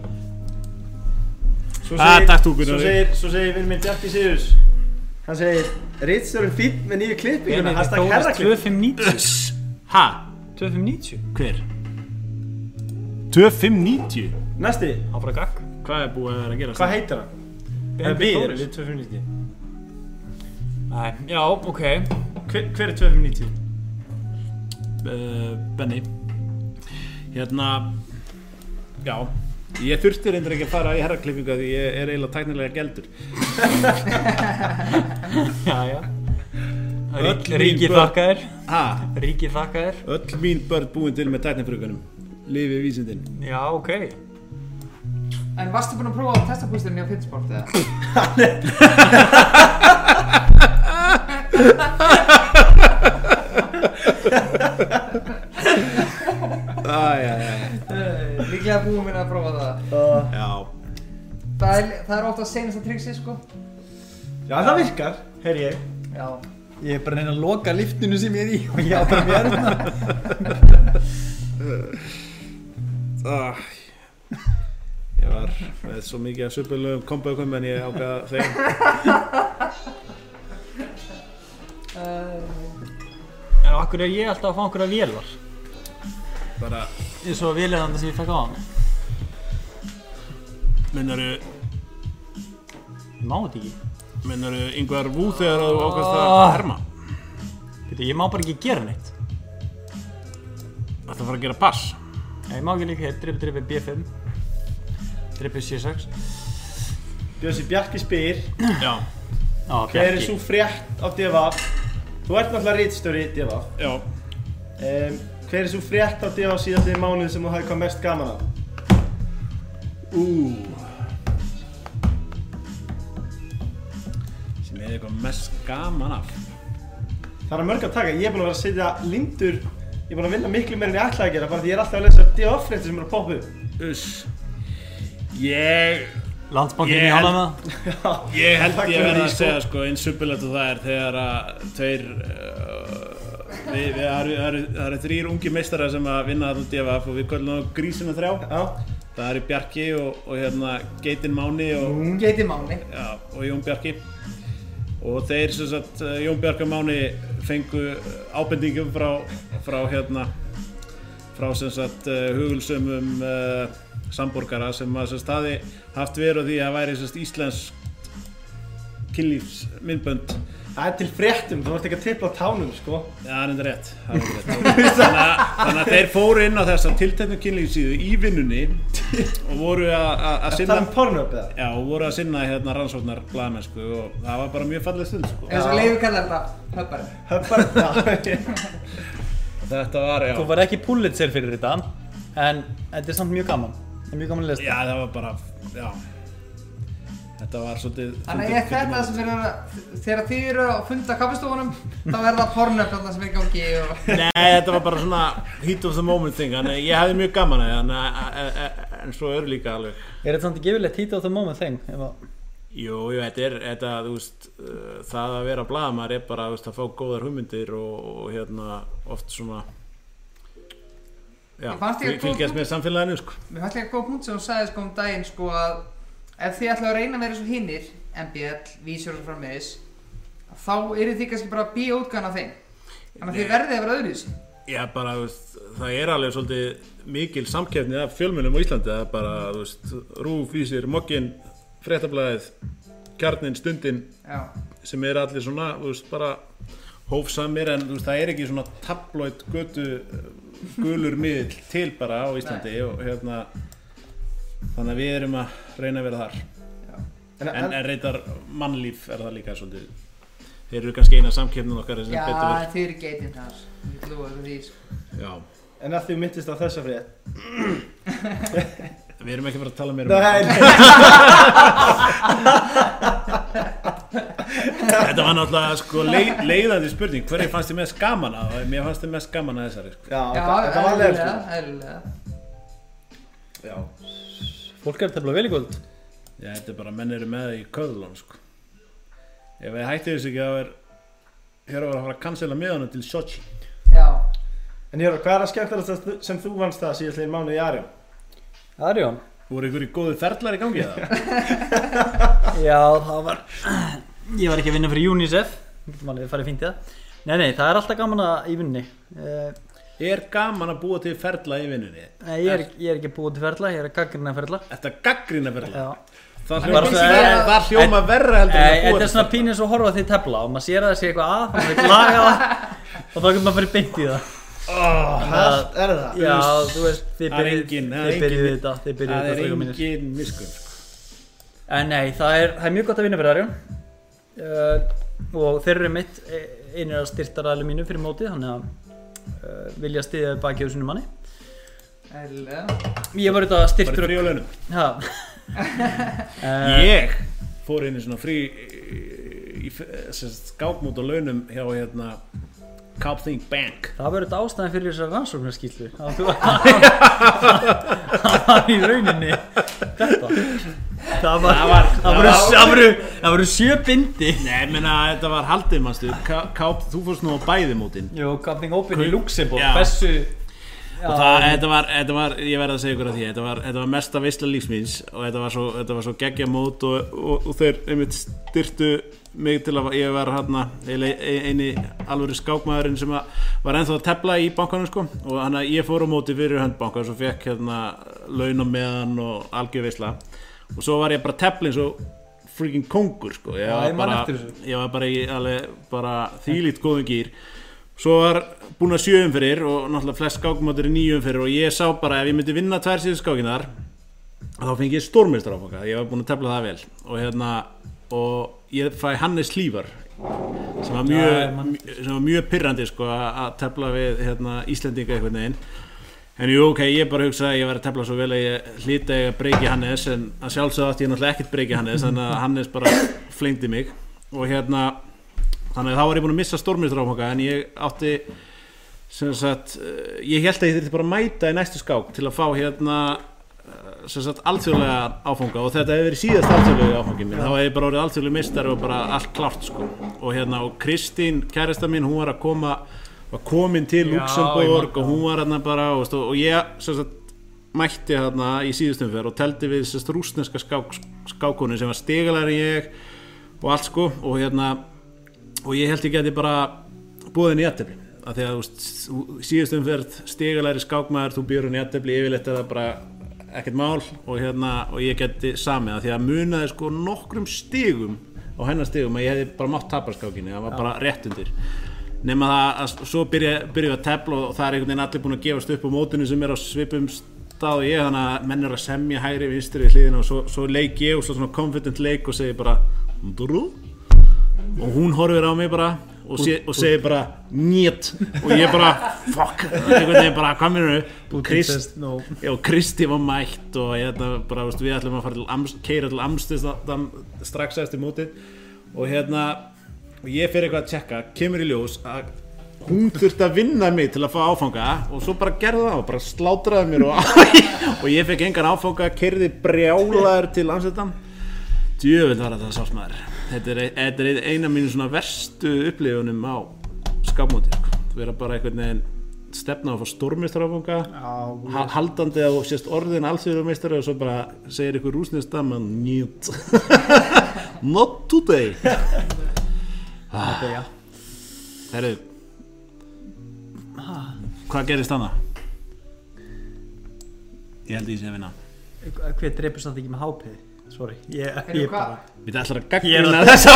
[SPEAKER 3] svo
[SPEAKER 5] Ah,
[SPEAKER 3] segir-
[SPEAKER 5] takk, þú, Gunnar.
[SPEAKER 3] Svo segir, svo segir vinn minn Bjarki Sigurðs Hann segir, Ritstjórn fýtt með nýju klippinguna, hashtag herraklipp
[SPEAKER 4] 2590
[SPEAKER 5] Ha?
[SPEAKER 4] 2590
[SPEAKER 5] Hver? 2590
[SPEAKER 3] Næsti,
[SPEAKER 4] Hann bara gagg
[SPEAKER 5] Hvað er búið að vera að gera?
[SPEAKER 3] hvað heitir hann? Eh, Við Eh, erum við 2590
[SPEAKER 4] Nei, já, ok
[SPEAKER 3] Hver, hver er 2590?
[SPEAKER 4] Eh,
[SPEAKER 5] uh, Benny Hérna Já Ég þurfti reyndar ekki að fara í herraklippingu af því ég er eiginlega tæknilega geldur
[SPEAKER 4] Já, já
[SPEAKER 5] Öll mín
[SPEAKER 4] Ríki
[SPEAKER 5] börn.
[SPEAKER 4] þakka þér
[SPEAKER 5] Ha?
[SPEAKER 4] Ríki þakka þér
[SPEAKER 5] Öll mín börn búin til með tæknifrugunum Lifið vísindin
[SPEAKER 4] Já, ok
[SPEAKER 2] En varstu búinn að prófa að testa pústurinn hjá Pitsport eða?
[SPEAKER 5] ah, já, já, já.
[SPEAKER 2] Eh, Líklega búinn minn að prófa það.
[SPEAKER 5] já
[SPEAKER 2] Það er, það er ofta senasta triksi, sko.
[SPEAKER 3] Já, það virkar, heyr ég
[SPEAKER 2] Já.
[SPEAKER 4] Ég er bara að reyna að loka liftinu sem ég er í og ég á bara að vera hérna
[SPEAKER 5] ah. Ég var með svo mikið að söpulögum kombaugum en ég ákvaða þeim
[SPEAKER 2] Uh,
[SPEAKER 4] En okkur er ég alltaf að fá einhverja vélar
[SPEAKER 5] bara
[SPEAKER 4] eins og vélæðan sem ég fekk á hann
[SPEAKER 5] Minnaru,
[SPEAKER 4] Má þetta ekki
[SPEAKER 5] minnaru yngvar vú þegar þú ákvæmst að herma
[SPEAKER 4] Þetta ég má bara ekki gera neitt
[SPEAKER 5] Þetta fara að gera pass
[SPEAKER 4] Já, Ég má ekki líka hér, drippi drippi B5 Drippi C6
[SPEAKER 3] Bjössi Bjarki spyr,
[SPEAKER 5] Já,
[SPEAKER 4] Já,
[SPEAKER 3] hver er
[SPEAKER 4] Bjarki.
[SPEAKER 3] svo frétt á DVF? Þú ert náttúrulega Ritstjóri DVF
[SPEAKER 5] já
[SPEAKER 3] um, Hver er svo frétt á DVF síðastliðið mánuð sem þú hafði hvað mest gaman af?
[SPEAKER 5] Ú Sem er eitthvað mest gaman af
[SPEAKER 3] Það er mörg að taka, ég er búinn að vera að setja lindur Ég er búinn að vinna miklu meira en ég ætlaði að gera bara því ég er alltaf að lesa DVF-fréttir sem eru að poppa upp
[SPEAKER 5] Uss Ég,
[SPEAKER 4] Landsbankinn
[SPEAKER 5] Ég
[SPEAKER 4] í
[SPEAKER 5] held-
[SPEAKER 4] Holland með það?
[SPEAKER 5] ég held
[SPEAKER 3] Takk
[SPEAKER 5] ég
[SPEAKER 3] fyrir
[SPEAKER 5] verði
[SPEAKER 3] því,
[SPEAKER 5] að
[SPEAKER 3] sko.
[SPEAKER 5] segja sko eins uppilegt og það er þegar að tveir uh, við, við, það eru- það eru- það eru þrýr ungi meistara sem að vinna þarna út í EFF og við kvöldum á grísina þrjá
[SPEAKER 3] Já,
[SPEAKER 5] það eru Bjarki og, og hérna Geitin Máni og,
[SPEAKER 2] Geiti Máni.
[SPEAKER 5] Já, og Jón Bjarki og þeir sem sagt eh, Jón Bjarki og Máni fengu eh, ábendingum frá, frá hérna frá sem sagt eh, hugulsömum uh, samborgara sem að sem sagt hafi haft veru á því að væri sem sagt íslensk kynlífs myndbönd
[SPEAKER 3] það er til fréttum, þú ert ekki að tipla á tánum sko
[SPEAKER 5] Já, það er enda rétt, það er enda rétt. þannig, að, þannig að þeir fóru inn á þessa tilteknu kynlífsíðu í vinnunni og voru að- að að
[SPEAKER 3] Það
[SPEAKER 5] sinna
[SPEAKER 3] er um pornöp eða?
[SPEAKER 5] Já, og voru að sinna hérna rannsóknar blaðmennsku og það var bara mjög falleg stund sko.
[SPEAKER 2] Eins og Leifur kallar þetta, höppari.
[SPEAKER 3] Höppar Já,
[SPEAKER 5] Þetta var, já
[SPEAKER 4] Þú var ekki Pulitzer fyrir þetta en þetta er samt mjög gaman Það er mjög gaman að lesa
[SPEAKER 5] Já, það var bara, já Þetta var svolítið
[SPEAKER 2] Þannig að
[SPEAKER 5] svolítið
[SPEAKER 2] ég þetta
[SPEAKER 5] fyndið
[SPEAKER 2] sem er að, þegar þið eru að funda á kaffistofunum, þá er það pornöfn þarna sem er í gangi og...
[SPEAKER 5] mál. Nei, þetta var bara svona heat of the moment thing Þannig að ég hefði mjög gaman að því, þannig að- að- að- að- En svo eru líka alveg
[SPEAKER 4] Er þetta samt ekki yfirleitt hít á það moment þeng?
[SPEAKER 5] Jú, jú, þetta er, þetta, þú veist uh, Það að vera blaðamæður er bara, þú veist, að fá góðar hugmyndir og, og hérna, oft svona Já,
[SPEAKER 2] Ég fannst ég
[SPEAKER 5] fyl-
[SPEAKER 2] góð-
[SPEAKER 5] fylgjast með samfélaginu, sko
[SPEAKER 2] Mér fannst líka góð punkt sem hún sagði sko um daginn sko að ef þið ætlaðu að reyna að vera svo hinnir, MBL, Vísjör og frammiðis, þá eru þið kannski bara að bíja útgáðan af þeim. Þannig að þið verðið að vera öðru í þessu.
[SPEAKER 5] Já, bara, þú veist, það er alveg svolítið mikil samkeppni af fjölmjölum á Íslandi það er bara, þú veist, Rúf, Vísir, Mokkin Fréttablaðið, Kjarnin, Stundin
[SPEAKER 2] Já,
[SPEAKER 5] sem er allir svona, þú veist, bara hófsamir en þú veist, það er ekki svona tabloid götu eh, gulur miðl til bara á Íslandi og hérna þannig að við erum að reyna að vera þar
[SPEAKER 3] En,
[SPEAKER 5] en,
[SPEAKER 3] en,
[SPEAKER 5] en reyndar mannlíf er það líka svolítið þeir eru kannski eina samkeppnin okkar sem
[SPEAKER 2] Já,
[SPEAKER 5] betur verð
[SPEAKER 2] þau eru geitin þar Ég lofa ykkur því sko.
[SPEAKER 5] já.
[SPEAKER 3] en að því myndist á þessa frétt
[SPEAKER 5] við erum ekki að fara að tala meira um
[SPEAKER 1] Nei,
[SPEAKER 5] það
[SPEAKER 1] nei.
[SPEAKER 5] þetta var náttúrulega sko leið, leiðandi spurning hverju fannst þið mest gaman að mér fannst þið mest gaman að þessari sko.
[SPEAKER 1] Já,
[SPEAKER 2] Já,
[SPEAKER 1] þetta þetta var leður sko.
[SPEAKER 2] eðlilega
[SPEAKER 5] já.
[SPEAKER 1] Fólk er tefnilega vel í kvöld.
[SPEAKER 5] þetta er bara menn eru með það í köðlun sko. ef þið hætti þessu ekki þá er hér að vera að fara að cancela miðana til Sochi
[SPEAKER 2] Já,
[SPEAKER 3] En Jóra, hvað er að skemmtilegast sem þú vannst það síðastlegin mánuð í Arjón?
[SPEAKER 4] Arjón?
[SPEAKER 5] voru ykkur í góðu ferlar í gangi það
[SPEAKER 4] Já, það var Ég var ekki að vinna fyrir UNICEF Getum alveg farið fínt í það Nei, nei, það er alltaf gaman að í vinnunni Eh,
[SPEAKER 5] er gaman að búa til ferla í vinnunni
[SPEAKER 4] Nei, ég er, ég er ekki búið til ferla, ég er að gaggrina ferla
[SPEAKER 5] þetta gaggrina ferla
[SPEAKER 4] Já
[SPEAKER 5] það
[SPEAKER 4] Bara
[SPEAKER 5] hljóma,
[SPEAKER 4] svo-
[SPEAKER 5] verra, það hljóma verra heldur en
[SPEAKER 4] Nei,
[SPEAKER 5] að búa
[SPEAKER 4] þetta
[SPEAKER 5] til
[SPEAKER 4] er svona
[SPEAKER 5] ferla.
[SPEAKER 4] pín eins og horfa á því tefla og maður sér að það sé eitthvað að, maður vil laga það og þá getur maður farið beint í það
[SPEAKER 3] Hætt er það?
[SPEAKER 4] Já, þú veist, þið
[SPEAKER 5] Það er
[SPEAKER 4] byrjuð
[SPEAKER 5] engin- það er
[SPEAKER 4] þið byrjuð
[SPEAKER 5] engin-
[SPEAKER 4] þetta, þið byrjuð
[SPEAKER 5] það er
[SPEAKER 4] þetta strákar mínir.
[SPEAKER 5] engin miskunn sko.
[SPEAKER 4] En nei, það er, það er mjög gott að vinna fyrir Arjón uh, og þeir eru mitt eh, einir að styrta ræðileg mínu fyrir mótið þannig að uh, vilja stiðja bakið á sinni manni
[SPEAKER 2] eðlilega
[SPEAKER 4] Ég var auðvitað
[SPEAKER 5] bara
[SPEAKER 4] styrtur
[SPEAKER 5] frí á launum
[SPEAKER 4] ha, uh,
[SPEAKER 5] ég fór inn í svona frí eh, í, í skápmót á launum hjá hérna Copthink Bank
[SPEAKER 4] Það var auðvitað ástæðan fyrir þessar rannsóknarskýllu að þú að var í rauninni þetta Það var,
[SPEAKER 5] Það var-
[SPEAKER 4] það voru, það voru, það voru sjö bindi
[SPEAKER 5] Nei, menna, þetta var haldið, mannstu Káp, þú fórst nú á bæði mótin
[SPEAKER 4] Jú, Gafning Open í
[SPEAKER 5] Kau-
[SPEAKER 4] Luxemburg,
[SPEAKER 5] Já.
[SPEAKER 4] hversu Já,
[SPEAKER 5] og það, þetta var, þetta var, ég verði að segja ykkur að því þetta var, þetta var mesta veistla lífsmins og þetta var svo, þetta var svo geggja mót og, og, og þeir einmitt styrtu mig til að ég var hérna eini alvöru skákmaðurinn sem að var ennþá að tefla í bankanum sko og hann að ég fór á móti fyrir hönd bankans og fekk hérna laun á meðan og algjör veistla og svo var ég bara að tefla eins og freaking kongur sko ég
[SPEAKER 4] Já,
[SPEAKER 5] var
[SPEAKER 4] ég man
[SPEAKER 5] bara,
[SPEAKER 4] eftir þessu.
[SPEAKER 5] ég var bara, í, alveg, bara þýlít góðum gýr svo var búin að sjöum fyrir og náttúrulega flest skákumátur er nýjum fyrir og ég sá bara ef ég myndi vinna tvær síðu skákinar þá fengi ég stórmeistar áfanga ég var búin að tefla það vel og hérna og ég fæ Hannes Lívar sem var mjög,
[SPEAKER 4] Já, ég man
[SPEAKER 5] sem var mjög pyrrandi sko að að tefla við hérna, Íslendinga einhvern veginn En jú, ok, ég bara hugsaði að ég væri að tefla svo vel að ég hlýta að ég að breyki Hannes en að sjálfsögða átti ég náttúrulega ekkert breyki Hannes þannig að Hannes bara flengdi mig og hérna, þannig að þá var ég búin að missa stórmistráfanga en ég átti sem sagt, eh, ég held að ég þurfti bara að mæta í næstu skák til að fá hérna eh, sem sagt alþjóðlega áfanga og þetta hefur verið síðast alþjóðlega áfangin minn þá hefði ég bara orðið alþjóðlega mistar og bara allt klárt sko og hérna og Kristín kærasta mín hún var að koma var komin til
[SPEAKER 4] Já, ég man
[SPEAKER 5] Luxemburg
[SPEAKER 4] það.
[SPEAKER 5] og hún var hérna bara og, stóð, og ég sem sagt mætti hérna í síðustum fyrir og teldi við sem sagt rúsneska skák, skákunni sem var stigalari en ég og allt sko og hérna og ég held ég geti bara búið henni í aðtefli af því að þú veist, síðust umferð stigalæri skákmaður, þú býður henni í aðtefli yfirleitt er það bara ekkert mál og, hérna, og ég geti samið af því að munaði sko nokkrum stigum á hennar stigum að ég hefði bara mátt tapar skákinni, það var bara rétt undir nema það að svo byrja, byrja að tefla og það er einhvern veginn allir búin að gefast upp á mótinu sem er á svipum stað og ég þannig að menn er að semja hægri vinstri við hliðina og svo, svo leik ég og svo svona confident leik og segi bara "Ndrú" og hún horfir á mig bara og, sé, og segir bara njét og ég bara fuck einhvern veginn bara hvað mér nú Krist,
[SPEAKER 4] no.
[SPEAKER 5] já, Kristi var mætt og hérna bara veist, við ætlum að fara til Amst, keira til Amsterdam strax eftir mótið og hérna og ég fyrir eitthvað að tjekka, kemur í ljós að hún þurfti að vinna mig til að fá áfanga og svo bara gerði það og bara slátraði mér og, og ég fekk engan áfanga, keirði brjálaður til Amsterdam Djöfull var þetta sátt maður Þetta er, þetta er eina mínu svona verstu upplifunum á skapmóti sko. Þú vera bara einhvern veginn stefna á að fá stórmistrafanga haldandi að þú sést orðin alþjóðumeistari og svo bara segir ykkur rúsnist að mann njút Not today
[SPEAKER 4] þetta, já
[SPEAKER 5] Herru Hvað gerist hana? Ég held ég sé að vinna
[SPEAKER 4] Hver dreipur samt ekki með hápið? Sorry, ég,
[SPEAKER 2] Heyrðu,
[SPEAKER 4] ég
[SPEAKER 2] hvað-
[SPEAKER 4] bara
[SPEAKER 5] Við ætlar að
[SPEAKER 4] Ég er
[SPEAKER 5] gagna
[SPEAKER 4] að
[SPEAKER 5] þess á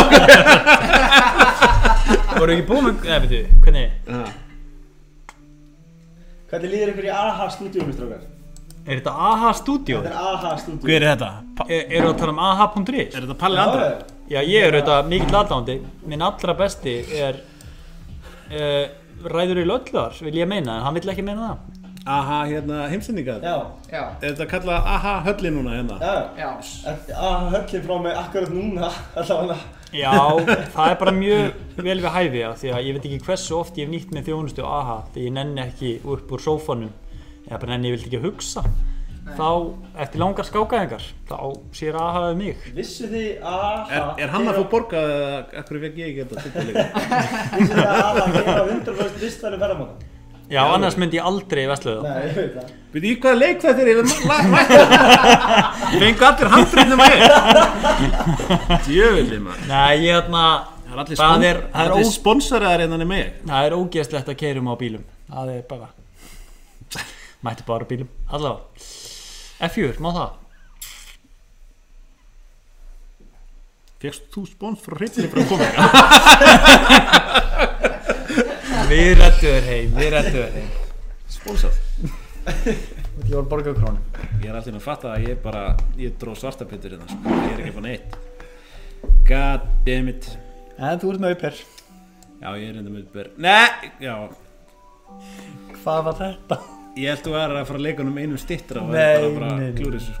[SPEAKER 4] Voru ekki búið með, eða veitu, hvernig
[SPEAKER 3] Hvernig líður ykkur í AHA stúdíum, mistrafgar?
[SPEAKER 4] Er þetta AHA Studio?
[SPEAKER 3] Þetta er AHA stúdíu
[SPEAKER 4] Hver er þetta? Pa er, eru að tala um AHA.is?
[SPEAKER 5] Er þetta Palli Andra?
[SPEAKER 4] Já, ég er auðvitað mikill aðdándi Minn allra besti er uh, Ræður í löllar Vil ég meina, en hann vill ekki meina það
[SPEAKER 5] Aha, hérna, heimsendingar
[SPEAKER 3] Já,
[SPEAKER 2] Já,
[SPEAKER 5] Er þetta kallað aha hölli núna hérna?
[SPEAKER 3] já
[SPEAKER 2] já,
[SPEAKER 3] Þetta er AHA höllin frá mig akkurat núna Allavega
[SPEAKER 4] Já, það er bara mjög vel við hæfi af Því að ég veit ekki hversu oft ég hef nýtt með þjónustu á AHA Því ég nenni ekki upp úr sófanum Eða bara nenni ég vildi ekki hugsa Þá, eftir langar skákaðingar Þá sér AHA um mig
[SPEAKER 3] Vissu því AHA
[SPEAKER 5] Er, er hann að fá borgað eða akkur vekk ég ekki þetta sitt að leika?
[SPEAKER 3] Vissu því að AHA gera 100% listværi ferðamann
[SPEAKER 4] Já, annars myndi ég aldrei vesla það
[SPEAKER 3] Nei, ég veit það
[SPEAKER 5] Býtu í hvaða leik hérna? þetta er? Ég mættu Fengu allir handriðnum að ég Djöfildi maður
[SPEAKER 4] Nei, ég hérna
[SPEAKER 5] Það er allir,
[SPEAKER 4] Það
[SPEAKER 5] spon
[SPEAKER 4] er- það er
[SPEAKER 5] allir
[SPEAKER 4] ó-
[SPEAKER 5] sponsoraðar innan í mig
[SPEAKER 4] Það er ógeðslegt að keirum á bílum Það er bara Mætti bara á bílum Allavega F4, má það
[SPEAKER 5] Fekst þú spons frá hreitinu frá hérna? komið?
[SPEAKER 4] Við rettuður heim, við rettuður heim
[SPEAKER 5] Sponsað
[SPEAKER 1] Ég var borgað krónu
[SPEAKER 5] Ég er allir að fatta að ég bara Ég dró svarta pittur hérna sko. Ég er ekki fann eitt God damn it
[SPEAKER 1] En þú ert með upphör
[SPEAKER 5] Já, ég er reynda með ber Nei, já
[SPEAKER 1] Hvað var þetta?
[SPEAKER 5] Ég held þú er að fara að leika um einum stittra og
[SPEAKER 1] Nei,
[SPEAKER 5] það er bara,
[SPEAKER 1] nei,
[SPEAKER 5] bara
[SPEAKER 1] nei.
[SPEAKER 5] klúrið sko.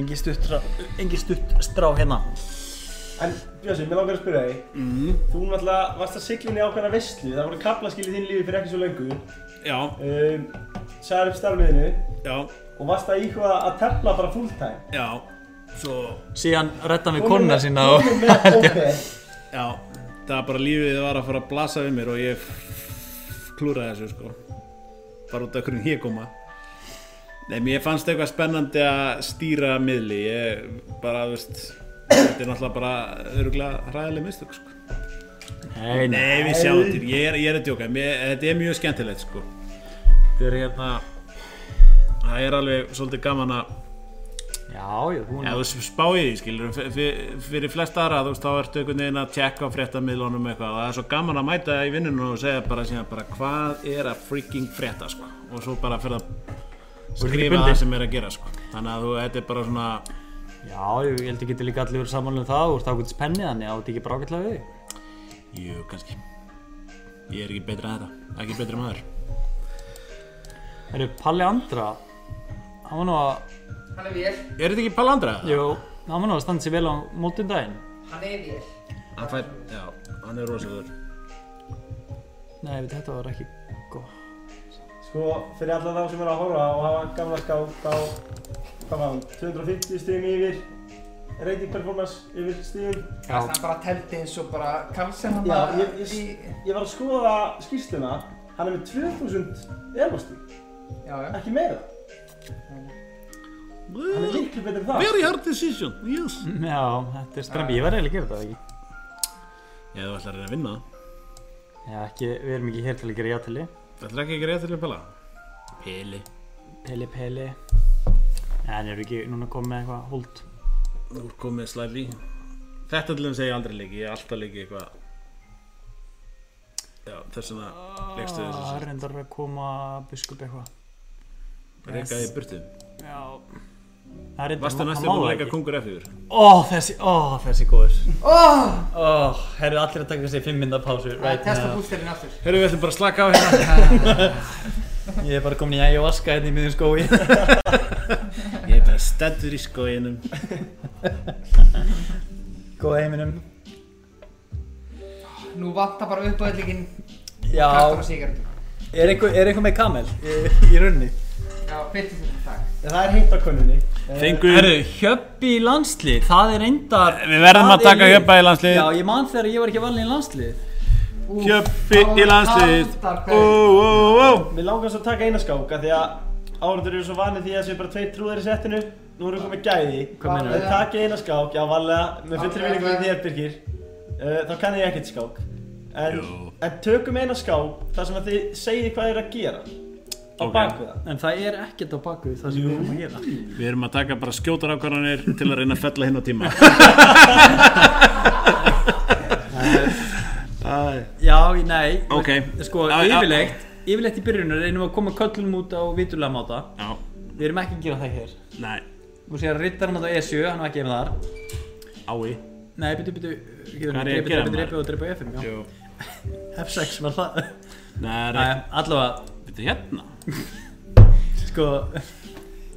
[SPEAKER 1] Engi stutt strá, engi stutt strá hérna
[SPEAKER 3] En Bjössi, mér langar að spyrja þig
[SPEAKER 5] Mhm.
[SPEAKER 3] Þú náttúrulega varst að sigla inn í ákveðna veistlu Það voru kaplaskil í þín lífi fyrir ekki svo lengu
[SPEAKER 5] Já,
[SPEAKER 3] um, Sæðar upp starfiðinu
[SPEAKER 5] já,
[SPEAKER 3] Og varst að íhuga að tefla bara fulltime
[SPEAKER 5] já Svo,
[SPEAKER 4] Síðan retta við konuna sína og
[SPEAKER 3] Komum með ópeð
[SPEAKER 5] já Það er bara lífið var að fara að blasa við mér og ég klúraði þessu sko Bara út af hvernig ég koma Nei, mér fannst eitthvað spennandi að stýra miðli Ég bara, þú veist Þetta er náttúrulega bara öruglega hræðileg mistök sko
[SPEAKER 4] Nei, nei
[SPEAKER 5] Nei, við sjáum til, ég er, ég er að djóka, mér, þetta er mjög skemmtilegt sko Þetta er hérna, það er alveg svolítið gaman að
[SPEAKER 4] Já, já, hún
[SPEAKER 5] Já,
[SPEAKER 4] er
[SPEAKER 5] þú veist, spáið því, skilur, fyrir flest aðra, þú veist, þá ertu einhvern veginn að tjekka á fréttamiðlunum eitthvað og það er svo gaman að mæta í vinnunum og segja bara síðan bara hvað er að freaking frétta, sko og svo bara fyrir að skrifa
[SPEAKER 4] bundin.
[SPEAKER 5] það sem er að gera, sko þannig að þú, þetta er bara svona,
[SPEAKER 4] Já, ég held ég geti líka allir verið samanlega um það Þú ert ákveðtis penni þannig að þú ert ekki brákvætlega við þig.
[SPEAKER 5] jú, kannski ég er ekki betri að þetta, ekki betri maður
[SPEAKER 4] Herru, Palli Andra Hann var nú að
[SPEAKER 2] hann er vél,
[SPEAKER 5] Er þetta ekki palandra?
[SPEAKER 4] Jú, hann var nú að standa sér vel á mótum daginn
[SPEAKER 2] hann er vél.
[SPEAKER 5] Hann fær, já, hann er rosaður
[SPEAKER 4] Nei, við þetta var ekki gott
[SPEAKER 3] Sko, fyrir alla þá sem eru að horfa og hafa gamla skák þá, hvað var hann, 250 stíðum yfir, rating performance yfir stíðum.
[SPEAKER 2] Já. Hann bara teldi eins og bara Karlsson hann
[SPEAKER 3] Já,
[SPEAKER 2] bara
[SPEAKER 3] ég, ég, ég var að skoða skýrsluna, hann er með 2000 elvastíð,
[SPEAKER 2] Já, já.
[SPEAKER 3] ekki meira. Hann er miklu betur en það.
[SPEAKER 5] Very hard decision, yes
[SPEAKER 4] Já, þetta er stremmi, ég verði eiginlega að gera þetta ekki
[SPEAKER 5] Já, þú ætlar að reyna að vinna það
[SPEAKER 4] Já, ekki, við erum ekki hér til að gera játili
[SPEAKER 5] Þú ætlar ekki að gera þetta til að pala Pili
[SPEAKER 4] Peli Peli En eru ekki núna komið með eitthvað húlt
[SPEAKER 5] Þú er komið slæli Þetta til þeim segja aldrei leiki, ég er alltaf leiki eitthvað Já, þess vegna leikstu þess
[SPEAKER 4] Það
[SPEAKER 5] að
[SPEAKER 4] er Ah, reyndar að koma biskup eitthvað
[SPEAKER 5] reyka í burtu
[SPEAKER 4] Já Það er reyndar
[SPEAKER 5] Vastu
[SPEAKER 4] hann-
[SPEAKER 5] næstu
[SPEAKER 4] hann má
[SPEAKER 5] búin að
[SPEAKER 4] það
[SPEAKER 5] leika
[SPEAKER 4] ekki.
[SPEAKER 5] kongur F4
[SPEAKER 4] Ó þessi, ó þessi góður Ó oh, Herru allir að taka sér fimm mynda pásu
[SPEAKER 2] Það er
[SPEAKER 4] right
[SPEAKER 2] testa
[SPEAKER 4] now.
[SPEAKER 2] bústirinn aftur.
[SPEAKER 5] Herru, við ætlum bara að slaka á hérna
[SPEAKER 4] Ég er bara komin í ayahuasca hérna í miðjum skói
[SPEAKER 5] Ég er bara stættur í skóinum
[SPEAKER 1] Góða heiminum
[SPEAKER 2] Nú vantar bara upp á öllíkinn
[SPEAKER 1] Já,
[SPEAKER 2] kartur og sígarendur.
[SPEAKER 1] er einhver, er einhver með kamel í, í runni?
[SPEAKER 2] Já, byrjum þessum takk.
[SPEAKER 3] En það er heitt á könnunni.
[SPEAKER 5] Fengu
[SPEAKER 4] Herru, hjöppi í landslið Það er reyndar
[SPEAKER 5] Við verðum að
[SPEAKER 4] Það er
[SPEAKER 5] taka
[SPEAKER 4] lið.
[SPEAKER 5] hjöpa í
[SPEAKER 4] Já,
[SPEAKER 5] landslið
[SPEAKER 4] ég man þegar ég var ekki valin í landslið
[SPEAKER 2] Úf, þá
[SPEAKER 5] Hjöppi í landslið
[SPEAKER 2] vantar
[SPEAKER 5] Ó,
[SPEAKER 2] gaur.
[SPEAKER 5] ó, ó
[SPEAKER 3] Mér langar svo að taka eina skák af því að áhundur eru svo vanið því að þessu bara tveir trúðar í settinu. Nú erum við komið gæði.
[SPEAKER 4] Hvað meinarðu?
[SPEAKER 3] Ef þið takið eina skák, já varlega, með fullri vinningu við þér Birgir, uh, þá kann ég ekkert skák. En,
[SPEAKER 5] Jú.
[SPEAKER 3] en tökum eina skák þar sem að þið segið hvað þið eru að gera. Á
[SPEAKER 5] Ok.
[SPEAKER 3] okay. baku það.
[SPEAKER 4] En það er ekkert á baku það sem við erum að gera
[SPEAKER 5] Við erum að taka bara skjótar ákvarðanir til að reyna að fella hinn á tíma
[SPEAKER 4] Já, í- nei,
[SPEAKER 5] Ok.
[SPEAKER 4] sko,
[SPEAKER 5] Já, já.
[SPEAKER 4] yfirleitt yfirleitt í byrjunum reynum við að koma köllum út á viturlega máta
[SPEAKER 5] Já,
[SPEAKER 4] Við erum ekki að gera það hér
[SPEAKER 5] Nei,
[SPEAKER 4] Þú sér að rittar hann á E7, hann var ekki með þar
[SPEAKER 5] ái
[SPEAKER 4] Nei, byttu, byttu
[SPEAKER 5] Hvað er ég að gera, maður?
[SPEAKER 4] Drepi og drepi á F5, já
[SPEAKER 5] Jú.
[SPEAKER 4] F6 var það
[SPEAKER 5] Nei,
[SPEAKER 4] Nei,
[SPEAKER 5] nei,
[SPEAKER 4] allavega,
[SPEAKER 5] þetta hérna
[SPEAKER 4] sko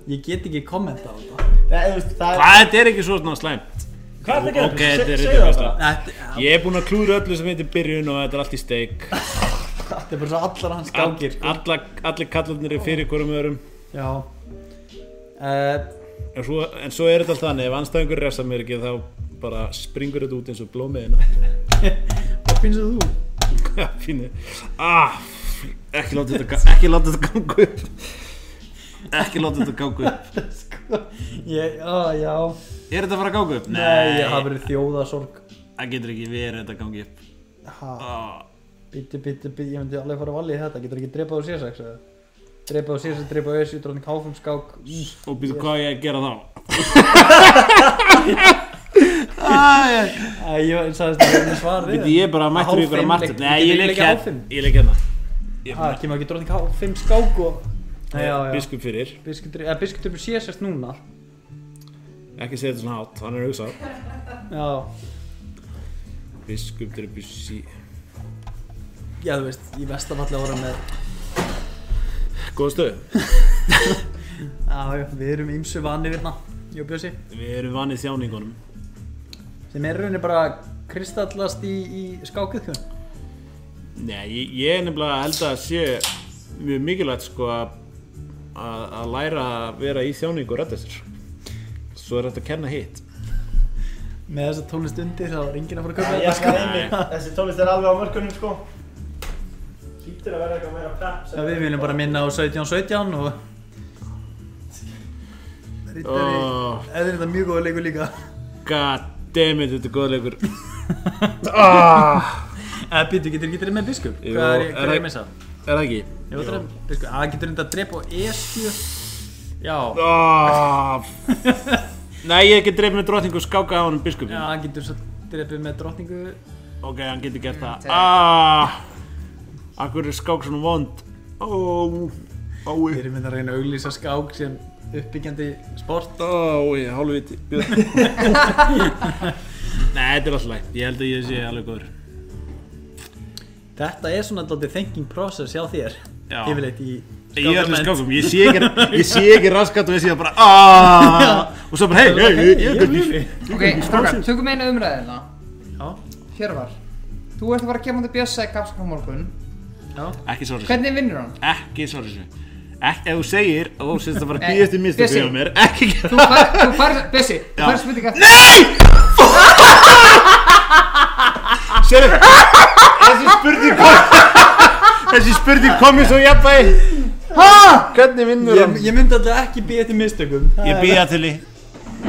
[SPEAKER 4] Ég get ekki kommenta á þetta
[SPEAKER 1] Nei, þú veist, það
[SPEAKER 5] Hvað, þetta er ekki svo svona slæmt
[SPEAKER 3] Hvað er það að
[SPEAKER 5] Ok, þetta er
[SPEAKER 3] gera? Se-
[SPEAKER 5] þetta
[SPEAKER 3] segðu það
[SPEAKER 5] besta.
[SPEAKER 3] bara.
[SPEAKER 4] Þetta
[SPEAKER 5] Ég er búinn að klúra öllu sem heitir byrjun og þetta er allt í steik
[SPEAKER 4] þetta er bara svo allar hans
[SPEAKER 5] All,
[SPEAKER 4] gangir sko.
[SPEAKER 5] alla, Allir kallarnir eru fyrir hverjum öðrum
[SPEAKER 4] Já uh,
[SPEAKER 5] En svo, en svo er þetta alltaf þannig, ef anstæðingur refsa mér ekki þá bara springur þetta út eins og hérna. blómiðina
[SPEAKER 4] Hvað finnst þú?
[SPEAKER 5] Fínu ah, Ekki láta þetta, ga- ekki láta þetta ganga upp Ekki láta þetta ganga upp
[SPEAKER 4] Sko, ég, á, já
[SPEAKER 5] Er þetta að fara að ganga upp?
[SPEAKER 4] Nei, það hafa verið þjóðasorg
[SPEAKER 5] það getur ekki verið þetta gangi upp
[SPEAKER 4] Ha,
[SPEAKER 5] ah,
[SPEAKER 4] bíti, bíti, bíti, ég myndi alveg fara að valja í þetta Getur ekki drepað á C6 eða? Drepað á C6, drepað E á E7, dróðin K5 skák Úff,
[SPEAKER 5] Og býtu hvað á ég að gera þá
[SPEAKER 4] Æ, ég sagðist að ég hefði svarið
[SPEAKER 5] Býtu ég er bara að mættur ykkur að margt Nei, ég leik hérna Ég leik hérna
[SPEAKER 4] Ha, kemur ekki dróðin K5 skák og Nei, já, já
[SPEAKER 5] Biskup fyrir
[SPEAKER 4] Biskup dre- eða biskup drepur C6 núna
[SPEAKER 5] Ekki segja þetta svona hátt, hann er hugsað
[SPEAKER 4] Já,
[SPEAKER 5] Biskup drepi sí
[SPEAKER 4] já, þú veist, í vestafalli ára með
[SPEAKER 5] Góð stöð
[SPEAKER 4] Já, já, við erum ímsu vanir hérna, ég og Bjössi
[SPEAKER 5] Við erum vanið þjáningunum
[SPEAKER 4] sem er í rauninni bara kristallast í, í skákið sko.
[SPEAKER 5] Nei, ég, ég er nefnilega held að sé mjög mikilvægt sko að að að læra að vera í þjáningu og redda sér Svo er þetta að kenna hitt
[SPEAKER 4] með þessa tónlist undir þá er enginn að fara að kaupa
[SPEAKER 3] Já, ég
[SPEAKER 4] þetta sko.
[SPEAKER 3] ætla einmitt. Þessi tónlist er alveg á mörkunum sko Hlýtur að vera eitthvað meira pepp
[SPEAKER 4] Já, við viljum bara minna á 17-17 og Rittari,
[SPEAKER 5] oh,
[SPEAKER 4] eða er þetta mjög góð leikur líka
[SPEAKER 5] God damn it, þetta er góð leikur
[SPEAKER 4] eða býtu, Eh, getur ekki dreipið með biskup?
[SPEAKER 5] Jú,
[SPEAKER 4] hvað er,
[SPEAKER 5] er
[SPEAKER 4] hvað er
[SPEAKER 5] það-
[SPEAKER 4] ég að missa?
[SPEAKER 5] Er það ekki?
[SPEAKER 4] Ég var að drepa biskup, að getur reynda að drepa á E7 já,
[SPEAKER 5] Oh, Nei, ég hef ekki dreif með drottningu og skáka á hann biskupin
[SPEAKER 4] já, hann getur svo dreipið með drottningu
[SPEAKER 5] Ok, hann getur gert það ah, Akkur er skák svona vond Ó, ái
[SPEAKER 4] við erum að reyna að auglýsa skák sem uppbyggjandi sport
[SPEAKER 5] Ái, hálfviti Björn. Nei, þetta er alltaf lægt Ég held að ég sé alveg góður
[SPEAKER 4] þetta er svona alltaf thinking process hjá þér
[SPEAKER 5] Já.
[SPEAKER 4] yfirleitt í
[SPEAKER 5] Ég er allir
[SPEAKER 4] skákamenn.
[SPEAKER 5] skákum, ég sé ekki, ég sé ekki raskat og ég sé það bara aaaah og svo bara hei, hei, hei, ég er gott líf
[SPEAKER 2] Ok, strákar, tökum einu umræðina
[SPEAKER 4] Já,
[SPEAKER 2] Hjörvar, þú ert að fara að kemja til Bjössa í Kapsakon morgun
[SPEAKER 4] já,
[SPEAKER 5] Ekki svo þessu,
[SPEAKER 2] Hvernig vinnur hann?
[SPEAKER 5] ekki svo þessu Ekki, ef þú segir, og þú sést það
[SPEAKER 4] Eh,
[SPEAKER 5] bara
[SPEAKER 2] Nei,
[SPEAKER 5] býðast í mistu
[SPEAKER 2] Bjössi.
[SPEAKER 5] fyrir mér, ekki gera
[SPEAKER 2] Þú far, þú far, Bjössi, þú far spurninga
[SPEAKER 5] það Sér þessi spurning kom Þessi spurning kom ég svo jafnvægi Hvernig vinnur
[SPEAKER 4] Ég,
[SPEAKER 5] hann?
[SPEAKER 4] ég myndi alltaf ekki býða eftir mistökum
[SPEAKER 5] Ég býða til í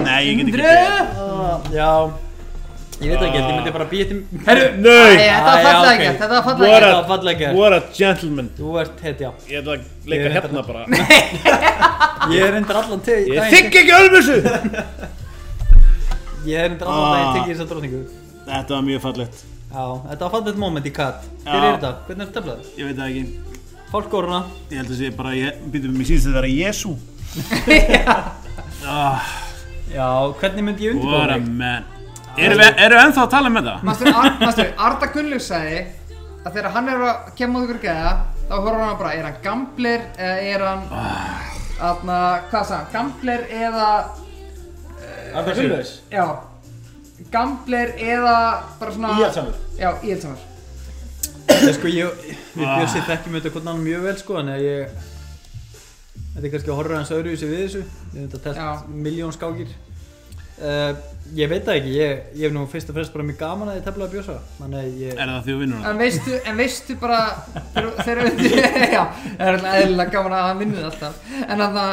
[SPEAKER 5] Nei, ég get ekki
[SPEAKER 2] Drö!
[SPEAKER 5] býða
[SPEAKER 4] Já Ég veit ekki, ég myndi bara býða eftir
[SPEAKER 5] Herru,
[SPEAKER 2] Æ,
[SPEAKER 5] nei
[SPEAKER 2] Þetta var
[SPEAKER 4] Æ, já,
[SPEAKER 2] fallega
[SPEAKER 4] ok.
[SPEAKER 2] gert, þetta var
[SPEAKER 5] What
[SPEAKER 2] fallega
[SPEAKER 5] a-
[SPEAKER 2] gert
[SPEAKER 4] Það var fallega gert
[SPEAKER 5] What a gentleman
[SPEAKER 4] Þú ert hetja
[SPEAKER 5] Ég ætla að
[SPEAKER 4] Ég
[SPEAKER 5] leika
[SPEAKER 4] er
[SPEAKER 5] hérna bara
[SPEAKER 4] Ég er endur allan til
[SPEAKER 5] Ég þykki ekki ölmusu
[SPEAKER 4] Ég er endur allan daginn
[SPEAKER 5] Ah.
[SPEAKER 4] tekið þessa dróningu
[SPEAKER 5] Þetta var mjög fallegt
[SPEAKER 4] Já, þetta var fallega moment í katt Hver
[SPEAKER 5] Já.
[SPEAKER 4] er þetta? Hvernig er þetta blöð?
[SPEAKER 5] Ég veit það ekki
[SPEAKER 4] Fólk koruna
[SPEAKER 5] Ég held að sé bara, ég býtum mig síðast að vera Jésu
[SPEAKER 4] Já, hvernig myndi ég
[SPEAKER 5] Ah, What
[SPEAKER 4] undirbúða
[SPEAKER 5] a
[SPEAKER 4] mig?
[SPEAKER 5] man Eru við erum við ennþá að tala um með það?
[SPEAKER 2] Mastu, Ar, mastu, Arda Gunnlaugs sagði að þegar hann er að kemja út ykkur geða þá horfður hann bara, er hann gambler eða er hann aðna, hvað sagði hann, gambler eða
[SPEAKER 6] Það er hljóðis.
[SPEAKER 2] já, gambler eða bara svona
[SPEAKER 6] Íhaldsamur.
[SPEAKER 2] já, íhaldsamur
[SPEAKER 4] Ég sko, ég Við
[SPEAKER 5] Ah.
[SPEAKER 4] bjössi þekkjum þetta hvernig hann mjög vel sko Þannig að ég Þetta er kannski að horfa hans öðruvísi við þessu Ég hef þetta test
[SPEAKER 2] Já.
[SPEAKER 4] miljón skákir uh, Ég veit það ekki Ég, ég hef nú fyrst og fremst bara mjög gaman að ég tefla að bjösa Þannig að ég
[SPEAKER 5] Er það því að vinna
[SPEAKER 2] en veistu, en veistu bara þegar þegar undir, já, það er alltaf eðlilega gaman að hann vinnur alltaf en aðna,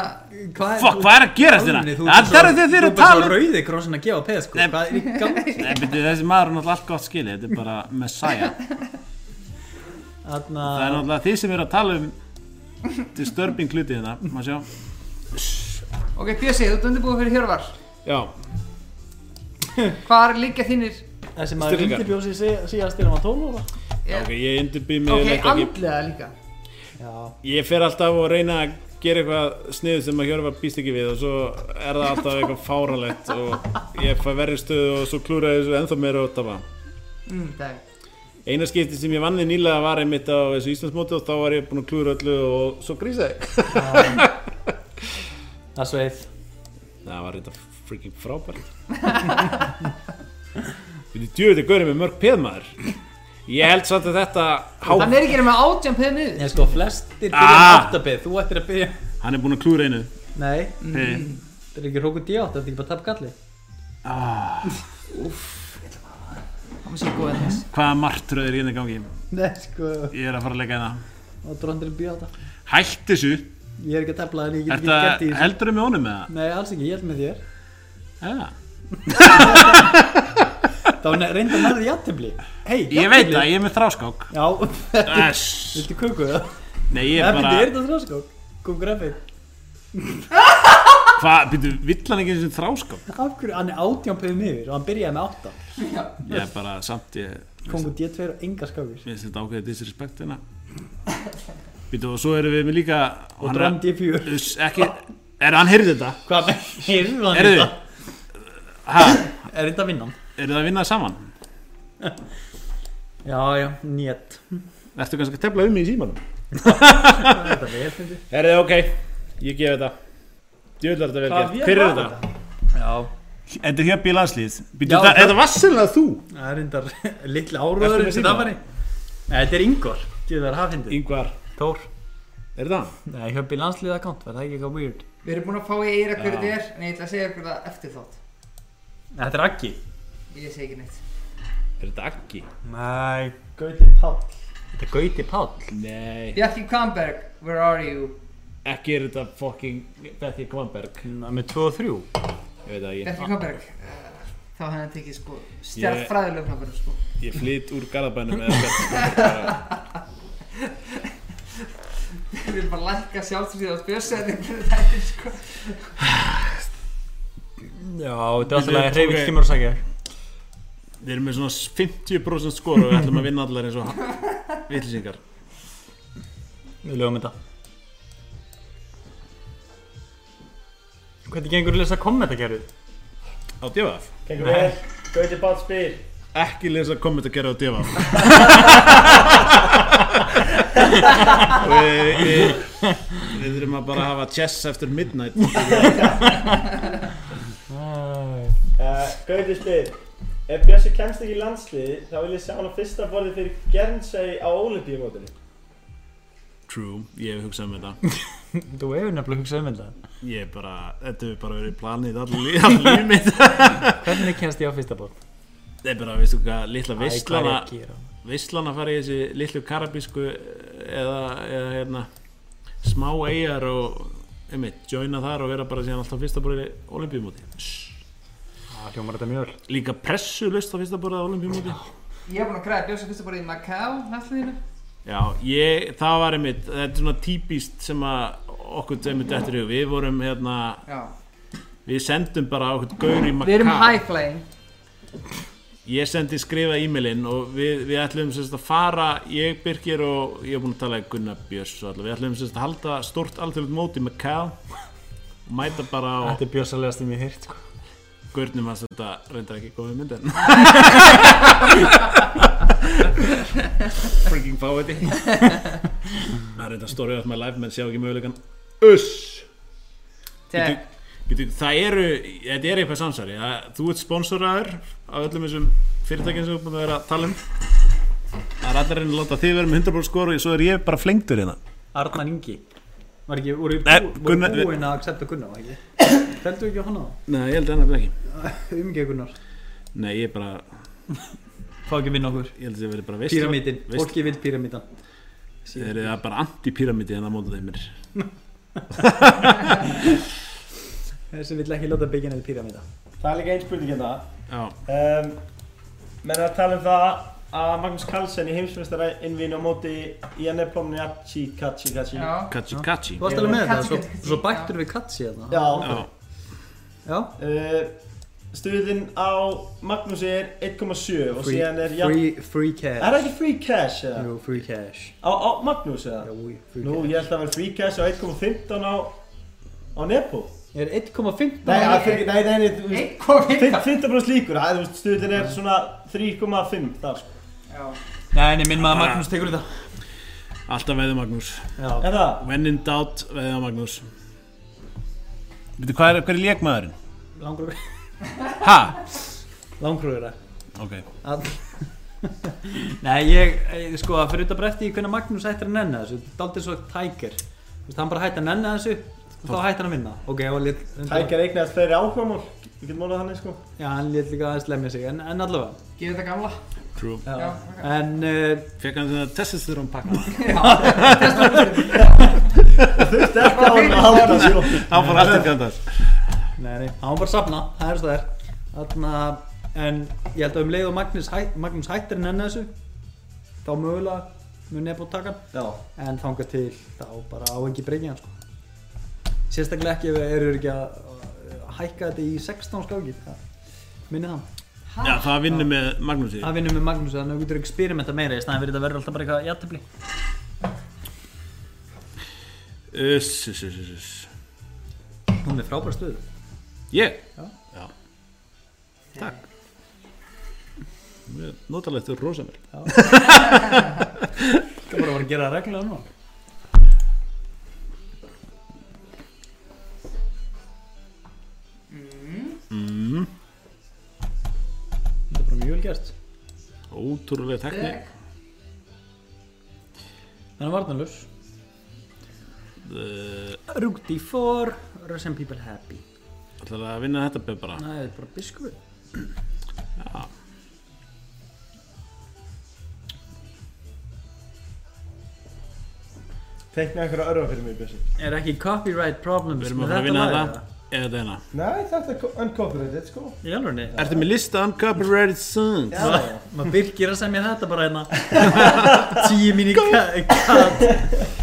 [SPEAKER 4] Hvað
[SPEAKER 5] Fuck, hvað er að gerast hérna? Það er þegar þið eru að tala um-
[SPEAKER 4] rauði krossin að gefa peð sko
[SPEAKER 5] Nei.
[SPEAKER 4] Hvað er í gangi?
[SPEAKER 5] Nei, byrju, þessi maður er náttúrulega allt gott skilið Þetta er bara messiah
[SPEAKER 4] Þarna
[SPEAKER 5] Það er náttúrulega þið sem eru að tala um Disturbing hluti hérna, maður sjá
[SPEAKER 2] ok, Bjössi, þú ert undirbúið fyrir Hjörvar
[SPEAKER 5] Já,
[SPEAKER 2] hvað er líka þínir
[SPEAKER 4] Þessi maður
[SPEAKER 5] Stillingar.
[SPEAKER 4] undirbjóð sig síðast þegar hann var 12 ára
[SPEAKER 5] ok, ég undirbý mig
[SPEAKER 2] ok,
[SPEAKER 5] okay,
[SPEAKER 2] andlega líka
[SPEAKER 4] Já
[SPEAKER 5] Ég fer alltaf og reyna að gera eitthvað sniðu sem að Hjörvar býst ekki við og svo er það alltaf eitthvað fáralegt og ég fæ verri stöðu og svo klúra þessu ennþá meira og tapa
[SPEAKER 2] Mm, dag.
[SPEAKER 5] eina skipti sem ég vann við nýlega var einmitt á þessu Íslandsmóti og þá var ég búinn að klúra öllu og svo grísaði ég.
[SPEAKER 4] Það er sveið
[SPEAKER 5] það var þetta freaking frábært við erum djöfið að góðið með mörg peðmaður ég held samt að þetta
[SPEAKER 2] Hann
[SPEAKER 5] há,
[SPEAKER 2] er ekki nema átján peð niður
[SPEAKER 4] Ég sko, flestir byrja
[SPEAKER 5] Ah!
[SPEAKER 4] ah. áttabið, þú ættir að byrja
[SPEAKER 5] hann er búinn að klúra einu
[SPEAKER 4] Nei,
[SPEAKER 5] hey.
[SPEAKER 4] þetta er ekki hrókun D8, þetta er ekki bara tap galli
[SPEAKER 2] Hann sé góð en þess
[SPEAKER 5] hvaða martröð er hérna í gangi
[SPEAKER 4] Nei, sko,
[SPEAKER 5] ég er að fara að leggja hérna
[SPEAKER 4] og drondirinn B8
[SPEAKER 5] hætt þessu,
[SPEAKER 4] um Ég er ekki að tefla en ég get ekki gert í
[SPEAKER 5] þetta
[SPEAKER 4] þessu
[SPEAKER 5] heldur með honum með
[SPEAKER 4] Nei, alls ekki, ég held með þér
[SPEAKER 5] það ja.
[SPEAKER 4] Það var ne- reyndar nærði játtifli Hei, játtifli
[SPEAKER 5] ég veit það, ég er með þráskák
[SPEAKER 4] Já,
[SPEAKER 5] Æss.
[SPEAKER 4] viltu kuku það?
[SPEAKER 5] nei ég
[SPEAKER 4] Það
[SPEAKER 5] er
[SPEAKER 4] myndi, er
[SPEAKER 5] bara
[SPEAKER 4] þetta þráskók? Kukur effið
[SPEAKER 5] hvað, býttu, vill hann ekki eins og þráskák
[SPEAKER 4] Af hverju, hann er átján peðum yfir og hann byrjaði með átta
[SPEAKER 5] ég er bara samt ég
[SPEAKER 4] Kongu D2 og enga skákur
[SPEAKER 5] Mér finnst þetta ákveðið disrespektina Býtu og svo erum við með líka
[SPEAKER 4] Og
[SPEAKER 5] hann
[SPEAKER 4] dron
[SPEAKER 5] er,
[SPEAKER 4] D4
[SPEAKER 5] uss, ekki, er hann heyrði þetta?
[SPEAKER 4] Hvað með, heyrðu hann
[SPEAKER 5] Heyrðu.
[SPEAKER 4] þetta?
[SPEAKER 5] Ha,
[SPEAKER 4] Er þetta vinnan?
[SPEAKER 5] eru það að vinna saman?
[SPEAKER 4] Já, já, nét
[SPEAKER 5] Ertu kannski að tefla um mig í símanum?
[SPEAKER 4] Þetta er vel, fyndi
[SPEAKER 5] Herðið, ok, ég gef þetta Djöðlar þetta vel
[SPEAKER 4] Hvað
[SPEAKER 5] gert,
[SPEAKER 4] vel
[SPEAKER 5] hver er
[SPEAKER 4] var
[SPEAKER 5] þetta?
[SPEAKER 4] Já,
[SPEAKER 5] Þetta er hér bílanslið Býtu,
[SPEAKER 4] Já,
[SPEAKER 5] þetta,
[SPEAKER 4] það-
[SPEAKER 5] þetta var sennilega þú
[SPEAKER 4] það er reyndar litli
[SPEAKER 5] Ertu
[SPEAKER 4] áróður
[SPEAKER 5] með
[SPEAKER 4] sem
[SPEAKER 5] síma?
[SPEAKER 4] það var í Nei, þetta er Ingvar Þetta er hafindi
[SPEAKER 5] Yngvar,
[SPEAKER 6] Þór
[SPEAKER 5] er þetta hann?
[SPEAKER 6] Nei, hjöppi landslið account, var það ekki eitthvað weird?
[SPEAKER 2] Við erum búin að fá í eira hverju
[SPEAKER 5] Já.
[SPEAKER 2] þetta er En ég ætla að segja ykkur það eftir þátt
[SPEAKER 4] Nei, Þetta er Aggi
[SPEAKER 2] Ég segi ekki neitt
[SPEAKER 5] Er þetta Aggi?
[SPEAKER 6] Nei
[SPEAKER 4] Gauti Pál
[SPEAKER 6] Þetta er Gauti Páll
[SPEAKER 5] Nei,
[SPEAKER 2] Bjarki Kamberg, where are you?
[SPEAKER 5] ekki er þetta fucking Betty Kvanberg
[SPEAKER 6] Hann er Með 2 og 3
[SPEAKER 5] Ég veit að ég,
[SPEAKER 2] Bjarki Kamberg uh, Þá hefði hann tekið sko stjartfræðilegum Kamberg sko
[SPEAKER 5] ég flyt úr garðabænum eða Betty
[SPEAKER 2] Við erum bara að lækka sjálfsvíða og spjörsæði Fyrir þetta sko
[SPEAKER 6] Já, þetta er alltaf að
[SPEAKER 5] Við-
[SPEAKER 6] hreyfið
[SPEAKER 5] ok.
[SPEAKER 6] kemur og sagja
[SPEAKER 5] Við erum með svona 50% skor og við ætlum að vinna allar eins og vitlisingar.
[SPEAKER 6] Við lögum þetta Hvernig gengur að lesa kommentakerfið?
[SPEAKER 5] Á divaf?
[SPEAKER 3] Gengur vel, Gauti Bátt spyr
[SPEAKER 5] Ekki lesa komment að gera á divaf. við, við, við þurfum að bara hafa chess eftir midnight.
[SPEAKER 3] uh, Gauti spyr Ef Bjössi kemst ekki í landslið þá vil ég sjá hann á fyrsta borði fyrir Gernsey á Olympíumótinu
[SPEAKER 5] True, ég hef hugsað um þetta.
[SPEAKER 6] Þú hefur nefnilega hugsað um þetta
[SPEAKER 5] Ég er bara, þetta hefur bara verið planið allir líf all mitt.
[SPEAKER 6] Hvernig kemst ég á fyrsta bótt?
[SPEAKER 5] Það er bara, veistu hvað, litla veislana,
[SPEAKER 6] gera?
[SPEAKER 5] veislana fara í þessi litlu karabísku eða, eða hérna, smá eigjar og einmitt, joina þar og vera bara síðan alltaf fyrsta borðið í olimpíumóti.
[SPEAKER 6] Það Ah, hljómar þetta mjög öll
[SPEAKER 5] Líka pressulaust á fyrsta borðið á olimpíumóti.
[SPEAKER 2] Ég er búin að græða Björnsa fyrsta bara í Macau Nættliðinu
[SPEAKER 5] Já, ég, það var einmitt, þetta er svona típist sem að okkur dæmið dættur í hug. Við vorum hérna,
[SPEAKER 2] Já
[SPEAKER 5] við sendum bara okkur gaur í
[SPEAKER 2] Við erum
[SPEAKER 5] Macau.
[SPEAKER 2] high flying
[SPEAKER 5] Ég sendi skrifa e-mailinn og við, við ætlum sérst að fara, ég, Birgir og ég er búin að tala í Gunnar Björns og allir. Við ætlum sérst að halda stort alþjóðlegt móti í Macau og mæta bara á
[SPEAKER 6] Þetta er bjössalegast sem ég heyrt sko.
[SPEAKER 5] Gurnum að þetta reyndar ekki góðið myndin Freaking fáiði Það er reyndar story of my life menn sjá ekki möguleikan Uss
[SPEAKER 2] Þegar
[SPEAKER 5] Bíddu, bíddu, Það eru, þetta er eitthvað samsæri Það- Þú ert sponsoraður á öllum þessum fyrirtækjum sem þú ert búin að vera að tala um Það er allir að reyna að láta þið vera með 100% skor og svo er ég bara flengtur hérna
[SPEAKER 4] Arnar Ingi Var ekki, voru
[SPEAKER 5] Nei,
[SPEAKER 4] bú- voru
[SPEAKER 5] Gunnar-
[SPEAKER 4] búin að accepta Gunnar, var ekki? Feldu ekki á hann á?
[SPEAKER 5] Nei, ég held ennig ekki
[SPEAKER 4] Umgeð Gunnar
[SPEAKER 5] Nei, ég er bara,
[SPEAKER 4] Fá ekki að vinna okkur
[SPEAKER 5] ég held að þið verið bara veist
[SPEAKER 4] Píramítin,
[SPEAKER 5] veist-
[SPEAKER 4] fólki vil píramítan
[SPEAKER 5] Þeir eru það bara anti-píramíti en það móta þeim mér
[SPEAKER 4] Þessi vill ekki láta byggja neði píramíta
[SPEAKER 3] Það er líka einn spurning hérna
[SPEAKER 5] Já,
[SPEAKER 3] um, Menn er að tala um það að Magnús Carlsen í heimsmeistara innvíðin á móti í að nefnplóminu Jatsi, Katsi, Katsi
[SPEAKER 2] Já
[SPEAKER 5] Kachi Kachi
[SPEAKER 4] Þú varst alveg með
[SPEAKER 2] Katsi,
[SPEAKER 4] þetta, svo,
[SPEAKER 2] Katsi,
[SPEAKER 4] svo
[SPEAKER 2] já.
[SPEAKER 4] bættur við katsi hérna
[SPEAKER 3] Já.
[SPEAKER 5] Já,
[SPEAKER 4] Já,
[SPEAKER 3] Uh, stuðin á Magnúsi er 1,7 og
[SPEAKER 1] Free-
[SPEAKER 3] síðan er jafn...
[SPEAKER 1] Free, free
[SPEAKER 3] Er
[SPEAKER 1] cash
[SPEAKER 3] það ekki free cash eða?
[SPEAKER 1] Jú, free cash
[SPEAKER 3] Á, á Magnús eða?
[SPEAKER 1] Jú, free
[SPEAKER 3] Nú,
[SPEAKER 1] cash
[SPEAKER 3] ég held að vera free cash á 1,15 á, á Nepo.
[SPEAKER 4] Er 1,15
[SPEAKER 3] Nei, það fyrir, nei, nei, nei, þú veist,
[SPEAKER 2] 1,5
[SPEAKER 3] 15% líkur, það, þú veist, stuðin er svona 3,5 þar, sko.
[SPEAKER 4] Nei, nei, minn maður Magnús tekur þetta
[SPEAKER 5] Alltaf veðið Magnús
[SPEAKER 4] Já,
[SPEAKER 3] Er það?
[SPEAKER 5] When in doubt veðið á Magnús Veitu, hvað er, hvað er lékmaðurinn?
[SPEAKER 4] langur
[SPEAKER 5] Ha?
[SPEAKER 4] Langrúður það
[SPEAKER 5] Ok
[SPEAKER 4] Nei, ég, ég sko, að fyrir út að brefti í hvernig Magnús hættir að nenna þessu Þetta er aldrei svo Tiger Þú veist, hann bara hætti að nenna þessu og þá hætti hann að vinna Ok, og hann lét undir-
[SPEAKER 3] Tækjar eignast fleiri áhugamál, við getum málað þannig, sko.
[SPEAKER 4] Já, hann lét líka aðeins lemja sig, en, en allavega
[SPEAKER 2] Gjöðu þetta gamla
[SPEAKER 5] True
[SPEAKER 2] Já,
[SPEAKER 4] Já. En uh,
[SPEAKER 5] Fekk hann þetta testisturum pakka
[SPEAKER 3] Þetta er það að halda, sko.
[SPEAKER 5] Hann fór allt í fjandars
[SPEAKER 4] Nei, nei, hann var bara að safna, það er svo það er Þarna, en ég held að um leið og Magnús, hæ, Magnús hættir að nenna þessu þá mögulega mun nefn og taka hann
[SPEAKER 3] Já.
[SPEAKER 4] en þanga til þá bara á engi breyngja sko. sérstaklega ekki ef við erum ekki að að hækka þetta í 16 skáki minni það
[SPEAKER 5] Já, það vinnur með Magnúsi
[SPEAKER 4] það vinnum við Magnús þannig að við getur eksperimenta meira í staðan fyrir þetta verður alltaf bara eitthvað jættefli
[SPEAKER 5] Uss, uss, uss, uss, uss
[SPEAKER 4] hún er frábæra stöður
[SPEAKER 5] Ég?
[SPEAKER 4] Já.
[SPEAKER 5] Já Takk Mjög Notalegt, þú er rosa mér
[SPEAKER 4] það bara var að gera það reglulega nú
[SPEAKER 5] mm,
[SPEAKER 4] þetta er bara mjög vel gert
[SPEAKER 5] Ótrúlega tekni
[SPEAKER 4] þannig að varnalus
[SPEAKER 5] uh,
[SPEAKER 4] Rúti for Russian people happy
[SPEAKER 5] Það að vinna þetta beð bara
[SPEAKER 4] það er bara biskupi
[SPEAKER 5] Já
[SPEAKER 3] Teikna einhverja örfa fyrir mig, Bessi.
[SPEAKER 4] er ekki copyright problems
[SPEAKER 5] Við erum
[SPEAKER 4] með
[SPEAKER 5] að fara að vinna
[SPEAKER 4] þetta lag,
[SPEAKER 5] þetta Eða þetta hérna
[SPEAKER 3] Nei, þetta er uncopyrighted, sko.
[SPEAKER 4] eða? í alveg
[SPEAKER 5] Ertu með lista uncopyrighted songs?
[SPEAKER 3] Já.
[SPEAKER 4] maður byrkir að semja þetta bara hérna tíu mínu katt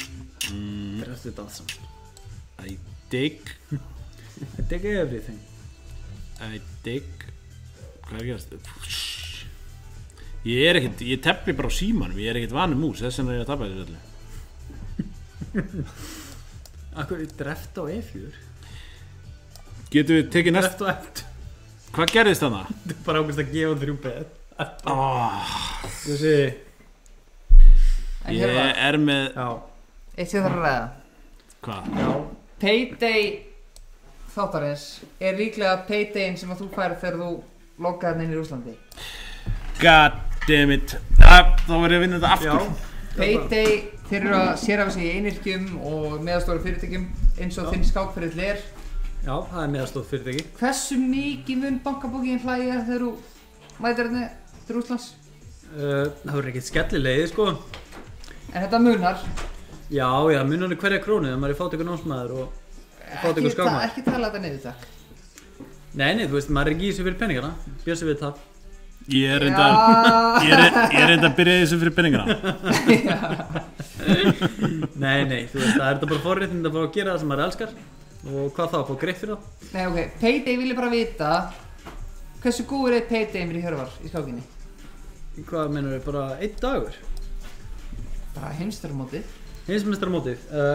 [SPEAKER 4] Dreftu þetta allt saman
[SPEAKER 5] I dig
[SPEAKER 4] I dig everything
[SPEAKER 5] I dig Hvað er gerast? Psh. Ég er ekkert, ég tefli bara á símanum, ég er ekkert vanið mús, þess vegna er ég að tapa þessu öllu.
[SPEAKER 4] Akkur, dreftu á E4
[SPEAKER 5] Getum við tekið næst,
[SPEAKER 4] Dreftu á F2
[SPEAKER 5] hvað gerðist þarna?
[SPEAKER 4] Þetta er bara ákveðst að gefa þrjú bet
[SPEAKER 5] Oh,
[SPEAKER 4] Þessi
[SPEAKER 2] En hér var
[SPEAKER 5] ég er með,
[SPEAKER 4] Já
[SPEAKER 2] Eitt sem þarf að ræða
[SPEAKER 5] hvað?
[SPEAKER 2] Payday þáttarins er líklega paydayin sem að þú færi þegar þú lokkaði hann inn í Rúslandi
[SPEAKER 5] God damn it. Ah, Þá verður ég að vinna þetta
[SPEAKER 4] Já
[SPEAKER 5] aftur.
[SPEAKER 2] Payday þeir eru að sérhafa sig í einirkjum og meðastóru fyrirtækjum eins og þinn skákfyrirl er
[SPEAKER 4] Já, það er meðastóð fyrirtæki
[SPEAKER 2] Hversu mikið mun bankabókin hlæja þegar þú mætir hann til Rúslands?
[SPEAKER 4] uh, Það voru ekkert skellilegið sko
[SPEAKER 2] En þetta munar
[SPEAKER 4] Já, já, munanir hverja krónu þegar maður er fátt ykkur námsmaður og og fátt
[SPEAKER 2] Ekki
[SPEAKER 4] ykkur
[SPEAKER 2] ta-
[SPEAKER 4] skákmaður.
[SPEAKER 2] ekki tala þetta niður takk
[SPEAKER 4] Nei, nei, þú veist, maður er ekki í þessu fyrir peningana, bjössi við það.
[SPEAKER 5] Ég er reynda, ég er, ég er reynda að byrja í þessu fyrir peningana.
[SPEAKER 4] Nei, nei, þú veist, það er þetta bara forréttind að fá að gera það sem maður elskar og hvað þá, fá greitt fyrir það.
[SPEAKER 2] Nei ok, Payday vilja bara vita hversu góður er Payday mér í hörvar í skákinni
[SPEAKER 4] Hvað mennur við, bara einn dagur?
[SPEAKER 2] Bara heimsturumótið
[SPEAKER 4] Hinsmestramótið, uh,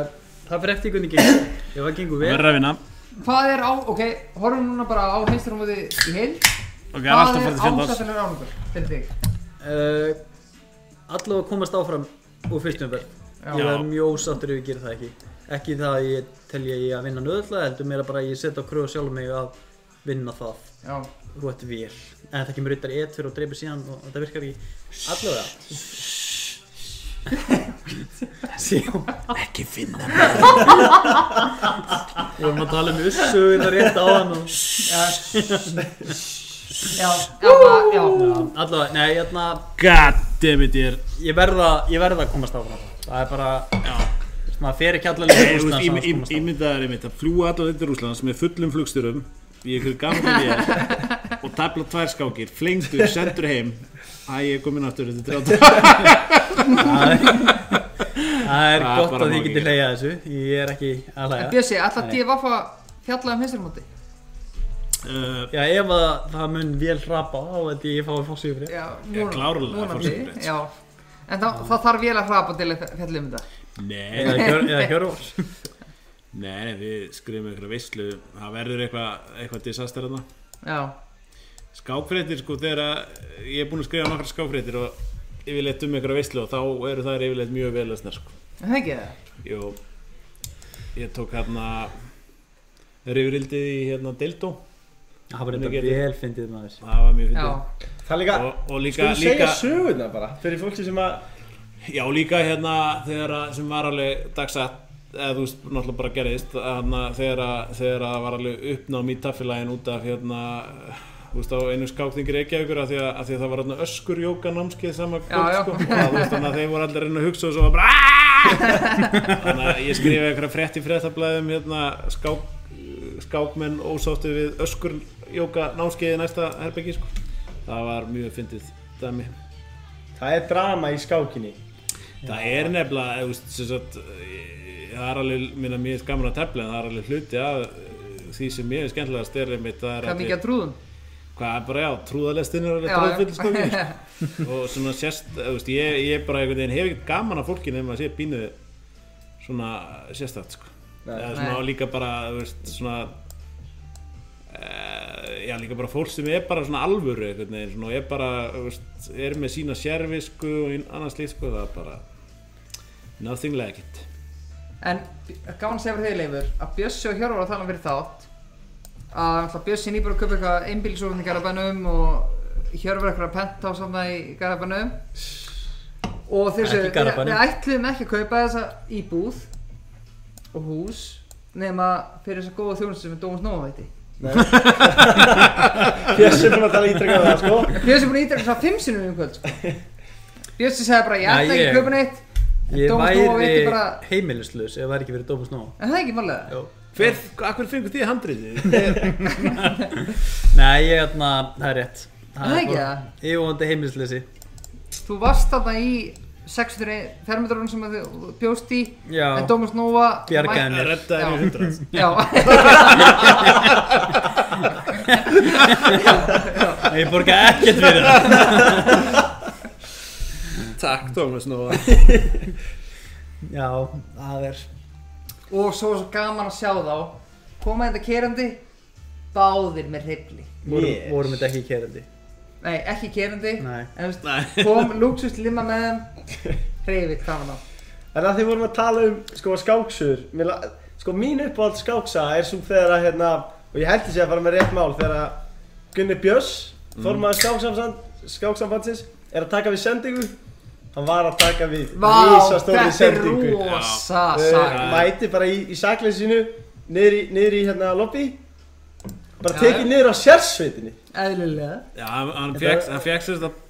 [SPEAKER 4] það fyrir eftir hvernig gengur, ef það gengur vel.
[SPEAKER 5] Verður að vinna.
[SPEAKER 2] Hvað er á, ok, horfum núna bara á heimsturumótið í heild
[SPEAKER 5] Ok, það er
[SPEAKER 2] Hvað er
[SPEAKER 5] alltaf farið til fjandars.
[SPEAKER 2] ásættilegur ánugur fyrir þig?
[SPEAKER 4] Uh, Allavega að komast áfram úr fyrstum verð. Ég
[SPEAKER 5] Já.
[SPEAKER 4] verð mjög sáttur ef ég gera það ekki. Ekki það að ég telja ég að vinna nöðlega, heldur mér að bara að ég setja á kröfu sjálf mig að vinna það.
[SPEAKER 2] Já,
[SPEAKER 4] Rott vél En þetta kemur auðvitað eitt fyrir og dreipir síðan og þetta virkar ekki allavega Sjón
[SPEAKER 5] Ekki finna.
[SPEAKER 4] Við vorum að tala um ussu þetta rétt á hann og
[SPEAKER 2] já, já, bara- já,
[SPEAKER 4] Allavega, nei, hérna
[SPEAKER 5] God damn it, ég er,
[SPEAKER 4] Ég verða, ég verða að komast áfram Það er bara,
[SPEAKER 5] já.
[SPEAKER 4] veist, maður fer ekki allavega
[SPEAKER 5] Nei,
[SPEAKER 4] í
[SPEAKER 5] þú veist,
[SPEAKER 4] Rússland
[SPEAKER 5] ím-
[SPEAKER 4] sem að
[SPEAKER 5] ím-
[SPEAKER 4] komast áfram
[SPEAKER 5] Ímyndað er einmitt að fljúa allar þetta Rúslands með fullum flugstyrum í einhverju gamla vél og tafla tvær skákir, flengdur, sendur heim Æ, ég er komin aftur þetta er 30
[SPEAKER 4] Það er
[SPEAKER 6] Það er
[SPEAKER 4] gott
[SPEAKER 6] bara
[SPEAKER 4] að þið
[SPEAKER 6] málið.
[SPEAKER 4] getið leiða þessu Ég er ekki að
[SPEAKER 2] En
[SPEAKER 4] leiða
[SPEAKER 2] Bjössi, alltaf DVF að fjalla um hinstrumóti
[SPEAKER 5] uh,
[SPEAKER 4] Já, ef að það mun vel hrapa á þetta ég fái fórsvíður fyrir
[SPEAKER 2] Já,
[SPEAKER 5] Ég klárlega, forsendubrétt.
[SPEAKER 2] Já En það, það þarf vel að hrapa til að fjalla um þetta
[SPEAKER 5] Nei,
[SPEAKER 4] Eða hjör- Eða hjörvor
[SPEAKER 5] nei, nei, við skrifum einhverja veislu Það verður eitthvað eitthva disaster þarna
[SPEAKER 2] Já,
[SPEAKER 5] Skákfréttir, sko, þegar að Ég er búin að skrifa nokkra skákfréttir og yfirleitt um einhverja veislu og þá eru þær yfirleitt mjög vel lesnar, sko
[SPEAKER 2] er það ekki það?
[SPEAKER 5] Jó, ég tók hérna Rifurildið í hérna Dildó
[SPEAKER 4] Það var
[SPEAKER 5] Mikið
[SPEAKER 4] þetta
[SPEAKER 5] getið.
[SPEAKER 4] vel fyndið maður
[SPEAKER 5] Það var mjög
[SPEAKER 2] Já,
[SPEAKER 5] fyndið
[SPEAKER 1] Það er líka,
[SPEAKER 5] og, og líka,
[SPEAKER 1] skulum segja
[SPEAKER 5] líka
[SPEAKER 1] sögurnar bara Fyrir fólki sem að
[SPEAKER 5] Já, líka hérna þegar að sem var alveg dagsatt eða þú veist, náttúrulega bara gerðist hana, þegar, að, þegar að var alveg uppnám í taffélagin út af hérna þú veist, á einu skákningi Reykjavíkur af því að, að því að það var hérna öskur jóka námskeið sama kvöld,
[SPEAKER 2] já.
[SPEAKER 5] sko og það, þú veist, þannig að þeir voru allir að reyna að hugsa og svo var bara "Aaah!" þannig að ég skrifa eitthvað frétt í fréttablaðum hérna, skák, skákmenn ósáttu við öskur jóka námskeiði næsta herbyggi, sko það var mjög fyndið dæmi
[SPEAKER 1] Það er drama í skákinni
[SPEAKER 5] Það er nefnilega, eða, þú veist, sem sagt, eh, það er alveg, minna, mér er gaman að tefla en það er alveg hluti af eh, því sem mér er skemmtilegast er einmitt, það er
[SPEAKER 2] hvað mikið að trúðum
[SPEAKER 5] hvað er bara, já, trúðalestin er alveg
[SPEAKER 2] Já, já.
[SPEAKER 5] tróðfyll skóki sko. og svona sérst, eða, þú veist, ég, ég bara einhvern veginn hef ekkert gaman af fólki nema að sé pínu svona sérstætt, sko eða svona
[SPEAKER 2] Nei.
[SPEAKER 5] og líka bara, þú veist, svona eh, já, líka bara fólk sem er bara svona alvöru einhvern veginn, svona, og er bara, þú veist, er með sína sérvisku og annars slíkt, sko, það er bara nothing like it
[SPEAKER 2] En gáðan segja fyrir þig Leifur að Bjössi og Hjörvar að tala um fyrir þátt að náttúrulega Bjössi nýbúr að köpa eitthvað einbílisofn í Garabænum og Hjörvar eitthvað pent á saman í Garabænum og þeir
[SPEAKER 4] Ekki
[SPEAKER 2] sögðu,
[SPEAKER 4] í Garðabænum.
[SPEAKER 2] við ætluðum ekki að kaupa þessa íbúð og hús nema fyrir þessa góða þjónustu sem er Dómas Nóa veiti
[SPEAKER 1] Bjössi er búin að tala ítrekkað það sko
[SPEAKER 2] Bjössi er búin að ítreka svona fimm sinnum um kvöld sko. Bjössi sagði bara ég
[SPEAKER 4] Já,
[SPEAKER 2] ætla ekki
[SPEAKER 4] ég-
[SPEAKER 2] að kaupa neitt
[SPEAKER 4] Ég
[SPEAKER 2] Dómur Snóa
[SPEAKER 4] væri
[SPEAKER 2] veitir bara-
[SPEAKER 4] heimilislaus ef það er ekki verið Dómus Nóa
[SPEAKER 2] en það er ekki málega
[SPEAKER 4] Jó.
[SPEAKER 5] Hver, að hverju fengur þið handriðið?
[SPEAKER 4] Nei, ég hérna, það er rétt
[SPEAKER 2] Það er ekki
[SPEAKER 4] bara- Ég vonandi heimilisleysi
[SPEAKER 2] Þú varst þarna í 600 fermetrarun sem að þú bjóst í
[SPEAKER 4] Já,
[SPEAKER 2] en Dómas Nóa
[SPEAKER 4] bjargaði
[SPEAKER 5] Að
[SPEAKER 4] mér
[SPEAKER 2] Já.
[SPEAKER 5] redda þér í hundrað
[SPEAKER 2] Já,
[SPEAKER 4] Ég borgaði ekkert fyrir það
[SPEAKER 5] Takk Tómas Nóa
[SPEAKER 4] Já, það er
[SPEAKER 2] og svo var svo gaman að sjá þá koma þetta kerandi báðir með hrifli
[SPEAKER 4] Vorum, vorum þetta ekki kerandi
[SPEAKER 2] Nei, ekki kerandi
[SPEAKER 4] Nei.
[SPEAKER 2] en þú veist, kom Luxus limma með þeim hrifið gaman á
[SPEAKER 1] En að því vorum að tala um sko skáksur mér la- Sko mín uppáhald skáksa er svo þegar að hérna Og ég held þessi að fara með rétt mál Þegar að Gunni Björs, formaður skáksamband, skáksambandsins Er að taka við sendingu Hann var að taka við
[SPEAKER 2] Vá,
[SPEAKER 1] risastóri
[SPEAKER 2] þetta er
[SPEAKER 1] sendingu
[SPEAKER 2] rosa
[SPEAKER 1] uh,
[SPEAKER 2] saga
[SPEAKER 1] mæti bara í, í sakleysi sínu niður í, niður í hérna lobby bara
[SPEAKER 2] Já,
[SPEAKER 1] tekið
[SPEAKER 2] já.
[SPEAKER 1] niður á sérsveitinni
[SPEAKER 2] Eðlilega
[SPEAKER 5] Já, hann, hann
[SPEAKER 1] Þetta-
[SPEAKER 5] fekk hann fékk sér þetta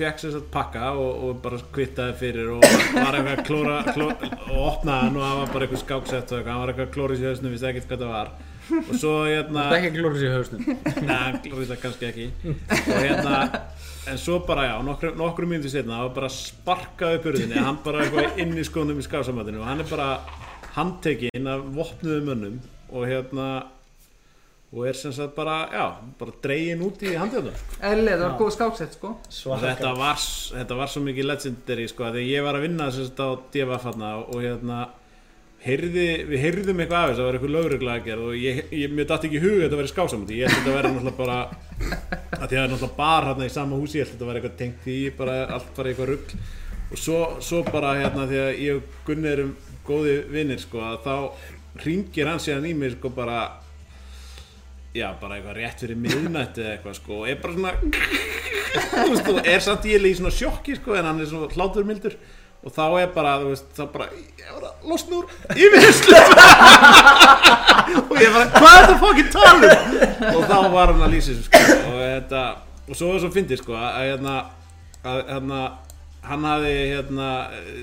[SPEAKER 5] fekk sér þetta pakka og, og bara kvittaði fyrir og var eitthvað að klóra kló, og opnaði hann og hann var bara eitthvað skáksett og eitthvað, hann var eitthvað að klóra í sjöðsnum, vissi ekkert hvað það var og svo hérna
[SPEAKER 4] Það er ekki að glóra sér í hausnum
[SPEAKER 5] Nei, hann klóraði það kannski ekki og hérna, en svo bara já nokkru, nokkru mínúti setna, það var bara sparkað upp hurðinni, hann bara eitthvað inn í skónum í skásamættinu og hann er bara handtekinn af vopnuðum mönnum og hérna og er sem sagt bara, já, bara dregin út í handjóðum
[SPEAKER 2] Eðlilega, það var góð skáksett sko
[SPEAKER 5] og þetta var, s- þetta var svo mikið legendary sko, af því að ég var að vinna sem sagt á DFF hérna og hérna heyrði, við heyrðum eitthvað af þess að það var eitthvað lögregla að gera og ég, ég, mér datt ekki í hug að þetta væri skásamöndi, ég held að þetta væri náttúrulega bara að því að það er náttúrulega bar hérna í sama húsi, ég held að þetta væri eitthvað tengt því, bara allt bara eitthvað rugg og svo, svo bara hérna því að ég og Gunni erum góði vinnir sko, að þá ringir hann síðan í mig sko bara já, bara eitthvað rétt fyrir miðnætti eða eitthvað sko, og er bara svona þú veist, þú er samt ég í svona sjokki sko, en hann er svona hlátur mildur og þá er bara, þú veist, þá bara ég var að losna úr yfirherslu og ég bara, hvað er þetta fokkin talum og þá var hann að lýsa þessu sko, og þetta, og svo er svo fyndið sko, að hérna að, hérna, hann hafði hérna,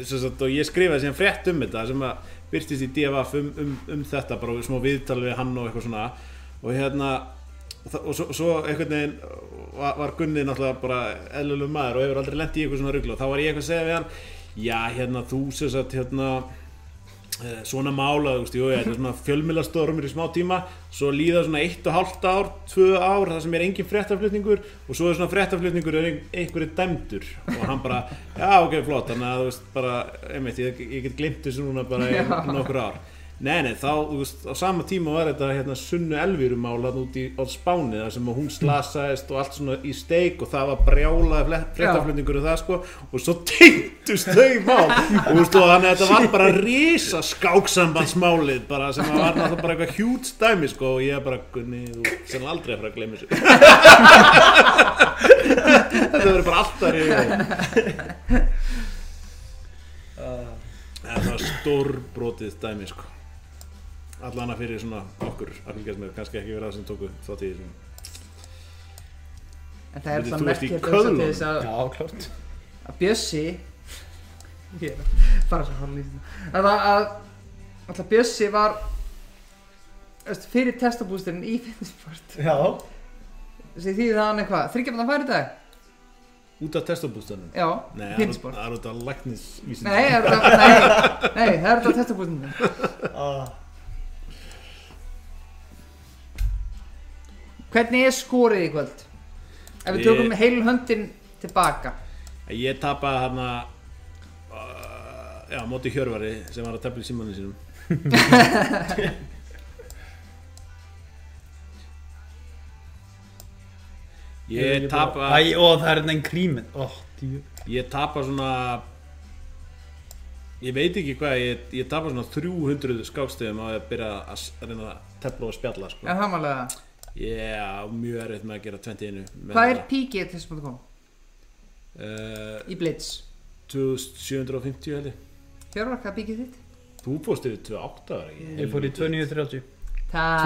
[SPEAKER 5] sem sagt, og ég skrifaði síðan frétt um þetta sem að byrtist í DFF um, um, um þetta, bara smá viðtal við hann og eitthvað svona og hérna Þa- og svo, svo einhvern veginn var, var Gunni náttúrulega bara eðlulegu maður og hefur aldrei lent í eitthvað svona rugglu og þá var ég eitthvað að segja við hann já hérna þú sem sagt hérna eh, svona mála, þú veist, jú, ég, þetta er svona fjölmiðlastormur í smá tíma svo líða svona eitt og hálft ár, tvö ár þar sem er engin fréttaflutningur og svo er svona fréttaflutningur og einhverju dæmdur og hann bara, já ok, flott þannig að þú veist, bara, einmitt, ég, ég get glimt þessu núna bara í nokkur ár Nei, nei, þá, þú veist, á sama tíma var þetta hérna sunnu elvírumál hann út í á Spáni þar sem að hún slasaðist og allt svona í steik og það var brjálaði fréttaflutningur og það sko og svo tengdust þau mál og þú veist, og þannig að þetta var bara risa skáksambandsmálið bara sem að var náttúrulega bara eitthvað hjút dæmi sko og ég bara, Gunni, þú sem aldrei að fara að gleyma þessu Þetta verður bara alltaf reyðið Það var stórbrotið dæmi sko Allana fyrir svona okkur að fylgjast með, kannski ekki verið það sem tóku þátt í þessum
[SPEAKER 2] En það er
[SPEAKER 5] Bíddu,
[SPEAKER 2] það
[SPEAKER 5] þú ert í
[SPEAKER 2] merkilegt að hugsa til
[SPEAKER 5] köðlunum?
[SPEAKER 2] þess að
[SPEAKER 4] Já, klart
[SPEAKER 2] að Bjössi ég er að fara svo hann lítið að að, að alltaf Bjössi var veist, fyrir testabústurinn í fitnessport
[SPEAKER 3] Já,
[SPEAKER 2] sem því það hann eitthvað þryggjafna færi dag
[SPEAKER 5] Út af testabústanum?
[SPEAKER 2] já,
[SPEAKER 5] Nei, það er-
[SPEAKER 2] fitnessport
[SPEAKER 5] það er út af læknisvísindum
[SPEAKER 2] nei, er þetta- nei, nei, það er þetta testabústurinn hvernig er skorið í kvöld ef við
[SPEAKER 5] Við-
[SPEAKER 2] tökum heilun höndin tilbaka
[SPEAKER 5] Ég tapaði hérna uh, Já, á móti Hjörvari sem var að tefla í símanum sínum Ég tapa
[SPEAKER 4] Æ, ó, það er enn kríminn Ó, djú
[SPEAKER 5] Ég tapa svona Ég veit ekki hvað Ég, ég tapa svona 300 skákstöðum á að byrja að, s- að reyna að tefla og spjalla sko.
[SPEAKER 2] er það málega
[SPEAKER 5] Ég á mjög erfitt með að gera 21
[SPEAKER 2] hvað er píkið í testabústurinn
[SPEAKER 5] Uh,
[SPEAKER 2] í blitz
[SPEAKER 5] 2750 held ég
[SPEAKER 2] Hjörvar, hvað er píkið þitt?
[SPEAKER 5] Þú fórst yfir 28 ára ekki?
[SPEAKER 4] Ég fór í 2930
[SPEAKER 2] Það-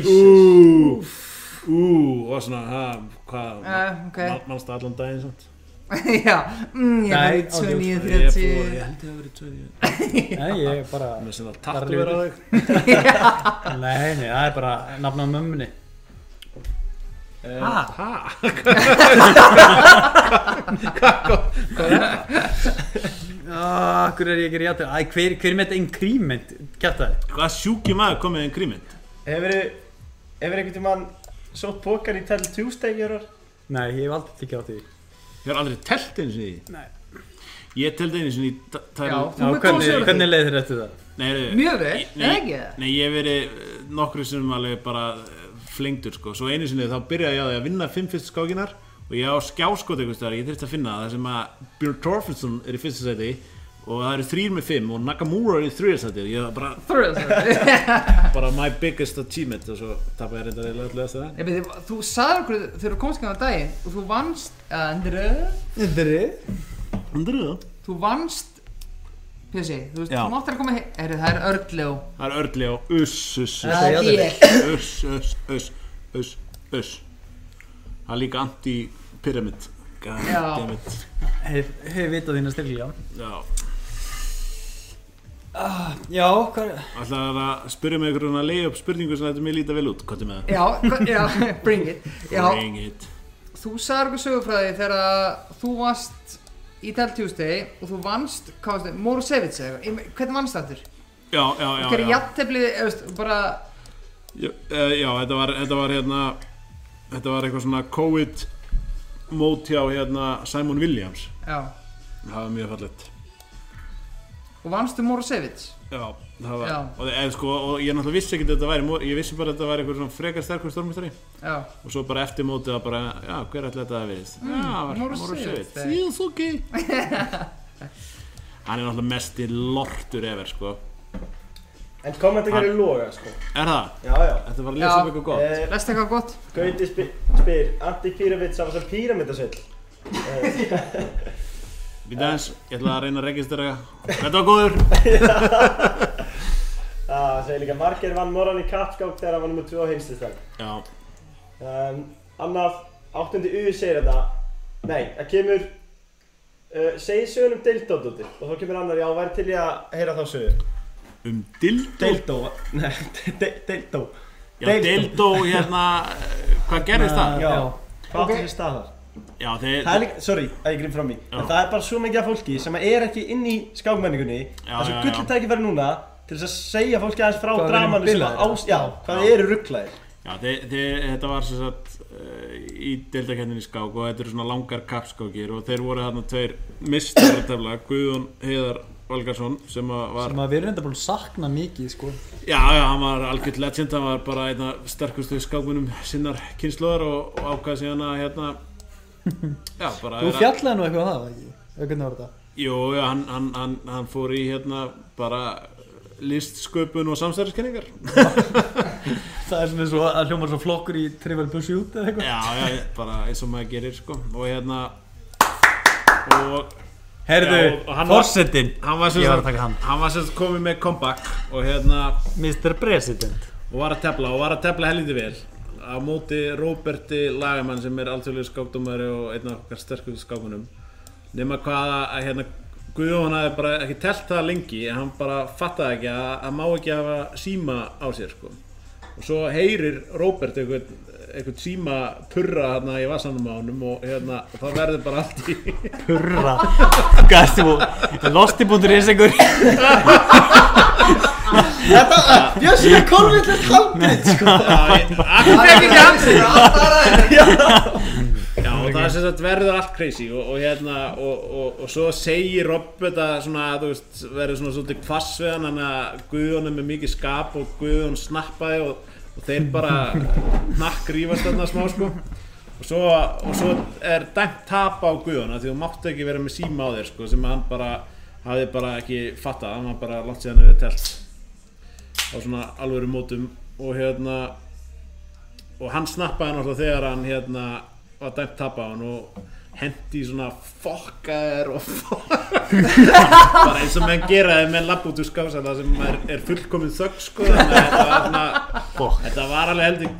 [SPEAKER 5] 2930 Úúú Úúú Og svona ha, Hvað
[SPEAKER 2] Eh, ok.
[SPEAKER 5] man- Manstu allan daginn samt
[SPEAKER 2] Já, mm, ég
[SPEAKER 4] Nei,
[SPEAKER 2] var í
[SPEAKER 5] Ég
[SPEAKER 4] á
[SPEAKER 5] fór-
[SPEAKER 2] 29.30
[SPEAKER 5] ég held ég að verið 29
[SPEAKER 4] Nei, ég er bara
[SPEAKER 5] Með svona
[SPEAKER 4] Bara
[SPEAKER 5] tattu verið á þig
[SPEAKER 4] Nei, nei, það er bara nafn á mömmunni Eh,
[SPEAKER 5] Ha?
[SPEAKER 4] Ah, Akkur er ég ekki rétt Æ, hver, hver með þetta einn krímynd? Kjartaði
[SPEAKER 7] Hvað sjúki maður komið inn grímynd?
[SPEAKER 3] hefur hefur einhvern tímann sótt pókar í Tell Tuesday hér
[SPEAKER 4] Nei, ég hef aldrei tekið á því
[SPEAKER 7] Ég hef aldrei telt einu sinni í því. Ég telt einu sinni í ta- tæru...
[SPEAKER 2] Já,
[SPEAKER 4] Já,
[SPEAKER 2] þú með
[SPEAKER 4] hvernig,
[SPEAKER 2] góðsjóður
[SPEAKER 4] hvernig leið þér eftir það?
[SPEAKER 7] Nei, heyrðu,
[SPEAKER 2] Mjög vel,
[SPEAKER 7] ég-
[SPEAKER 2] eða ekki það?
[SPEAKER 7] Nei, ég hef verið eh, nokkru sem alveg bara eh, flengdur sko. Svo einu sinni þá byrjaði ég á því að vinna fimm fyrstu skákinar og ég á skjáskot einhvers staðar, ég þurfti að finna það, þar sem að Björn Torfinsson er í fyrsta sæti og það eru þrýr með fimm og Nakamura er í þrýra sæti ég var bara,
[SPEAKER 5] Bara my biggest achievement Og svo tapa ég reyndar eiginlega öllu eftir það
[SPEAKER 2] Nei, beti, Þú sagði okkur þegar þú komst ekki á daginn og þú vannst andru,
[SPEAKER 7] hundur það?
[SPEAKER 2] þú vannst Pjössi, þú veist,
[SPEAKER 7] Já.
[SPEAKER 2] þú máttir að koma heim Heyrðu, það er örgljó
[SPEAKER 7] Það er örli og uss, uss, uss
[SPEAKER 4] Það er ég
[SPEAKER 7] Uss, uss, uss, uss, uss Það er líka anti-pyramid
[SPEAKER 2] Já.
[SPEAKER 7] Goddammit
[SPEAKER 4] Hef, hef vitað þína styrkli, já
[SPEAKER 7] Já,
[SPEAKER 4] Já, hvað
[SPEAKER 7] alltaf að spyrja mig einhverjum að leiða upp spurningu sem þetta mér líta vel út, hvað er með það?
[SPEAKER 2] Já, hva- já, bring it Já,
[SPEAKER 7] Bring it
[SPEAKER 2] þú sagði okkur sögufræði þegar að þú varst í Tell Tuesday og þú vannst, hvað varst þið, Morusevits eða eitthvað Ég- Hvernig vannst það þurr?
[SPEAKER 7] Já, já, já,
[SPEAKER 2] Hver er
[SPEAKER 7] já.
[SPEAKER 2] jafnteflið, eða veist, bara
[SPEAKER 7] Já, eh, já þetta, var, þetta var hérna Þetta var eitthvað svona COVID mót hjá hérna Simon Williams
[SPEAKER 2] Já,
[SPEAKER 7] Það var mjög fallegt
[SPEAKER 2] og vannstu Morusevits
[SPEAKER 7] Já, það var
[SPEAKER 2] Já.
[SPEAKER 7] Og, eð, sko, og ég náttúrulega vissi ekki að þetta væri mor- Ég vissi bara að þetta væri eitthvað svona frekar sterkur stormistari
[SPEAKER 2] Já
[SPEAKER 7] og svo bara eftir mótið að bara, já, hver ætla þetta að verið? Mm, já, var
[SPEAKER 2] Morris
[SPEAKER 7] Morissevit.
[SPEAKER 2] Sivit.
[SPEAKER 7] Síðan svo ekki. Hann er náttúrulega mest í lortur efer, sko.
[SPEAKER 3] En kommentakar er loga sko
[SPEAKER 7] Er það?
[SPEAKER 3] Já, já
[SPEAKER 7] Þetta var að
[SPEAKER 2] Já.
[SPEAKER 7] lýsa upp eitthvað gott.
[SPEAKER 3] Eh,
[SPEAKER 2] Lest eitthvað gott?
[SPEAKER 3] Gauti spyr, spyr Anti Pyramid sá þess að pyramidasvill
[SPEAKER 7] Býta aðeins, ég ætla að reyna að registrera. Þetta var góður.
[SPEAKER 3] Ah, Það segir líka margir vann Moran í kappskák þegar hann var nummer 2 á heimslistan
[SPEAKER 7] Já,
[SPEAKER 3] um, Annað, áttundi U segir þetta Nei, það kemur uh, Segir sögur um Deildó dóti Og þá kemur annar, já, væri til ég að heyra þá sögur
[SPEAKER 7] um dildo.
[SPEAKER 3] Deildó, nei, de, de, Deildó
[SPEAKER 5] Já, Deildó, hérna, hvað gerðist það?
[SPEAKER 1] Já, hvað átti sér stað þar?
[SPEAKER 5] Já, þeir,
[SPEAKER 1] Það er líka, sorry, að ég grinn fram í En
[SPEAKER 5] Já.
[SPEAKER 1] það er bara svo mikið af fólki sem er ekki inn í skákmenningunni Það er
[SPEAKER 5] já,
[SPEAKER 1] svo
[SPEAKER 5] já.
[SPEAKER 1] gullið tækifæri núna til þess að segja fólki aðeins frá
[SPEAKER 4] Hvað við erum
[SPEAKER 1] dramanu sem að
[SPEAKER 4] bilaðir.
[SPEAKER 1] ás... Já, hvað þið eru rugglaðir
[SPEAKER 5] já þeir, þeir, þetta var sem sagt eh, í deildakendinni skák og þetta eru svona langar kappskákir og þeir voru þarna tveir mistaratafla, Guðun Heiðar Valgarsson sem að var
[SPEAKER 4] sem að við erum enda búin að sakna mikið sko.
[SPEAKER 5] Já, já, hann var algjörð legend, hann var bara einn af sterkustu skákmunum sinnar kynnslóðar og, og ákvaði síðan að hérna Já, bara
[SPEAKER 4] þú
[SPEAKER 5] vera-
[SPEAKER 4] fjallaði nú eitthvað á það ekki? Eða hvernig var þetta?
[SPEAKER 5] Jú, já, hann, hann, hann, hann fór í hérna bara listsköpun og samstæðiskenningar
[SPEAKER 4] það er svona svo að hljóma svo flokkur í Trivial Pursuit eða eitthvað
[SPEAKER 5] Já, já, bara eins og maður gerir sko og hérna og
[SPEAKER 6] Herðu,
[SPEAKER 5] Já, og hann var-
[SPEAKER 6] forsetin
[SPEAKER 5] hann var sem
[SPEAKER 6] Ég var að
[SPEAKER 5] sagt
[SPEAKER 6] taka hann.
[SPEAKER 5] hann var sem sagt komið með comeback og hérna
[SPEAKER 6] Mr. President
[SPEAKER 5] og var að tefla og var að tefla helviti vel á móti Róberti Lagamann sem er alltjóðlega skákdómari og einn af okkar sterkustu skákunum nema hvað að hérna Guðjón hafði bara ekki telt það lengi en hann bara fattaði ekki að, að má ekki hafa síma á sér sko og svo heyrir Róbert einhvern, einhvern síma purra hérna í vassanum á honum og hérna það verður bara allt í
[SPEAKER 6] Purra Gæstu, losti.is einhver
[SPEAKER 1] Þetta, Björns, ég konvill er handið
[SPEAKER 2] Það er ekki andrið, allt aðra er
[SPEAKER 5] Já, og það er sem sagt verður allt crazy og, og hérna, og, og, og svo segir Robert að svona, þú veist, verður svona svolítið kvass við hann, hann að Guðjón er með mikið skap og Guðjón snappaði og, og þeir bara nakk rífast þarna smá, sko og svo, og svo er dæmt tap á Guðjón af því þú máttu ekki vera með síma á þér, sko sem hann bara, hafði bara ekki fattað, hann var bara langt síðan við telt á svona alvöru mótum og hérna og hann snappaði hann alltaf þegar hann hérna var dæmt tappa hann og hendi í svona fokkaðir og fokkaðir bara eins og menn gera þegar menn lapp út úr skáfsala sem er, er fullkomin þögg sko þannig að þetta var svona þetta var alveg heldur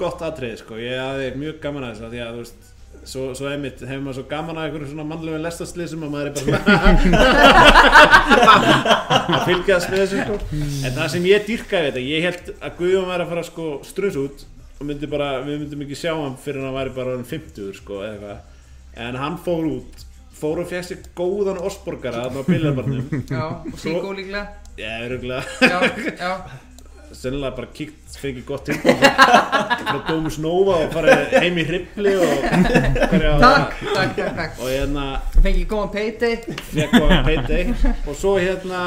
[SPEAKER 5] gott atrið sko ég hafði mjög gaman að þessu af því að þú veist Svo, svo einmitt, hefur maður svo gaman að einhverjum svona mannlegum lestastlið sem að maður er bara svona að fylgjast með þessu sko. En það sem ég dýrkaði við þetta, ég held að Guðjón væri að fara sko strunns út og myndi bara, við myndum ekki sjá hann fyrir hann væri bara orðinn 50 sko eða eitthvað En hann fór út, fór og fjæst sér góðan osborgara þarna á biljarbarnum
[SPEAKER 2] Já, og Sigó líklega
[SPEAKER 5] Ég er örgulega,
[SPEAKER 2] Já, já
[SPEAKER 5] sennilega bara kíkt, fengið gott tilbúð frá Dómus Nova og farið heim í hrifli og hverja á
[SPEAKER 2] Takk, takk, takk, takk
[SPEAKER 5] Og hérna,
[SPEAKER 2] Fengi ég góðan payday
[SPEAKER 5] fekk á payday og svo hérna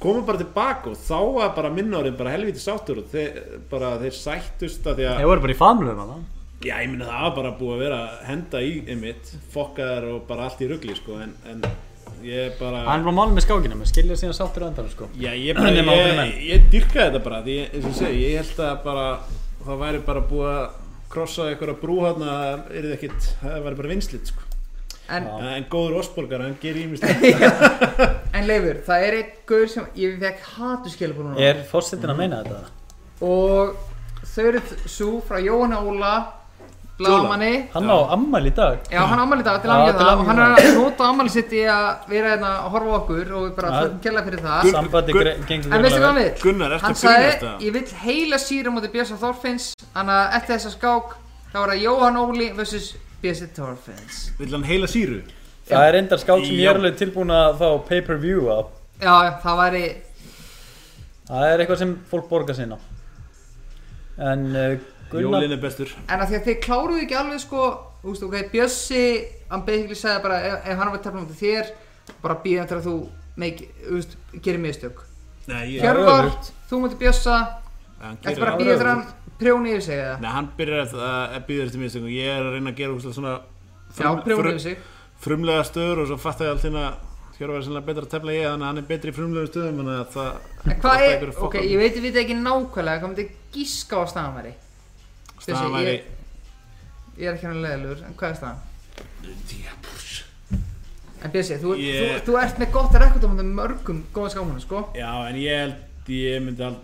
[SPEAKER 5] komum bara tilbaka og þá var bara minnárin bara helvítið sáttur og þeir, bara þeir sættust að því að
[SPEAKER 6] Ég voru bara í famlum að það
[SPEAKER 5] já ég minna það var bara búið að vera að henda í einmitt, fokkaðar og bara allt í rugli sko en, en ég bara
[SPEAKER 6] Hann var málum með skákina, menn skilja síðan sáttur á endanum sko
[SPEAKER 5] já ég bara,
[SPEAKER 6] Nema ákveðnir
[SPEAKER 5] ég,
[SPEAKER 6] menn.
[SPEAKER 5] ég dyrkaði þetta bara því ég, eins og ég segi, ég held að bara það væri bara búið að krossa einhverja brú hann að það yrði ekkit það væri bara vinslit sko
[SPEAKER 2] En,
[SPEAKER 5] en góður Osborgar, hann gerir ímist
[SPEAKER 2] en Leifur, það er einn guður sem ég fekk hatu skilabúr núna
[SPEAKER 6] Er forsetin að meina þetta?
[SPEAKER 2] Og þau eru svo frá Jóhanna Óla Blamanni
[SPEAKER 6] Hann á ammæli í dag
[SPEAKER 2] Já, hann ámæli dag til
[SPEAKER 6] Já,
[SPEAKER 2] að
[SPEAKER 6] til
[SPEAKER 2] það og
[SPEAKER 6] hamingju
[SPEAKER 2] hann
[SPEAKER 6] með
[SPEAKER 2] er að nota ámæli sitt í að vera hérna að horfa á okkur og við bara
[SPEAKER 6] Já.
[SPEAKER 2] þökkum kella fyrir það
[SPEAKER 6] Sambandi
[SPEAKER 5] Gu-
[SPEAKER 6] gre- gengur
[SPEAKER 2] En veistu
[SPEAKER 6] verulega
[SPEAKER 2] hvað hann vill?
[SPEAKER 5] Gunnar, ertu
[SPEAKER 2] Hann
[SPEAKER 5] að
[SPEAKER 2] sagði,
[SPEAKER 5] grínast það?
[SPEAKER 2] ég vill heila síra mútið Björsa Þorfinns Þannig að eftir þessa skák þá var það Jóhann Óli vs. Björsa Þorfinns
[SPEAKER 5] Vill hann heila síru?
[SPEAKER 6] vel. Það er endar skák sem ég
[SPEAKER 5] Já.
[SPEAKER 6] er alveg tilbúin að fá pay-per-view á
[SPEAKER 2] Já, já, það væri
[SPEAKER 6] Það er eitthvað sem fólk borgar sinna En uh, Gunnar
[SPEAKER 5] Jólin er bestur
[SPEAKER 2] En að því að þið kláruðu ekki alveg sko Þú veist, ok, Bjössi Hann basically sagði bara, ef, ef hann var tefnum til þér Bara býða til að þú make, þú veist, gerir mistök
[SPEAKER 5] Nei, ég,
[SPEAKER 2] Hjörvar,
[SPEAKER 6] öfugt.
[SPEAKER 2] þú mútið Bjössa
[SPEAKER 5] hann
[SPEAKER 2] Þetta
[SPEAKER 5] gerir
[SPEAKER 2] bara
[SPEAKER 5] það
[SPEAKER 2] býða til að hann prjóni yfir sig eða
[SPEAKER 5] Nei, hann byrjar að, að býða eftir mér og ég er að reyna að gera úrslega svona
[SPEAKER 2] Já, prjóni yfir sig
[SPEAKER 5] frumlega stöður og svo fatta ég allt hérna Hjörvar er sennilega betra að tefla en ég þannig að hann er betri í frumlega stöðum þannig að það
[SPEAKER 2] En hvað
[SPEAKER 5] þetta
[SPEAKER 2] er,
[SPEAKER 5] einhverju
[SPEAKER 2] ok,
[SPEAKER 5] fokkan.
[SPEAKER 2] ég veit, ég veit ekki nákvæmlega Hvað myndi gíska á að staðan væri
[SPEAKER 5] staðan væri
[SPEAKER 2] ég- Ég er ekki hann leðilegur, en hvað er staðan? En Bjössi, þú, þú,
[SPEAKER 5] Ég-
[SPEAKER 2] þú ert með gott rekordum með mörgum góða skámanum, sko
[SPEAKER 5] Já, en ég held ég myndi al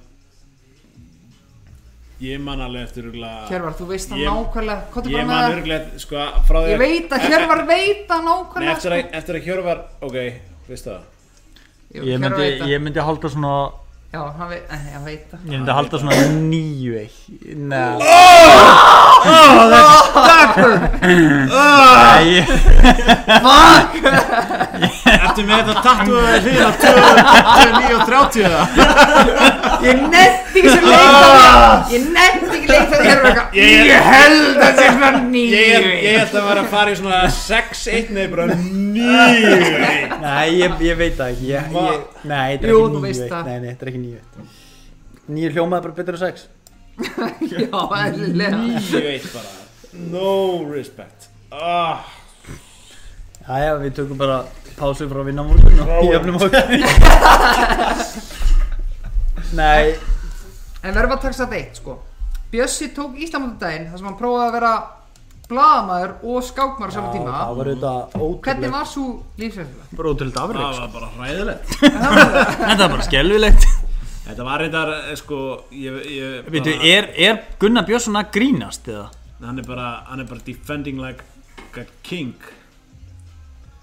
[SPEAKER 5] Ég man alveg eftir örgulega
[SPEAKER 2] Hjörvar, þú veist það
[SPEAKER 5] Ég-
[SPEAKER 2] nákvæmlega Hvað er
[SPEAKER 5] Ég
[SPEAKER 2] bara
[SPEAKER 5] man
[SPEAKER 2] með það?
[SPEAKER 5] örgulega, sko, frá því
[SPEAKER 2] Ég veit að Hjörvar veit það
[SPEAKER 5] Nei,
[SPEAKER 2] nákvæmlega
[SPEAKER 5] eftir að, eftir að Hjörvar, ok, veist það
[SPEAKER 2] sko.
[SPEAKER 6] Ég myndi,
[SPEAKER 2] Hjörvar veit það.
[SPEAKER 6] ég myndi halda svona
[SPEAKER 2] Já, hann veit, eh, ég veit það
[SPEAKER 4] Ég myndi að halda svona nýju eitt Nei Nei, ég-
[SPEAKER 5] Ertu með þetta tattuðaði hlýða 29 og 30 eða?
[SPEAKER 2] Ég nefndi ekki sem leikþátt Ég nefndi ekki leikþátt Ég er bara eitthvað
[SPEAKER 5] Ég er-
[SPEAKER 2] Ég held að sé svona nýju
[SPEAKER 5] Ég er- ég held að vera að fara í svona 6-1 nei bara 9
[SPEAKER 4] nei ég, ég veit það ekki ég, ég, Nei, þetta er
[SPEAKER 2] Jú,
[SPEAKER 4] ekki
[SPEAKER 2] þú veist
[SPEAKER 4] nýju eitt
[SPEAKER 2] það.
[SPEAKER 4] Nei, nei, þetta er ekki nýju eitt Nýju hljómaði bara betur en sex
[SPEAKER 2] Já, eðlilega
[SPEAKER 5] 9-1 bara No respect Ah,
[SPEAKER 4] Jæja, við tökum bara pásu frá vinna á morgun og jöfnum okkur Nei,
[SPEAKER 2] En verðum að taka þetta eitt sko Bjössi tók Íslamundardaginn þar sem hann prófaði að vera blaðamaður og skákmaður á sama
[SPEAKER 4] Já,
[SPEAKER 2] tíma
[SPEAKER 4] það var auðvitað
[SPEAKER 2] Hvernig
[SPEAKER 4] ótrúlega
[SPEAKER 2] var svo lífsreiflega?
[SPEAKER 4] Bara ótrúlega afrið
[SPEAKER 5] það var bara hræðilegt
[SPEAKER 4] Þetta var bara skelvilegt
[SPEAKER 5] Þetta var reyndar, eh, sko ég, ég,
[SPEAKER 4] Veitu,
[SPEAKER 5] bara,
[SPEAKER 4] er, er Gunnar Björnsson að grínast eða?
[SPEAKER 5] hann, er bara, hann er bara defending like a king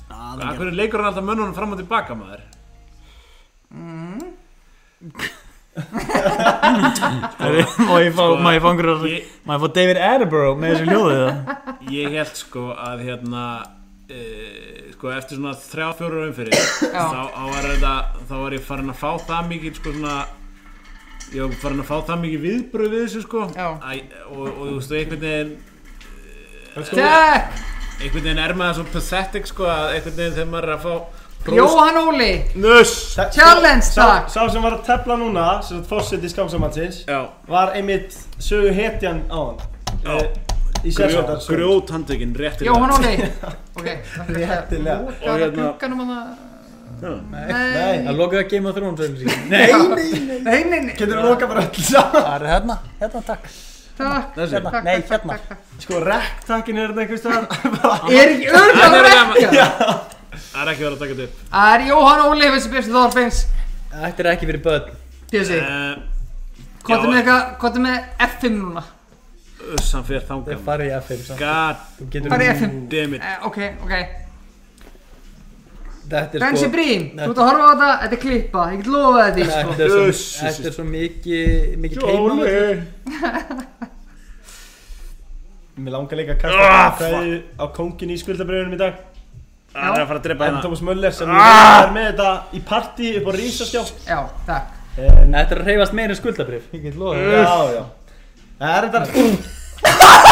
[SPEAKER 4] Ná,
[SPEAKER 5] Akkur er leikur hann alltaf mönnunum fram og tilbaka maður
[SPEAKER 4] Má ég fá, má ég fá einhverjar
[SPEAKER 5] Ég-
[SPEAKER 4] Má Sko, ég fá David Attenborough með þessu hljóðu það?
[SPEAKER 5] Ég held sko að hérna Uh, sko eftir svona þrjá fjóru raun fyrir þá, þá, var þetta, þá var ég farin að fá það mikið sko svona ég var farin að fá það mikið viðbröð við þessu sko
[SPEAKER 2] Já.
[SPEAKER 5] Æ, og, og þú veist einhvern veginn
[SPEAKER 2] Takk!
[SPEAKER 5] einhvern veginn er maður svo pathetic sko að einhvern veginn þegar maður er að fá
[SPEAKER 2] Jóhann Óli
[SPEAKER 5] Nuss
[SPEAKER 2] Challenge
[SPEAKER 3] Sá,
[SPEAKER 2] takk
[SPEAKER 3] sá sem var að tefla núna, sem sagt fórseti skámsamannsins,
[SPEAKER 5] Já,
[SPEAKER 3] var einmitt sögu hetjan á hann.
[SPEAKER 5] Já.
[SPEAKER 3] Eh, Í sérstakar sögu.
[SPEAKER 5] grjót handtökin rétt
[SPEAKER 2] Jóhann Óli Ok takk fyrir þetta.
[SPEAKER 3] Réttilega.
[SPEAKER 2] Lokaðu
[SPEAKER 5] Og hérna-
[SPEAKER 2] glugganum að
[SPEAKER 3] Nei.
[SPEAKER 2] það
[SPEAKER 4] Það lokaði að Game of Thrones einu sín Nei,
[SPEAKER 2] Nei, nei, nei
[SPEAKER 3] Getur þú lokað bara öll saman?
[SPEAKER 4] það er hérna, hérna takk
[SPEAKER 2] Takk
[SPEAKER 5] Þessi.
[SPEAKER 2] takk, takk,
[SPEAKER 4] Nei,
[SPEAKER 2] takk,
[SPEAKER 4] hérna.
[SPEAKER 2] takk, takk.
[SPEAKER 3] Sko, rektakinn er þetta einhvers staðar. Bara-
[SPEAKER 2] Er ekki örgulega
[SPEAKER 5] Þetta er
[SPEAKER 2] að rekja?
[SPEAKER 5] Það er ekki verið að taka þetta upp
[SPEAKER 2] Það er Jóhann Óli Þessi Bjössi Þorfinns
[SPEAKER 4] Þetta er ekki fyrir börn
[SPEAKER 2] Bjössi
[SPEAKER 5] uh,
[SPEAKER 2] Kottu með eitthvað Kottu með F5 núna
[SPEAKER 5] Uss, hann fer
[SPEAKER 4] Það
[SPEAKER 5] þangað
[SPEAKER 4] farið í F5 samt.
[SPEAKER 5] God
[SPEAKER 4] Þú getur
[SPEAKER 2] Hvað er F5?
[SPEAKER 5] damn it
[SPEAKER 2] Eh, Ok, ok
[SPEAKER 4] Þetta er
[SPEAKER 2] Bensi
[SPEAKER 4] sko
[SPEAKER 2] Brím,
[SPEAKER 4] Nei.
[SPEAKER 2] þú ert að horfa á þetta, þetta er klippa, ég get lofað þetta í sko.
[SPEAKER 4] Þetta er svo,
[SPEAKER 5] Jesus.
[SPEAKER 4] þetta er svo mikið Mikið teima
[SPEAKER 3] Mér langar líka að kasta kveðju á kóngin í skuldabröfunum í dag.
[SPEAKER 5] Það er að fara að drepa
[SPEAKER 3] En
[SPEAKER 5] hérna
[SPEAKER 3] Thomas Möller sem er með þetta í partí upp á Rísaskjá.
[SPEAKER 2] Já, takk.
[SPEAKER 3] En,
[SPEAKER 4] Þetta er að reyfast meira en skuldabrif Ég get loðið
[SPEAKER 3] já, já. Það er þetta...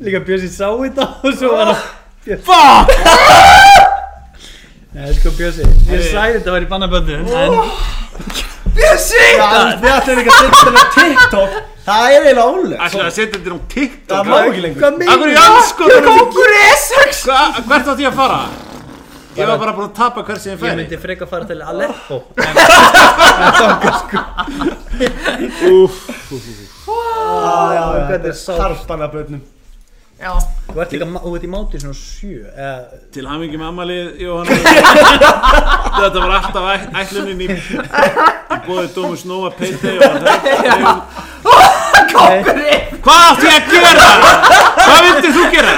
[SPEAKER 4] Líka Björnsi sá þetta og svo var það Fuck Nei, sko Björnsi, ég sagði þetta var í bannaböndin En
[SPEAKER 3] Já, Þetta er líka setjum þetta á TikTok. Það er eiginlega ólega.
[SPEAKER 5] Ætlaði að setja þetta um TikTok
[SPEAKER 3] Það má ekki lengur.
[SPEAKER 4] hvað
[SPEAKER 5] Akkur í
[SPEAKER 4] meina?
[SPEAKER 5] anskotunum
[SPEAKER 2] Kókur S6!
[SPEAKER 5] Hva- Hvert átt ég að fara? Ég var bara búin að tapa hvert sem ég
[SPEAKER 4] Ég
[SPEAKER 5] færi
[SPEAKER 4] myndi freka að fara til Aleppo
[SPEAKER 3] Já, já,
[SPEAKER 4] Ah, Þetta
[SPEAKER 3] þetta
[SPEAKER 4] er
[SPEAKER 3] er
[SPEAKER 4] sárt.
[SPEAKER 3] harpan af börnum.
[SPEAKER 2] Já,
[SPEAKER 4] Þú ert líka, þú ert í mátu svona sjö eða-
[SPEAKER 5] Til hamingi með ammalið, Jóhann Þetta var alltaf æ- ætlunin í í bóði Dómus Nova Payday og það
[SPEAKER 2] kókur S!
[SPEAKER 5] Hvað átti ég að gera? Hvað vildir þú gera?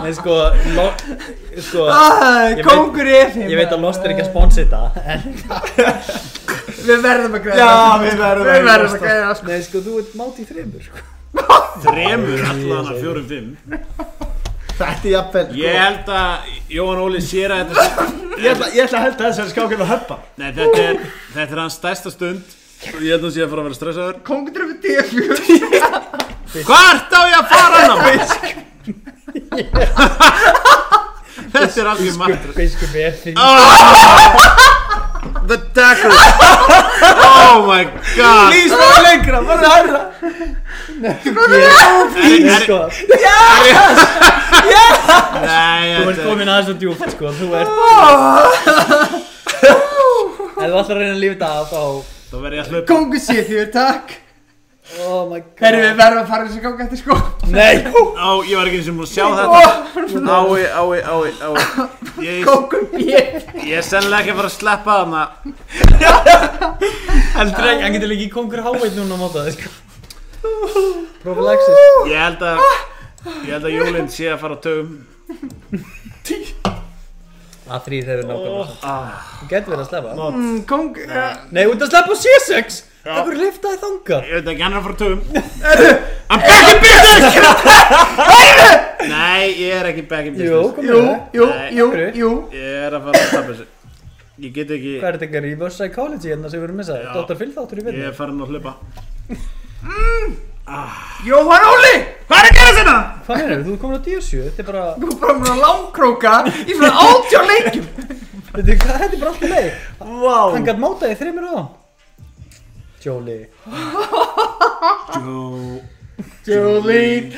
[SPEAKER 4] Nei, sko, lo, sko Ég veit-
[SPEAKER 2] Kókur S!
[SPEAKER 4] Ég veit að Lost er hérna. ekki að sponsa þetta en-
[SPEAKER 2] Við verðum að greiða. Já, við verðum að greiða. Við verðum að greiða, sko.
[SPEAKER 4] Nei, sko, þú ert mátu í þreymur sko.
[SPEAKER 5] Þremur allan að fjórum fimm
[SPEAKER 3] Þetta er jafnvel.
[SPEAKER 5] Ég held að Jóhann Óli sér að þetta
[SPEAKER 3] Ég ætla, ég ætla að held að þessari skákinn að höppa.
[SPEAKER 5] Nei, þetta er, þetta er hans stærsta stund og Ég held að hann sé að fara að vera stressaður
[SPEAKER 2] Kókur dröfum D4.
[SPEAKER 5] Hvart á ég að fara hann á? Þetta er algjör matur
[SPEAKER 4] Biskup er því
[SPEAKER 5] The dagger Oh my god
[SPEAKER 4] Please, það er lengra, bara það hærra
[SPEAKER 5] Please
[SPEAKER 4] Sko,
[SPEAKER 5] Nei,
[SPEAKER 4] þú ert
[SPEAKER 5] þetta
[SPEAKER 4] komin aðeins og djúpt, sko Þú ert Ef þú ætlar að reyna að lífa þetta af, þá
[SPEAKER 5] Þá verð ég að hlupa
[SPEAKER 2] Kókur C4, takk.
[SPEAKER 4] Oh my god
[SPEAKER 2] Herri, við verðum að fara þessu gangi eftir sko.
[SPEAKER 4] Nei
[SPEAKER 5] Á, ég var ekki eins og múin að sjá þetta Ái, ái, ái, ái Ég,
[SPEAKER 2] Kókur B.
[SPEAKER 5] ég er sennilega ekki að fara að sleppa þarna
[SPEAKER 4] Heldur ekki, hann getur líka í kongur háveit núna á móta það, sko Prophylaxis
[SPEAKER 5] Ég held að Ég held að Jólin sé að fara á taugum
[SPEAKER 4] að þrýr hefur nákvæmlega oh, Þú getur verið að slefa
[SPEAKER 2] Mm, Kong, ja.
[SPEAKER 4] Nei, út að slefa á C6 Það verður liftaði þangað
[SPEAKER 5] Ég veit ekki, hann er að fara töfum I'm back in business! Nei, ég er ekki back in
[SPEAKER 4] Jú,
[SPEAKER 5] business
[SPEAKER 4] komið
[SPEAKER 2] jú, jú, jú,
[SPEAKER 5] Nei,
[SPEAKER 4] af hverju?
[SPEAKER 2] jú
[SPEAKER 5] Ég er að fara að tapa þessu Ég get ekki,
[SPEAKER 4] Hvað er þetta eitthvað reverse psychology hérna sem við erum missað?
[SPEAKER 5] Já.
[SPEAKER 4] Dr. Phil þáttur í
[SPEAKER 5] ég
[SPEAKER 4] vinnu
[SPEAKER 5] er farin að hlupa
[SPEAKER 2] Jóhann Óli, hvað er að gera þetta?
[SPEAKER 4] Hvað er þetta? Þú komur á D7 Þetta er bara,
[SPEAKER 2] Þú er bara búin að langkróka í svona átjón leikjum
[SPEAKER 4] þetta er hvað- þetta er bara alltaf leið
[SPEAKER 3] Vá
[SPEAKER 4] Hann gætt mótaði þreymir á Jóli
[SPEAKER 2] Jolene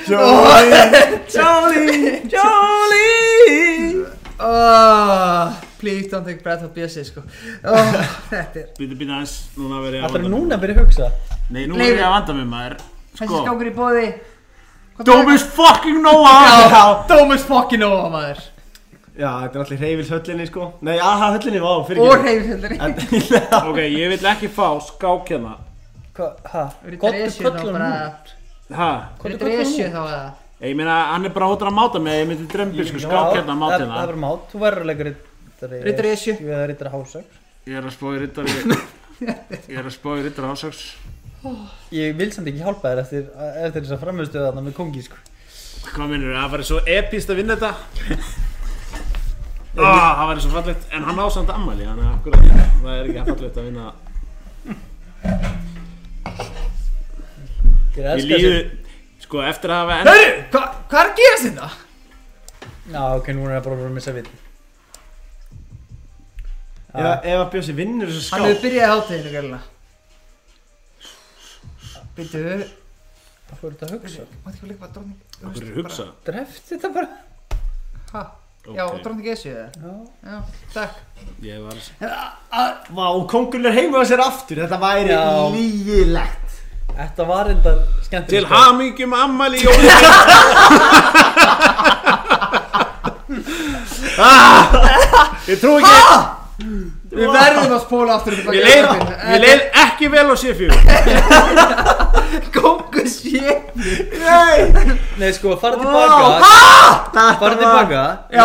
[SPEAKER 2] Jolene Jolene Oh, please don't take breath of BSC sko oh, Þetta er
[SPEAKER 5] Býta, býta aðeins, núna verð ég að
[SPEAKER 4] Þetta er
[SPEAKER 5] vanda mig
[SPEAKER 4] núna að byrja að hugsa
[SPEAKER 5] Nei, nú
[SPEAKER 2] Leifur.
[SPEAKER 5] verð ég að vanda mig maður
[SPEAKER 2] Þessi
[SPEAKER 5] Sko,
[SPEAKER 2] skákur í bóði
[SPEAKER 5] Domus fucking Noah
[SPEAKER 2] Já, Dómus fokkin óa maður
[SPEAKER 3] Já, þetta er allir hreyfils höllinni sko Nei, aha höllinni, vá, fyrir
[SPEAKER 2] Og reyfisöldur
[SPEAKER 5] Ok, ég vil ekki fá skák hérna
[SPEAKER 4] Hvað?
[SPEAKER 2] Gott
[SPEAKER 4] Gottu kollan
[SPEAKER 2] nú
[SPEAKER 4] hún
[SPEAKER 5] Ha?
[SPEAKER 2] Hvað er
[SPEAKER 4] Gottu kollan
[SPEAKER 2] dresju
[SPEAKER 4] hún
[SPEAKER 2] þá eða?
[SPEAKER 5] Ég meina, hann er bara hóttur að máta mig Ég myndi drömbi, sko, skák hérna að máta
[SPEAKER 4] Það það er
[SPEAKER 5] hérna
[SPEAKER 4] bara mát, þú verður að leika rittari
[SPEAKER 2] Riddari Esju.
[SPEAKER 4] Eða rittari hásak
[SPEAKER 5] Ég er að spá í rittari Ég er að spá í rittari ásaks
[SPEAKER 4] Ég vil samt ekki hjálpa þér eftir, eftir þess að framhustuða þarna með kongi sko
[SPEAKER 5] Hvað minnur, það væri svo epíst að vinna þetta Ah, það væri svo fallegt En hann á samt ammæli, þannig að akkur að það er ekki fallegt að vinna
[SPEAKER 4] Ég
[SPEAKER 5] Ég
[SPEAKER 4] elska
[SPEAKER 5] líðu,
[SPEAKER 4] þessi-
[SPEAKER 5] sko, eftir að hafa
[SPEAKER 2] Hörru, hva, hvað er að gera þetta?
[SPEAKER 4] Já, ok, nú er það bara að vera að missa vitt
[SPEAKER 3] Ef
[SPEAKER 4] Ah,
[SPEAKER 3] ef að Bjössi vinnur þessu
[SPEAKER 2] Hann hefur
[SPEAKER 3] skák
[SPEAKER 2] byrjaði háteginu gæluna Býttu,
[SPEAKER 4] Hvað er þetta að hugsa?
[SPEAKER 2] maður ekki að leika bara dróning
[SPEAKER 5] Akkur er hugsa
[SPEAKER 4] Dreft þetta bara
[SPEAKER 2] Ha, já,
[SPEAKER 5] Ok.
[SPEAKER 2] dróning Esju eða?
[SPEAKER 4] Já
[SPEAKER 2] Já, takk
[SPEAKER 5] Ég var
[SPEAKER 3] Vá, kongurinn er heima á sér aftur Þetta væri
[SPEAKER 4] Já.
[SPEAKER 3] lígilegt
[SPEAKER 4] Þetta var enda skemmtilegt
[SPEAKER 5] Til
[SPEAKER 4] sko.
[SPEAKER 5] hamingjum ammæli, Jóni Ég trú ekki
[SPEAKER 2] Við verðum að spóla aftur upp
[SPEAKER 5] Ég leið, ég leið ekki vel á C4
[SPEAKER 2] Kongur sé
[SPEAKER 4] Nei, sko, farið tilbaka Farið tilbaka
[SPEAKER 2] Já,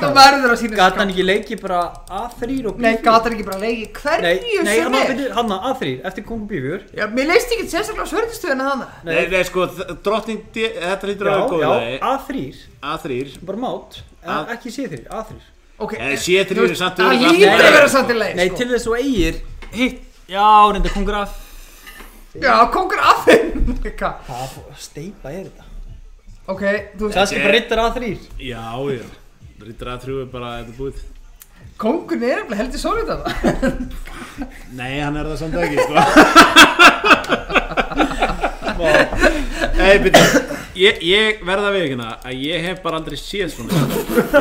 [SPEAKER 2] það verður að sína
[SPEAKER 4] Gat hann ekki leiki bara A3 og B4
[SPEAKER 2] Nei, gata hann ekki bara að leiki
[SPEAKER 4] Nei,
[SPEAKER 2] hverju
[SPEAKER 4] nei, hann
[SPEAKER 2] sem er
[SPEAKER 4] byrju, hann A3 Eftir kongi B4
[SPEAKER 2] Já, mér leist ekki sérstaklega svörðistöðuna þannig
[SPEAKER 5] Nei, nei, sko, þ- drottning, D- þetta lítur
[SPEAKER 4] Já,
[SPEAKER 5] að vera góð
[SPEAKER 4] já,
[SPEAKER 5] lagi.
[SPEAKER 4] A3
[SPEAKER 5] A3
[SPEAKER 4] Bara mát,
[SPEAKER 5] A-
[SPEAKER 4] ekki C3, A3
[SPEAKER 2] Ok,
[SPEAKER 5] Nei, C3 er Eh, samt
[SPEAKER 2] Það
[SPEAKER 5] örugglega
[SPEAKER 2] lítur
[SPEAKER 5] alltaf
[SPEAKER 2] að vera
[SPEAKER 5] leið,
[SPEAKER 2] samt í leið
[SPEAKER 4] Nei,
[SPEAKER 2] sko.
[SPEAKER 4] til þess og eigir
[SPEAKER 8] Hitt, já, reynda kongur af
[SPEAKER 2] Já, kongur af þeim Ka-
[SPEAKER 4] Hvað steipa er þetta?
[SPEAKER 2] Ok, þú veist
[SPEAKER 4] Kannski bara rittar A3
[SPEAKER 5] Já, já Rittur A3 er bara, þetta er búið
[SPEAKER 2] Kongurinn er eftir heldur sólið þetta
[SPEAKER 5] Nei, hann er það samt ekki, sko Nei, byrju Ég, ég verða við ekki að ég hef bara aldrei séð svona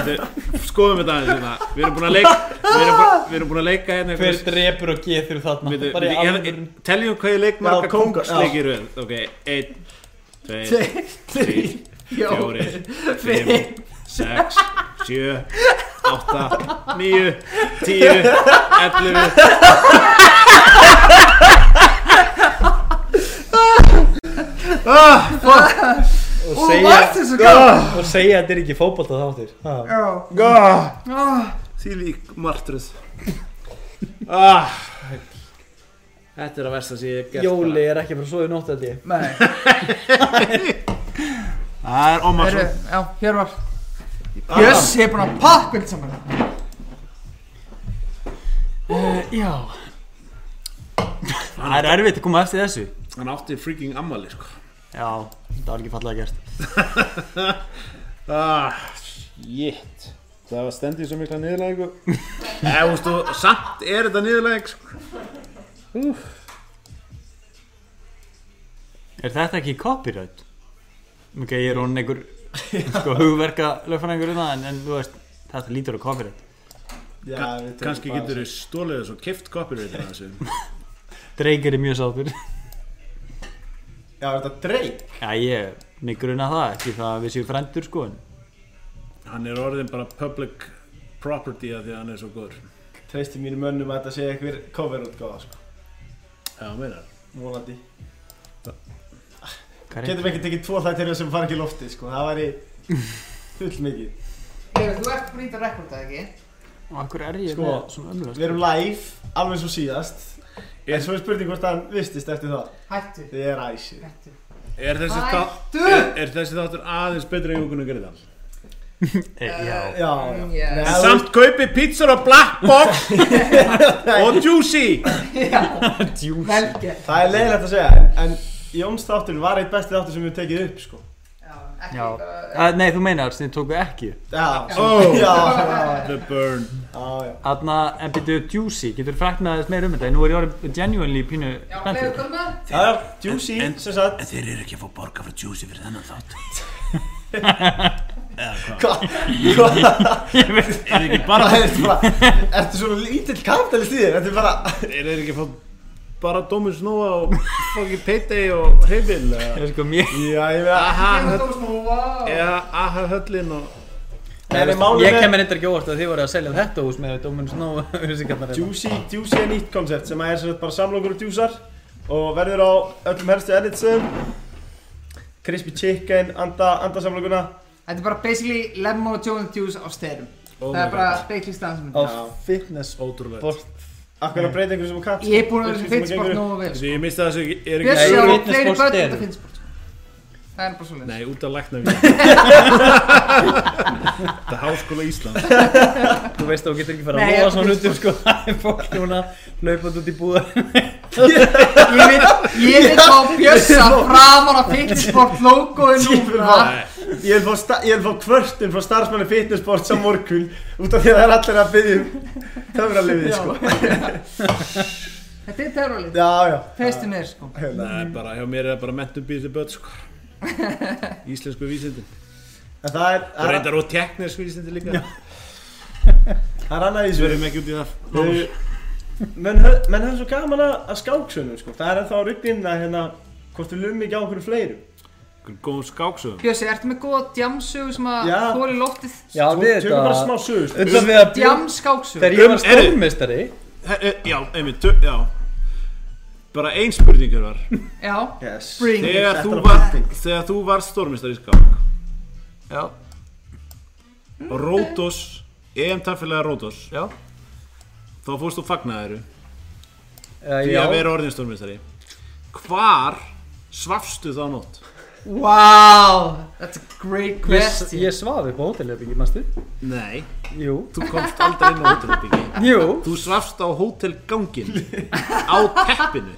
[SPEAKER 5] Þetta- Skoðum þetta aðeins hérna Við erum búin að leika Við erum, búin- við erum búin að leika hérna
[SPEAKER 4] Hver drepur og getur þarna
[SPEAKER 5] Byrju,
[SPEAKER 4] Bara í
[SPEAKER 5] ég-
[SPEAKER 4] alvöru
[SPEAKER 5] ég- Teljum hvað ég leik marga
[SPEAKER 3] Já, kónga,
[SPEAKER 5] kóngsleikir við Ok, einn, tveir,
[SPEAKER 2] Tveir,
[SPEAKER 5] þrír,
[SPEAKER 2] Jó,
[SPEAKER 5] fjórir, fimm, sex, sjö, átta, níu, tíu, ellefu
[SPEAKER 4] Og
[SPEAKER 2] og
[SPEAKER 4] segja, Ah.
[SPEAKER 2] varst þessu gaf
[SPEAKER 4] og segja að þetta er ekki fótbolta þáttir Ha.
[SPEAKER 2] Já
[SPEAKER 5] Því lík martruð ah, Þetta er að versta sem ég hef gert
[SPEAKER 4] Jóli er ekki bara svo í nótt að því
[SPEAKER 2] Nei,
[SPEAKER 5] Það er
[SPEAKER 2] heru,
[SPEAKER 5] Ómarsson
[SPEAKER 2] já, hér var Jöss, ég er búin að pakka þetta saman
[SPEAKER 8] Já Það er erfitt að koma eftir þessu
[SPEAKER 5] Hann átti freaking ammali sko
[SPEAKER 8] Já, þetta var ekki fallega gert
[SPEAKER 5] ah, Shit Það var stendið svo mikla niðurlæðingu Eða, þú veistu, samt er þetta niðurlæðing sko.
[SPEAKER 8] Er þetta ekki copyright? Ok, ég er hún einhver sko, hugverka lögfræðingur um það en, en þú veist, þetta lítur á copyright
[SPEAKER 5] Kanski getur þið stólið þessu og keift copyright af þessu
[SPEAKER 8] Dreikir er mjög sáttur
[SPEAKER 3] Já, er þetta dreik
[SPEAKER 8] Já, ég, mig gruna það, ekki það að við séum frendur sko en
[SPEAKER 5] Hann er orðin bara public property að því að hann er svo góður
[SPEAKER 3] Treysti mínu mönnum að þetta sé einhver cover útgáða sko
[SPEAKER 5] Já, meinar
[SPEAKER 3] Vonandi
[SPEAKER 8] hvað er
[SPEAKER 3] Getum ekki tekið tvo það til þess sem fara ekki í lofti sko Það væri full mikið
[SPEAKER 2] Leifur, þú ert búin að rekorda, ekki?
[SPEAKER 4] Og akkur er ég
[SPEAKER 3] Sko,
[SPEAKER 4] með svona ömlust
[SPEAKER 3] Við erum live, alveg svo síðast En svo er spurning hvort hann vistist eftir það
[SPEAKER 2] Hættu,
[SPEAKER 3] Þið er æsir
[SPEAKER 2] hættu
[SPEAKER 5] Er þessi, þa
[SPEAKER 2] Hættu!
[SPEAKER 5] er, er þessi þáttur aðeins betri en Jókunum Gerdal?
[SPEAKER 4] Eh,
[SPEAKER 1] Eh,
[SPEAKER 4] Já,
[SPEAKER 3] Já,
[SPEAKER 2] Mm,
[SPEAKER 3] já
[SPEAKER 2] yes.
[SPEAKER 3] Nei, þú-
[SPEAKER 5] Samt kaupi pizzur á Black Box og Juicy
[SPEAKER 2] Velgert
[SPEAKER 3] Það er leiðilegt að segja en- En Jóns þáttur var eitt besti þáttur sem við tekið upp sko
[SPEAKER 2] Já, ekki
[SPEAKER 4] Já.
[SPEAKER 2] bara-
[SPEAKER 4] Eh, Nei, þú meinar, sem þið tóku ekki
[SPEAKER 3] Já,
[SPEAKER 5] Oh.
[SPEAKER 3] já, já,
[SPEAKER 5] The Burn
[SPEAKER 3] já, já.
[SPEAKER 4] Þarna, en byrjuðu Juicy, getur þú frækt með aðeins meira um þetta Nú er ég orðið genuinely pínu
[SPEAKER 2] Já, leiðu
[SPEAKER 4] spenntur
[SPEAKER 2] komið með
[SPEAKER 3] Já, já, juicy,
[SPEAKER 5] En- en-
[SPEAKER 3] sem sagt
[SPEAKER 5] En þeir eru ekki að fá borga frá Juicy fyrir þennan þátt
[SPEAKER 3] Hvað, hvað,
[SPEAKER 5] Er þeir ekki
[SPEAKER 3] bara,
[SPEAKER 5] bara
[SPEAKER 3] heyrðu bara Ertu svona lítill kapitalist í þér, þetta er bara
[SPEAKER 5] Er þeir ekki að fá bara Dómus Nóa og fucking Payday og Hreyfil
[SPEAKER 4] Ég sko, mér
[SPEAKER 3] Já, ég veit að
[SPEAKER 5] Aha,
[SPEAKER 2] Ég
[SPEAKER 5] höll,
[SPEAKER 2] var dómst nú, vá
[SPEAKER 5] eða aha höllin og
[SPEAKER 3] En er málið
[SPEAKER 1] Ég
[SPEAKER 3] er-
[SPEAKER 1] kemur reyndar ekki óvart að þið voru að selja þetta hús með Dóminus Nóa auðvisingarnar
[SPEAKER 3] Juicy, Juicy er nýtt koncept sem er sem sagt bara samlokur og juicar um og verður á öllum helstu editsum Crispy Chicken, anda, anda samlokuna
[SPEAKER 2] Þetta er bara basically lemon og joint juice á styrum Það er bara basically staðan sem
[SPEAKER 1] Á
[SPEAKER 2] þetta
[SPEAKER 1] fitness
[SPEAKER 5] Ótrúlega
[SPEAKER 1] Bolt
[SPEAKER 3] Akkur að breyta einhverjum sem er katt
[SPEAKER 2] Ég er búin að vera sem finnst bort
[SPEAKER 3] nú
[SPEAKER 2] nógu vel
[SPEAKER 5] Þessi ég misti þessu er ekki
[SPEAKER 2] Bjössi
[SPEAKER 1] Nei,
[SPEAKER 2] á
[SPEAKER 1] fitness
[SPEAKER 2] fleiri
[SPEAKER 1] sport
[SPEAKER 2] börn
[SPEAKER 1] sterum.
[SPEAKER 2] þetta finnst bort Það er bara svo
[SPEAKER 5] Nei, út af lækna við Þetta er háskóla Ísland
[SPEAKER 1] Þú veist að þú getur ekki fara
[SPEAKER 2] Nei,
[SPEAKER 1] að
[SPEAKER 2] ég-
[SPEAKER 1] hóa svona hlutum sko Það er fólk núna hlaupand út í búða
[SPEAKER 2] Ég vil- Ég vil fá Bjössa framan á fitness sport logoið núna
[SPEAKER 3] Ég vil fá, sta- ég vil fá kvörtun frá starfsmanni fitnessport sem morgun út af því að það er allir að byggja um töfralifið sko
[SPEAKER 2] Þetta er terrorlið
[SPEAKER 3] Já, já
[SPEAKER 2] Feistu mér sko
[SPEAKER 5] Nei, bara hjá mér er það bara mentum býðið börn sko Íslensku vísindin
[SPEAKER 3] En það er,
[SPEAKER 5] Og
[SPEAKER 3] það er,
[SPEAKER 5] reyndar og teknisku vísindin líka
[SPEAKER 3] það er annað í
[SPEAKER 5] Við
[SPEAKER 3] þessu
[SPEAKER 5] erum ekki út í það
[SPEAKER 3] Þau- Menn hö- menn höfðu svo gaman að að skáksunum sko Það er ennþá rugginn að hérna hvort við lumum ekki á okkur fleirum
[SPEAKER 5] Okkur Góðum skáksöðum
[SPEAKER 2] Bjössi, ertu með góða djamsögu sem að
[SPEAKER 3] Já.
[SPEAKER 2] þóli loftið?
[SPEAKER 1] Já,
[SPEAKER 3] Þú-
[SPEAKER 1] við
[SPEAKER 3] Tökum bara smá
[SPEAKER 1] þetta
[SPEAKER 3] sögur sko.
[SPEAKER 1] Undan við að bjóð
[SPEAKER 2] Djamskáksögu
[SPEAKER 1] Þegar ég
[SPEAKER 5] Um,
[SPEAKER 1] var
[SPEAKER 5] heyrðu.
[SPEAKER 1] stórmeistari
[SPEAKER 5] Já, einmitt, tö- já Bara ein spurning hér var
[SPEAKER 2] Já
[SPEAKER 3] Yes
[SPEAKER 2] Bring it.
[SPEAKER 5] Þegar
[SPEAKER 3] Þetta
[SPEAKER 5] þú
[SPEAKER 3] var
[SPEAKER 5] var,
[SPEAKER 3] pynting.
[SPEAKER 5] þegar þú var stórmistar í skák
[SPEAKER 4] Já,
[SPEAKER 5] Rótos, EM tafélaga Rótos
[SPEAKER 4] já
[SPEAKER 5] Þá fórst þú fagnaðiru
[SPEAKER 1] Eh,
[SPEAKER 5] Því
[SPEAKER 1] já.
[SPEAKER 5] að vera orðin stórmistari Hvar svafstu þá nótt?
[SPEAKER 2] Wow That's a great
[SPEAKER 1] Ég,
[SPEAKER 2] question
[SPEAKER 1] ég svaf upp á hótelherbyggi, manstu?
[SPEAKER 5] Nei
[SPEAKER 1] Jú
[SPEAKER 5] Þú komst aldrei inn á hótelherbyggi
[SPEAKER 1] Jú
[SPEAKER 5] Þú svafst á hótelgangin Á teppinu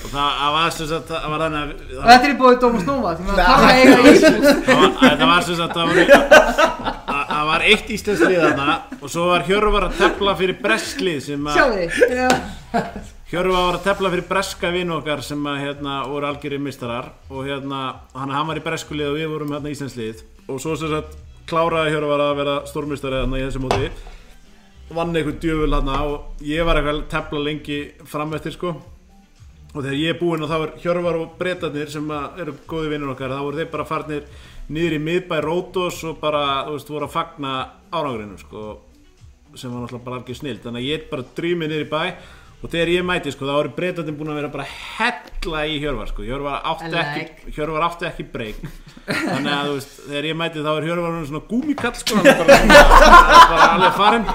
[SPEAKER 5] Og það, það var sem sagt Það var þannig að
[SPEAKER 2] Og þetta er í bóði Dómas Nóa Því maður þarf að eiga íbúð
[SPEAKER 5] það var, það var sem sagt Það var, það- það var eitt íslensk lið þarna Og svo var Hjörvar að tefla fyrir bresklið sem að
[SPEAKER 2] Sjáðu þið Já.
[SPEAKER 5] Hjörvar var að tefla fyrir breska vinn okkar sem að hérna voru algjörið mistarar og hérna hann, hann var í breskulið og við vorum hérna íslenslið og svo sem sagt kláraði Hjörvar að vera stórmistari hérna í þessu móti vann einhvern djöful hérna og ég var eitthvað að tefla lengi fram eftir sko og þegar ég er búinn og þá er Hjörvar og Bretarnir sem að eru góði vinnir okkar þá voru þeir bara farnir niður í miðbæ Rótos og bara, þú veist, voru að fagna árangrinu sko sem var náttúrulega bara algjör snild þannig að ég er bara drýmið niður í bæ og þegar ég mæti sko þá eru breytandinn búin að vera bara hella í Hjörvar sko Hjörvar
[SPEAKER 2] I
[SPEAKER 5] átti
[SPEAKER 2] like.
[SPEAKER 5] ekki, Hjörvar átti ekki breyk þannig að þú veist þegar ég mæti þá er Hjörvar orðinn svona gúmikall sko hann er bara, hann er bara alveg farinn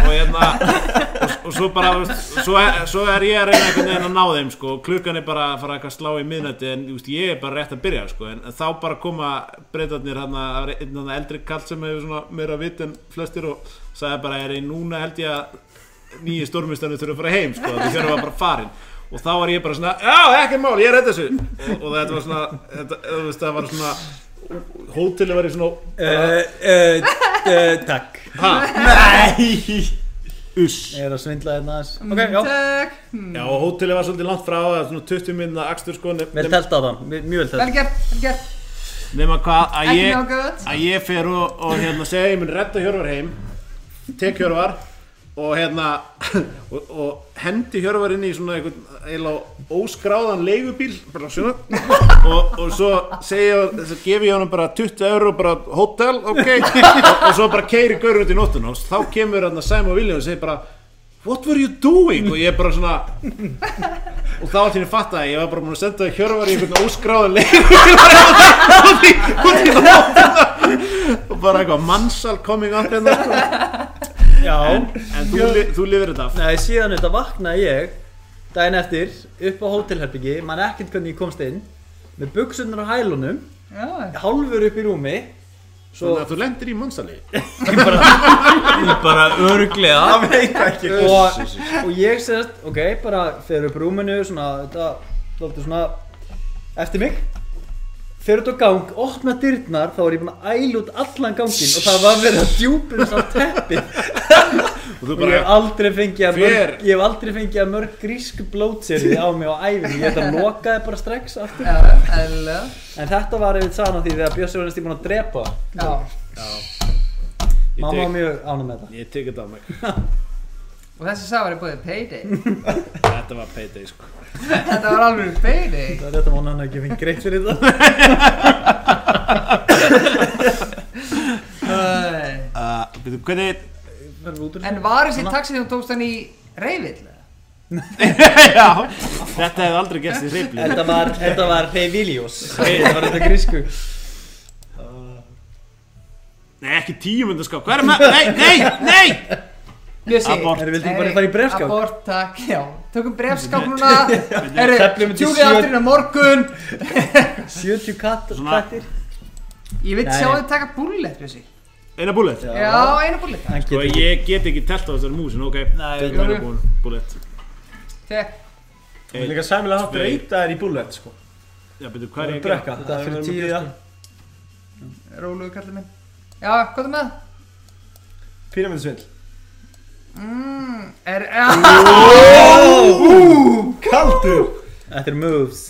[SPEAKER 5] og hérna og, og svo bara þú veist, svo, er- svo er ég að reyna einhvern veginn að ná þeim sko og klukkan er bara að fara eitthvað að slá í miðnætti en þú veist, ég er bara rétt að byrja sko en þá bara koma breytarnir hann að einn hann eldri kall sem hefur svona meira vitt en flestir og sagði bara er ég núna held ég að nýju stórmistanir þurfa að fara heim sko því þurfa bara farin og þá var ég bara svona já ekki mál ég er þetta þessu og, og þetta var svona þetta, þú veist það var svona hótelið var í svona
[SPEAKER 1] Eh, eh, eh, Takk
[SPEAKER 5] ha, uss
[SPEAKER 1] Ég er að svindla hérna aðeins
[SPEAKER 2] Ok, já Mm, Takk
[SPEAKER 5] Já, og hótelið var svolítið langt frá það, var svona 20 minna akstur sko nef-
[SPEAKER 1] Vel telt á það, mjög vel telt
[SPEAKER 2] Vel gert, vel gert
[SPEAKER 5] nema hvað að
[SPEAKER 2] Ekki
[SPEAKER 5] ég,
[SPEAKER 2] nóg gott
[SPEAKER 5] að ég fer og, og hérna segja ég mun redda Hjörvar heim tek Hjörvar og hérna og, og hendi Hjörvar inn í svona einhvern eiginlega óskráðan leigubíl bara svona og, og svo segi ég, svo gef ég honum bara 20 euro bara hótel, ok og, og svo bara keiri gaur út í nóttun og þá kemur hérna Sæma og Viljum og segir bara What were you doing? Og ég bara svona Og þá alltaf ég fatt að ég var bara búin að senda Hjörvar í einhvern óskráðan leigubíl út í, út í nóttuna og bara eitthvað mannsal coming up hérna sko.
[SPEAKER 1] Já,
[SPEAKER 5] En, en þú, li, þú lifir þetta af
[SPEAKER 4] Nei, síðan þetta vaknaði ég daginn eftir upp á hótelherbyggi, mann ekkert hvernig ég komst inn með buksunar á hælunum
[SPEAKER 2] Já,
[SPEAKER 4] hálfur upp í rúmi svo
[SPEAKER 5] Þannig að þú lendir í mannstæli
[SPEAKER 9] bara örglega
[SPEAKER 1] það veit það ekki
[SPEAKER 4] og, og ég segist, ok, bara fer upp rúminu, svona, þetta þóttu svona, eftir mig fer út á gang, opna dyrnar þá er ég búinn að æla út allan gangin og það var verið að djúpum sá teppi
[SPEAKER 5] Og þú
[SPEAKER 4] og ég
[SPEAKER 5] bara,
[SPEAKER 4] hef aldrei fengið að
[SPEAKER 5] Hver?
[SPEAKER 4] mörg ég hef aldrei fengið að mörg grísk blótseri á mig á æfinni, ég þetta lokaði bara strax aftur,
[SPEAKER 2] já, eðlilega
[SPEAKER 4] en þetta var yfir sagan á því þegar Bjössi var næst í búinn að drepa
[SPEAKER 2] Já,
[SPEAKER 5] ég
[SPEAKER 4] mamma var
[SPEAKER 5] tek,
[SPEAKER 4] mjög ánum með þetta
[SPEAKER 5] ég tek þetta af mig
[SPEAKER 2] og þessi safar er búið payday
[SPEAKER 5] Þetta var payday sko
[SPEAKER 2] Þetta var alveg payday
[SPEAKER 4] Það er þetta vona hann ekki fengið greitt fyrir þetta
[SPEAKER 2] Æ.
[SPEAKER 5] uh, Býtu, hvernig
[SPEAKER 2] En var þessi taxi þegar þú tókst hann í reyfill?
[SPEAKER 5] Já, þetta hefði aldrei gerst í hrifli
[SPEAKER 4] Þetta var, þetta var Revilios Þetta var þetta grísku
[SPEAKER 5] Nei, ekki tíu mynda skáp Hvað er maður? Nei, nei, nei
[SPEAKER 2] Bjössi
[SPEAKER 5] Abort.
[SPEAKER 4] Þeir vildi ekki bara fara í brefskák
[SPEAKER 2] Abort, takk, já Tökum brefskák núna
[SPEAKER 4] Teflum
[SPEAKER 2] Herru,
[SPEAKER 4] við til
[SPEAKER 2] tjúlið
[SPEAKER 4] sjö-
[SPEAKER 2] afturinn á morgun
[SPEAKER 4] 70 katt,
[SPEAKER 5] Svona-
[SPEAKER 4] kattir
[SPEAKER 2] Ég vil
[SPEAKER 4] Nei.
[SPEAKER 2] sjá þið taka bullet, Bjössi
[SPEAKER 5] Eina bullet
[SPEAKER 2] Já, eina bullet
[SPEAKER 4] Hann
[SPEAKER 5] Og
[SPEAKER 4] getur
[SPEAKER 5] ég get ekki telt á þessari músin, ok Nei,
[SPEAKER 2] við-
[SPEAKER 5] eina búin, bullet
[SPEAKER 2] Tek,
[SPEAKER 1] Það er líka sæmilega hátt
[SPEAKER 5] Tvei.
[SPEAKER 1] reyta þér í bullet sko
[SPEAKER 5] Já, býtu, hvað er ég að gera?
[SPEAKER 4] brekka Þetta er
[SPEAKER 1] Það
[SPEAKER 4] fyrir
[SPEAKER 1] verður
[SPEAKER 4] 10
[SPEAKER 1] með
[SPEAKER 4] sko.
[SPEAKER 2] róluðu kallið minn Já, hvað er með?
[SPEAKER 1] Píramíðsvill
[SPEAKER 2] Mm, er, já,
[SPEAKER 1] Kaldur
[SPEAKER 4] Þetta er moves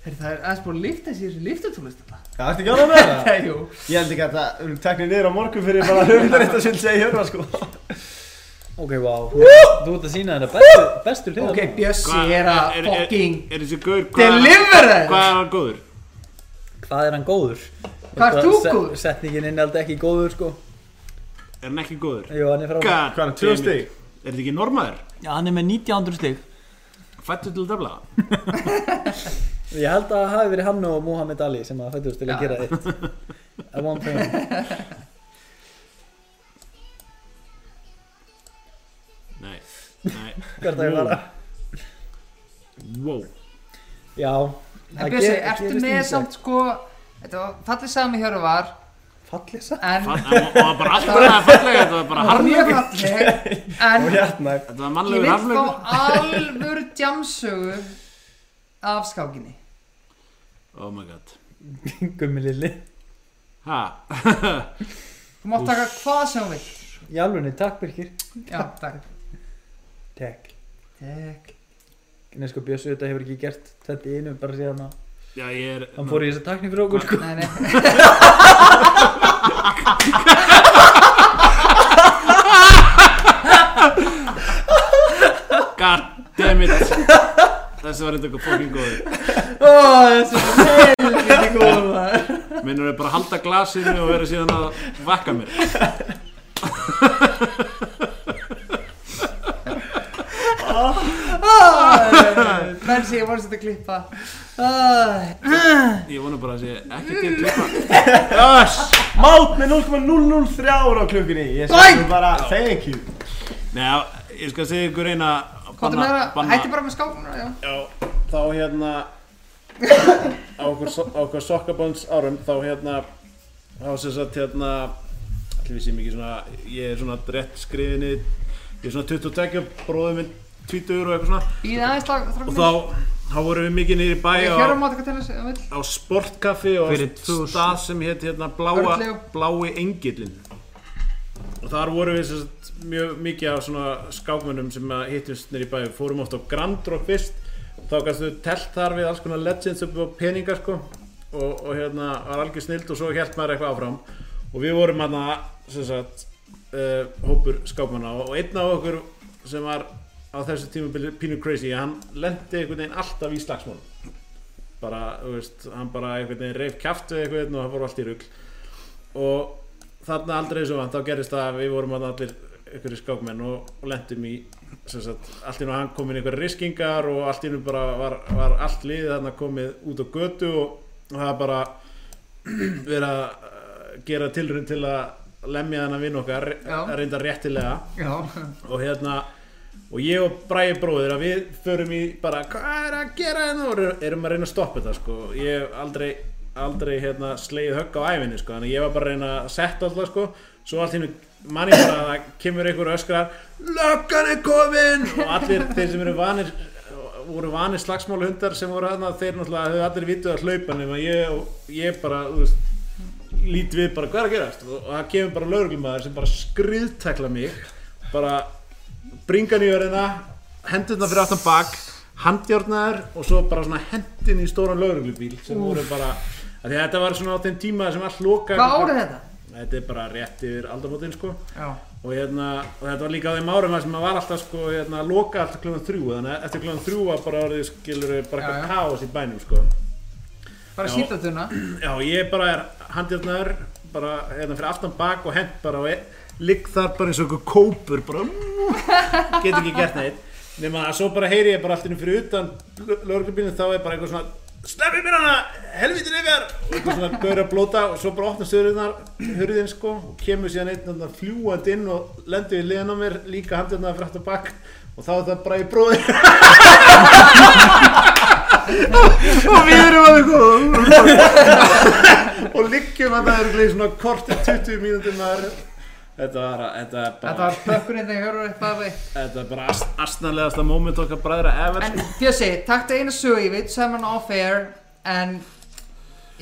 [SPEAKER 2] Herru, það er aðeins búin að lifta þessi í þessu liftutúlist alltaf
[SPEAKER 1] Það ertu ekki ánægð með það?
[SPEAKER 2] Jú
[SPEAKER 1] Ég held ekki að það við erum teknir niður á morgun fyrir bara höfundaréttarsvill segi Hjörvar sko
[SPEAKER 4] Ok, wow Þú ert- Þú ert að sína þetta bestu, bestu hliða
[SPEAKER 2] Ok, Bjössi
[SPEAKER 5] Hvað-
[SPEAKER 2] er að
[SPEAKER 5] er- er-
[SPEAKER 2] fucking
[SPEAKER 5] Er þessi gaur, hvað er hann-
[SPEAKER 2] Deliver þeir
[SPEAKER 5] hvað er hann góður?
[SPEAKER 4] Hvað er hann góður?
[SPEAKER 2] Hvað er þú
[SPEAKER 4] Se-
[SPEAKER 2] góður?
[SPEAKER 4] Setningin inn er ekki góður sko
[SPEAKER 5] Er hann ekki góður?
[SPEAKER 4] Jú, hann er frá
[SPEAKER 5] God
[SPEAKER 1] Hvað er hann, tvö
[SPEAKER 5] damn it.
[SPEAKER 1] stig?
[SPEAKER 5] Er þetta ekki normaður?
[SPEAKER 10] Já, hann er með 1900 stig
[SPEAKER 5] Fættu til að dafla?
[SPEAKER 4] Ég held að það hafi verið hann og Muhammad Ali sem að fættust til að
[SPEAKER 2] Já.
[SPEAKER 4] gera eitt At one point
[SPEAKER 5] Nei, nei
[SPEAKER 4] Hvert að ég fara
[SPEAKER 5] Wow
[SPEAKER 4] Já
[SPEAKER 2] En
[SPEAKER 4] það
[SPEAKER 2] Bjössi,
[SPEAKER 4] ger-
[SPEAKER 2] ertu
[SPEAKER 4] gerist
[SPEAKER 2] með
[SPEAKER 4] ýmislegt.
[SPEAKER 2] samt sko Þetta var fallið sami Hjörvar
[SPEAKER 4] Fallið samt
[SPEAKER 2] En
[SPEAKER 5] Það það var bara alltaf fallega, þetta var bara harf
[SPEAKER 2] Mjög falleg En
[SPEAKER 1] Og hjartnæg
[SPEAKER 5] Þetta var
[SPEAKER 2] ég
[SPEAKER 5] mannlegur
[SPEAKER 2] vil fá
[SPEAKER 5] harflegur
[SPEAKER 2] alvöru djamsögu af skákinni
[SPEAKER 5] Oh my god
[SPEAKER 4] Gummi lilli
[SPEAKER 5] Ha,
[SPEAKER 2] Þú mátt taka hvað sem þú vilt
[SPEAKER 4] Jálfunni, takk Birkir
[SPEAKER 2] Já, takk
[SPEAKER 4] Takk
[SPEAKER 2] Tek.
[SPEAKER 4] Nei sko Bjössu þetta hefur ekki gert þetta í einu bara síðan að
[SPEAKER 5] já ég er
[SPEAKER 4] hann fór í þessa takni fyrir okkur sko
[SPEAKER 2] Nei, nei
[SPEAKER 5] God damn it Þessi var eitthvað fucking góður
[SPEAKER 2] Ó, þessi helviti góð maður
[SPEAKER 5] Minnur þau bara að halda glasinu og vera síðan að vakka mér
[SPEAKER 2] Menn sem ég voru sett að klippa Æ.
[SPEAKER 5] Ég vona bara að sé ekki til klippa Yes
[SPEAKER 1] Mát með 0,003 ára á klukkunni Ég
[SPEAKER 2] Bæn!
[SPEAKER 1] sagði bara thank you
[SPEAKER 5] Nei, ég skal segja ykkur eina að
[SPEAKER 2] Komdu með
[SPEAKER 5] banna-
[SPEAKER 2] það, hætti bara með skáknuna já.
[SPEAKER 5] Já, þá hérna á okkur, so- á okkur sokkabans árum þá hérna þá sem sagt hérna allir við séum ekki svona, ég er svona rétt skrifinni ég er svona 22 bróðum minn 20 og eitthvað svona
[SPEAKER 2] Býð aðeins
[SPEAKER 5] og
[SPEAKER 2] strákunum
[SPEAKER 5] þá, þá vorum við mikið niður í bæ
[SPEAKER 2] Hjörvar
[SPEAKER 5] á,
[SPEAKER 2] mátt ekki tella sig
[SPEAKER 5] á sportkaffi og á
[SPEAKER 10] Fyrir 2000.
[SPEAKER 5] stað sem hétt hérna bláa,
[SPEAKER 2] Örnleó.
[SPEAKER 5] blái engillin og þar vorum við sem sagt mjög mikið á svona skákmönnum sem að hittumst niður í bæ við fórum oft á Grand Rock fyrst þá kannstu telt þar við alls konar legends upp á peninga sko og, og hérna var algjör snild og svo held maður eitthvað áfram og við vorum hérna sem sagt uh, hópur skápmanna og, og einn af okkur sem var á þessu tímabili pínu crazy hann lendi einhvern veginn alltaf í slagsmál bara, þú veist, hann bara einhvern veginn reif kjaft við einhvern veginn og það fór allt í rugl og þarna aldrei eins og hann þá gerist það að við vorum þarna allir einhverju skákmenn og, og lendum í sem sagt, allt í nú hann kom inn í einhverju riskingar og allt í nú bara var, var allt liðið þarna komið út á götu og, og það var bara verið að eh, gera tilrönd til að lemja þennan vinn okkar re-
[SPEAKER 2] Já.
[SPEAKER 5] reynda réttilega
[SPEAKER 2] Já,
[SPEAKER 5] og hérna og ég og Bræði bróðir að við förum í bara hvað er að gera hérna og eru- erum að reyna að stoppa þetta sko ég hef aldrei, aldrei hérna, slegið högg á æfinni sko þannig að ég var bara að reyna að setja alltaf sko svo allt hérna mann ég bara að það kemur einhver og öskrar löggan er komin og allir þeir sem eru vanir voru vanir slagsmálhundar sem voru hérna þeir náttúrulega höfðu allir vituð að hlaupa nema ég, ég bara þú veist, lít við bara hvað er að gerast og og það kemur bara lögreglumæður sem bara skriðtekla mig bara bringan í örðina hendurna fyrir aftan bak handjárnaður og svo bara svona hendin í stóran lögreglubíl sem voru bara af því að þetta var svona á þeim tíma sem allt loka
[SPEAKER 2] hvað árið þetta?
[SPEAKER 5] þetta er bara rétt yfir aldamótin sko
[SPEAKER 2] Já,
[SPEAKER 5] og, hérna, og þetta var líka á þeim árum þar sem maður var alltaf sko hérna, loka alltaf klukkan þrjú þannig að eftir klukkan þrjú var bara orðið skilur
[SPEAKER 2] Já,
[SPEAKER 5] bara
[SPEAKER 2] já.
[SPEAKER 5] eitthvað káos í bænum sko
[SPEAKER 2] bara hérna.
[SPEAKER 5] Já.
[SPEAKER 2] síldatuna
[SPEAKER 5] Já, ég bara er handjarnar bara hérna fyrir aftan bak og hent bara og ég ligg þar bara eins og einhver kópur bara mm, get ekki gert neitt nema að svo bara heyri ég bara allt innum fyrir utan lögreglubílinn þá er bara einhver svona sleppi mér hana, helvitin ykkar og einhver svona gaur að blóta og svo bara opna stöðurnar hurðin sko og kemur síðan einn þarna fljúandi inn og lendur í liðan á mér líka handjarnar fyrir aftan bak og þá er það bara í bróðir og við erum að og liggjum að það eru svona korti 20 mínútur maður þetta var, þetta er
[SPEAKER 2] Þetta
[SPEAKER 5] bara
[SPEAKER 2] var pökkurinn þegar ég höfður eitthvað af því
[SPEAKER 5] þetta er bara astnarlegasta moment okkar bræðra ever
[SPEAKER 2] En Bjössi, takk til eina sögu, ég veit þú sagði mér hann off air En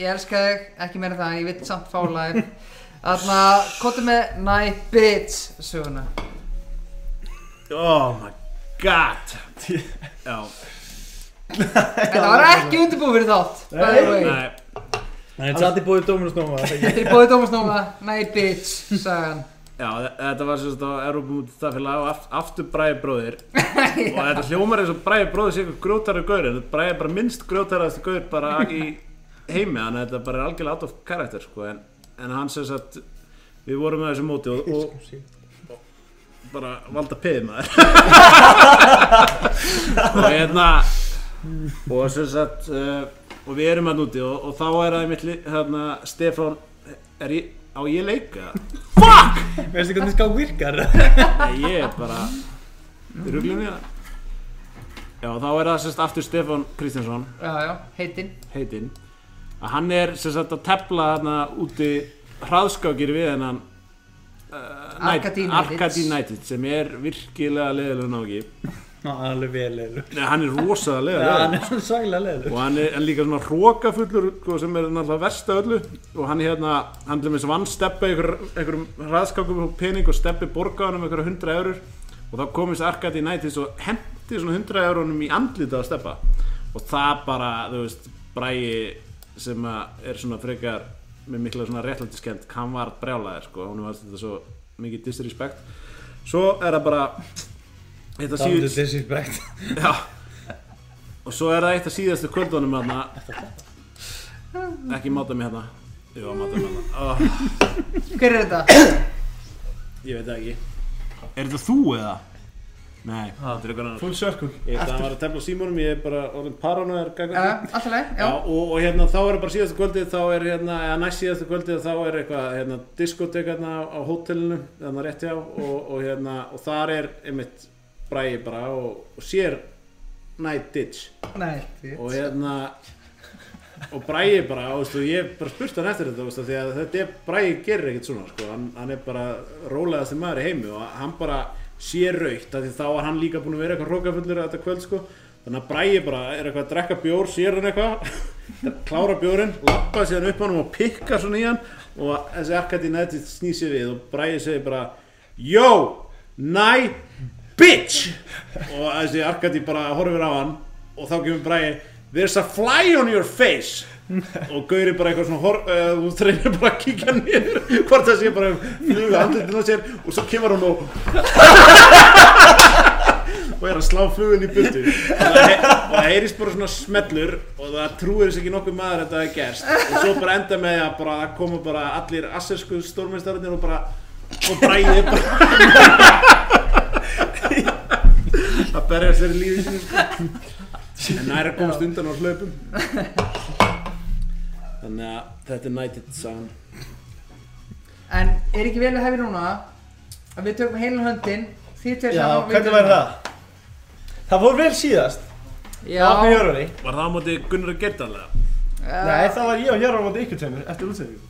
[SPEAKER 2] ég elska þig, ekki meira en það, ég veit samt fálæg Þarna, kóttu með Night Bitch söguna
[SPEAKER 5] oh my god já,
[SPEAKER 2] Þetta var ekki undirbúið fyrir þátt by the way.
[SPEAKER 5] nei,
[SPEAKER 4] Hann er alltaf búið Dóminus Nóma
[SPEAKER 2] Þetta er bóðið Dómas Nóma, Night Bitch, sagði hann
[SPEAKER 5] já þe- þetta var sérst á Europamúti staðfélag og aft- aftur bræði bróðir og þetta hljómar eins og bræði bróðir sé eitthvað grjótarðu gaur en bræði er bara minnst grjótarðastu gaur bara í heimi þannig að þetta bara er algjörlega out of character sko. en, en hann sérst að við vorum með þessu móti og, og, og bara valda piði maður og hérna og sem sagt uh, og við erum hann úti og, og þá er það mitt hérna, Stefán er ég, á ég leika?
[SPEAKER 4] Veistu hvernig skák virkar?
[SPEAKER 5] Nei, ég er bara ruglum ég það já, þá er það sem sagt aftur Stefán Kristjánsson
[SPEAKER 2] Já, já, heitinn
[SPEAKER 5] heitinn að hann er sem sagt að tepla þarna úti hraðskákir við hennan uh,
[SPEAKER 2] Arkadín Knights.
[SPEAKER 5] Arkadín Knightit sem er virkilega leiðilega náki
[SPEAKER 4] Ná, alveg vel leilu
[SPEAKER 5] Nei, hann er rosalega
[SPEAKER 4] Já,
[SPEAKER 5] leiðilega
[SPEAKER 4] hann er svona sælega leilu
[SPEAKER 5] og hann er hann er líka svona hrókafullur sko, sem er náttúrulega versta öllu og hann hérna, hann til dæmis vann steppa einhver, einhverjum hraðskákum og pening og steppi borgaðanum einhverja hundra eurur og þá komist Arkadi Nætis og hendi svona hundra eurunum í andlita að steppa og það bara, þú veist, bræi sem að er svona frekar með mikla svona réttlætiskend hann var brjálæðir sko, hún var þetta svo mikið disrespect svo er það bara þetta
[SPEAKER 4] Damn the
[SPEAKER 5] síðust
[SPEAKER 4] disrespect
[SPEAKER 5] Já Og svo er það eitt af síðastu kvöldunum hérna Ekki máta mig hérna Jú, máta mig hérna oh,
[SPEAKER 2] Hver er þetta?
[SPEAKER 5] Ég veit það ekki Er þetta þú eða? Nei, þetta er eitthvað annar
[SPEAKER 11] Full circle
[SPEAKER 5] Ég veit að hann var að tefla á símónum Ég er bara orðin paranoiðar
[SPEAKER 2] Já, alltaf leið,
[SPEAKER 5] Já,
[SPEAKER 2] já
[SPEAKER 5] og, og hérna þá er bara síðasta kvöldið þá er hérna, eða næst síðasta kvöldið þá er eitthvað, hérna, diskotek hérna á hótelinu, hérna rétt hjá og, og hérna, og þar er einmitt bræði bara og, og sér Night Ditch
[SPEAKER 2] Nei, því
[SPEAKER 5] og hérna og Bræi bara, þú veist, og ég bara spurt hann eftir þetta, þú veist, af því að þetta er Bræi gerir ekkert svona, sko, hann, hann er bara rólegasti maður í heimi og hann bara sér raukt, af því þá var hann líka búinn að vera eitthvað rókafullur þetta kvöld, sko þannig að Bræi bara er eitthvað að drekka bjór, sér hann eitthvað klára bjórinn, lappa síðan upp á hann og pikka svona í hann og þessi Arkadi nætti snýr sér við og Bræi segir bara Yo, næ, bitch og þessi Arkadi bara horfir á hann og þá kemur Bræi There's a fly on your face og Gauri bara eitthvað svona hor, uh, þú treynir bara að kíkja niður hvort það sé bara fluga andlutinu á sér og svo kemur hann og og er að slá flugun í bultu og það he- og það heyrist bara svona smellur og það trúir þess ekki nokkuð maður að þetta hafi gerst og svo bara enda með því að bara það koma bara allir assersku stórmestararnir og bara og bræði bara að berja sér í lífið sínu sko. en það er að komast undan á hlaupum þannig að þetta er nættið sagan
[SPEAKER 2] En er ekki vel að hefja núna að við tökum heilan höndin, þið tveir
[SPEAKER 1] Já,
[SPEAKER 2] saman og við
[SPEAKER 1] hvernig
[SPEAKER 2] tökum-
[SPEAKER 1] væri það? Það fór vel síðast Á
[SPEAKER 2] Já,
[SPEAKER 1] Jörunni
[SPEAKER 5] Var það á móti Gunnar að geta alveg?
[SPEAKER 1] Nei,
[SPEAKER 2] uh,
[SPEAKER 1] það var ég og Jörun á móti ykkur tveimur eftir útsendingu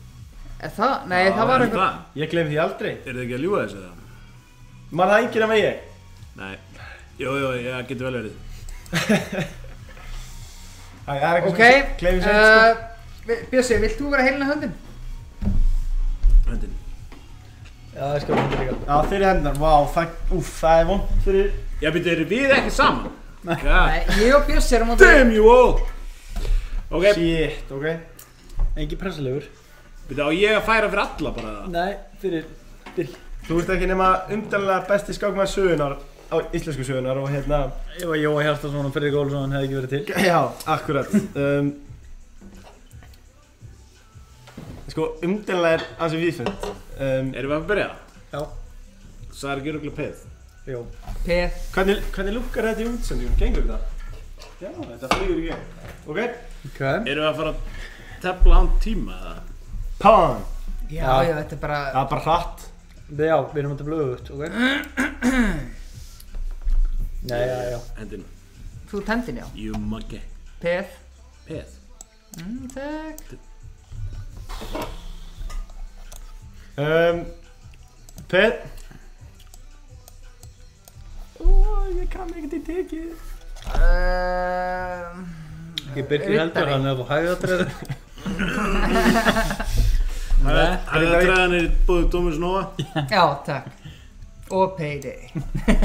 [SPEAKER 2] það, nei, það var eitthvað
[SPEAKER 5] eitthvað
[SPEAKER 1] Ég glem því aldrei
[SPEAKER 5] Er þið ekki að ljúga þessu það?
[SPEAKER 1] Man það enginn af mig ég
[SPEAKER 5] Nei Jú, jú, já, getur vel verið
[SPEAKER 1] Æ, það er eitthvað
[SPEAKER 2] Ok,
[SPEAKER 1] sem Gleymir sér sko
[SPEAKER 2] uh, Vi- Bjössi, vilt þú vera heilina höndin?
[SPEAKER 5] Höndin
[SPEAKER 12] Já, ég skal hónda líka
[SPEAKER 1] Já, fyrir hennar, vá, það, úf, það er vond fyrir
[SPEAKER 5] Já, betur, eru við ekki saman? Nei
[SPEAKER 2] Nei, ég og Bjössi erum á móti
[SPEAKER 5] Damn you all Ok,
[SPEAKER 1] Shit, ok
[SPEAKER 12] Engi pressalegur
[SPEAKER 5] betur, á ég að færa fyrir alla bara það
[SPEAKER 12] Nei, fyrir
[SPEAKER 1] Þú ert ekki nema umdalega besti skákmaður sögunar á íslensku sögunar og hérna
[SPEAKER 12] Ef að Jóa Hjartarsson og Fredrik Olsson hefði ekki verið til
[SPEAKER 1] Já, akkurat um, Sko, umdalega er ansi viðfend um,
[SPEAKER 5] Erum við að byrja?
[SPEAKER 12] Já.
[SPEAKER 5] Það er ekki öruglega peð
[SPEAKER 12] Jó
[SPEAKER 2] Peð
[SPEAKER 1] hvernig, hvernig lukkar þetta í útsendingum? Gengur þetta? Já, þetta flýgur í gegn Ok
[SPEAKER 12] Ok
[SPEAKER 5] Erum við að fara að tefla án tíma eða?
[SPEAKER 1] Pán
[SPEAKER 2] Já, já, þetta er bara
[SPEAKER 1] Það er bara hratt
[SPEAKER 12] Við- Já, við erum að tefla öðvögt, ok Nei, já, já
[SPEAKER 5] Hendin
[SPEAKER 2] Þú tendin, já
[SPEAKER 5] You monkey
[SPEAKER 2] Peð
[SPEAKER 5] Peð
[SPEAKER 2] mm, Takk
[SPEAKER 1] um, Pet
[SPEAKER 2] uh,
[SPEAKER 12] Ekki Birgir heldur
[SPEAKER 2] Riddari.
[SPEAKER 12] hann ef þú hægði að dreða
[SPEAKER 5] Það er að draga hann í búðu Dómus Nóa
[SPEAKER 2] Já, takk Og payday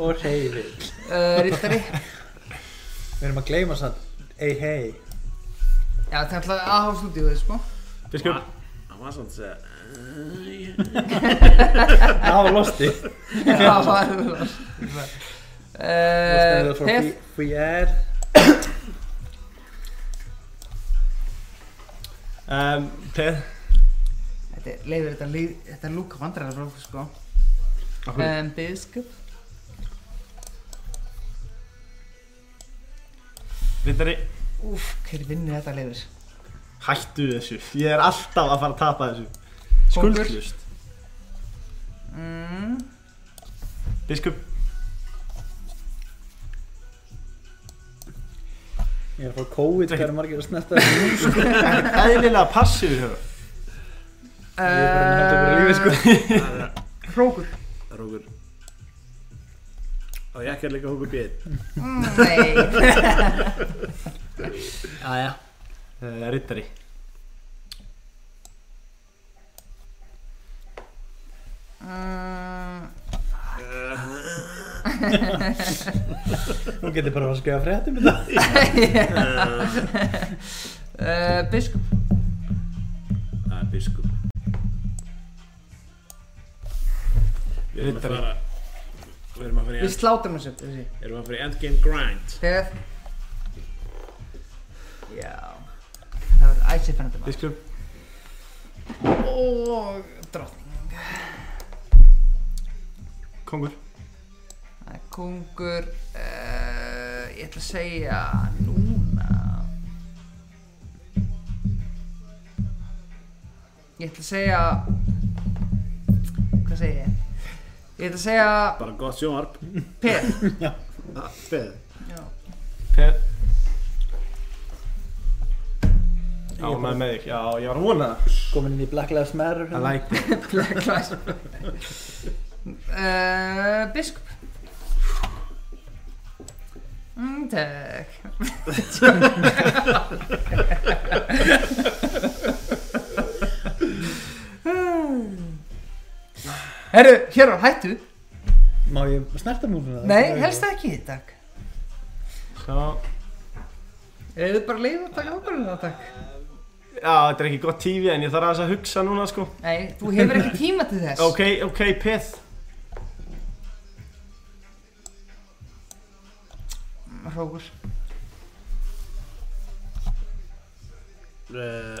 [SPEAKER 12] Og reyði
[SPEAKER 2] uh, Rittari
[SPEAKER 12] Við erum að gleyma sann Ei, hei
[SPEAKER 2] Já, það er alltaf aðhá stúdíuðið, sko
[SPEAKER 1] Biskup
[SPEAKER 5] Hann var samt að segja
[SPEAKER 12] Það var losti
[SPEAKER 2] Já, það er Uh,
[SPEAKER 12] Það er
[SPEAKER 2] það
[SPEAKER 12] frá
[SPEAKER 2] Peð
[SPEAKER 12] Fí- Fíer
[SPEAKER 1] um, Pet
[SPEAKER 2] Þetta er- leifir þetta líð Þetta er lúka vandræðar frá okkur, sko um, Biskup
[SPEAKER 1] Rittari
[SPEAKER 2] Úf, hver vinnur þetta leifir?
[SPEAKER 1] Hættu þessu Ég er alltaf að fara að tapa þessu
[SPEAKER 2] Kóngur.
[SPEAKER 1] Skuldlust
[SPEAKER 2] Mm,
[SPEAKER 1] Biskup
[SPEAKER 12] Ég er að fá COVID Hvað er margir að snerta þessu nú?
[SPEAKER 1] Eðlilega passífur höfum
[SPEAKER 12] Ég er bara að halda fyrir lífi, sko
[SPEAKER 2] eh, Hrókur
[SPEAKER 5] Rókur Og ég ekki að leika hókur bíð
[SPEAKER 2] Mm, Nei
[SPEAKER 12] Jæja eh,
[SPEAKER 1] uh, Rittari
[SPEAKER 2] Mm,
[SPEAKER 12] Nú getur bara að skrifa fréttum í dag
[SPEAKER 2] uh, Biskup
[SPEAKER 5] Það er biskup Við erum að fara Við erum að fara í
[SPEAKER 2] Við slátum þessu þessi.
[SPEAKER 5] Erum að fara í endgame grind
[SPEAKER 2] Peð Já Það verður æsir fennandi maður
[SPEAKER 1] Biskup
[SPEAKER 2] Og drottning
[SPEAKER 1] Kongur
[SPEAKER 2] Það er Kungur uh, Ég ætla að segja núna Ég ætla að segja Hvað segi ég? Ég ætla að segja
[SPEAKER 5] Bara gott sjónvarp
[SPEAKER 2] Peð
[SPEAKER 5] Beð
[SPEAKER 2] Já
[SPEAKER 1] Pet Já, maður með þig Já, ég var að vona það
[SPEAKER 12] Komin inn í Black Lives Matter
[SPEAKER 4] hérna.
[SPEAKER 1] I like it
[SPEAKER 2] Black Lives uh, Biskup mm, Takk Herru, hér á hættu
[SPEAKER 12] Má ég snerta núna?
[SPEAKER 2] Nei, helst ekki, takk
[SPEAKER 1] Já,
[SPEAKER 2] Eða bara leið að taka ákvörðuna, takk
[SPEAKER 1] já þetta er ekki gott tífi en ég þarf aðeins að hugsa núna sko
[SPEAKER 2] Nei, þú hefur ekki tíma til þess
[SPEAKER 1] Ok, ok, Pet
[SPEAKER 2] Hrókur
[SPEAKER 5] uh,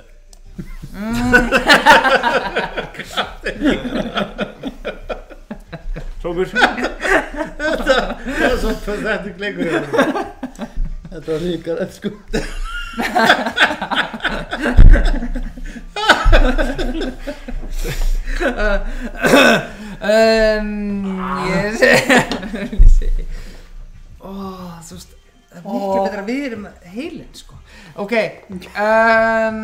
[SPEAKER 1] Hrókur
[SPEAKER 13] Þetta er klingur
[SPEAKER 12] Þetta var ríkar, sko
[SPEAKER 2] um, Ég segi Ó, þú veist Það er miklu betra að við erum heilin sko Ok um,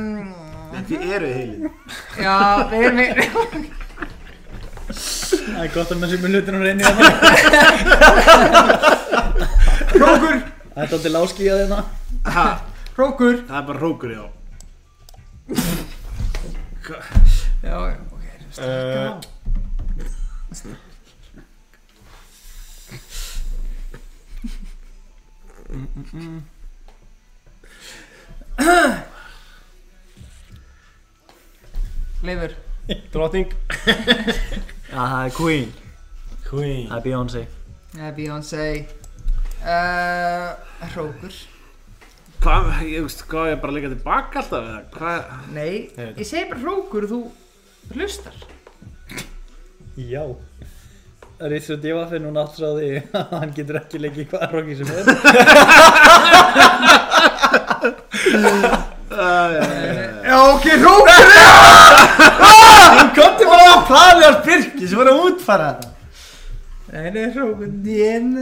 [SPEAKER 14] En þið eru heilin.
[SPEAKER 2] Já, við erum heilin
[SPEAKER 4] Það er gott að maður sem er hlutin og reynir að það
[SPEAKER 2] Hrókur,
[SPEAKER 4] Það er hérna. aldrei láski að þeirna
[SPEAKER 5] Ha,
[SPEAKER 2] hrókur
[SPEAKER 5] það er bara hrókur, já.
[SPEAKER 2] Já, ok, slaka á Leifur
[SPEAKER 3] Drottning
[SPEAKER 15] Já, það er Queen,
[SPEAKER 3] Queen
[SPEAKER 15] það er Beyoncé
[SPEAKER 2] Það er Beyoncé uh, Hrókur
[SPEAKER 5] Hvað, ég veist, hvað á ég bara að leika tilbaka alltaf eða? Hvað,
[SPEAKER 2] Nei, ég segi bara hrókur og þú hlustar
[SPEAKER 4] Já Rísur Divafinn hún áttur á því að hann getur ekki leikið hvaða roggi sem er
[SPEAKER 3] Já, ok, hrókur Hún kom til bara að pali hans Birki sem var að útfara þetta
[SPEAKER 2] Nei, nei, hrókur Nén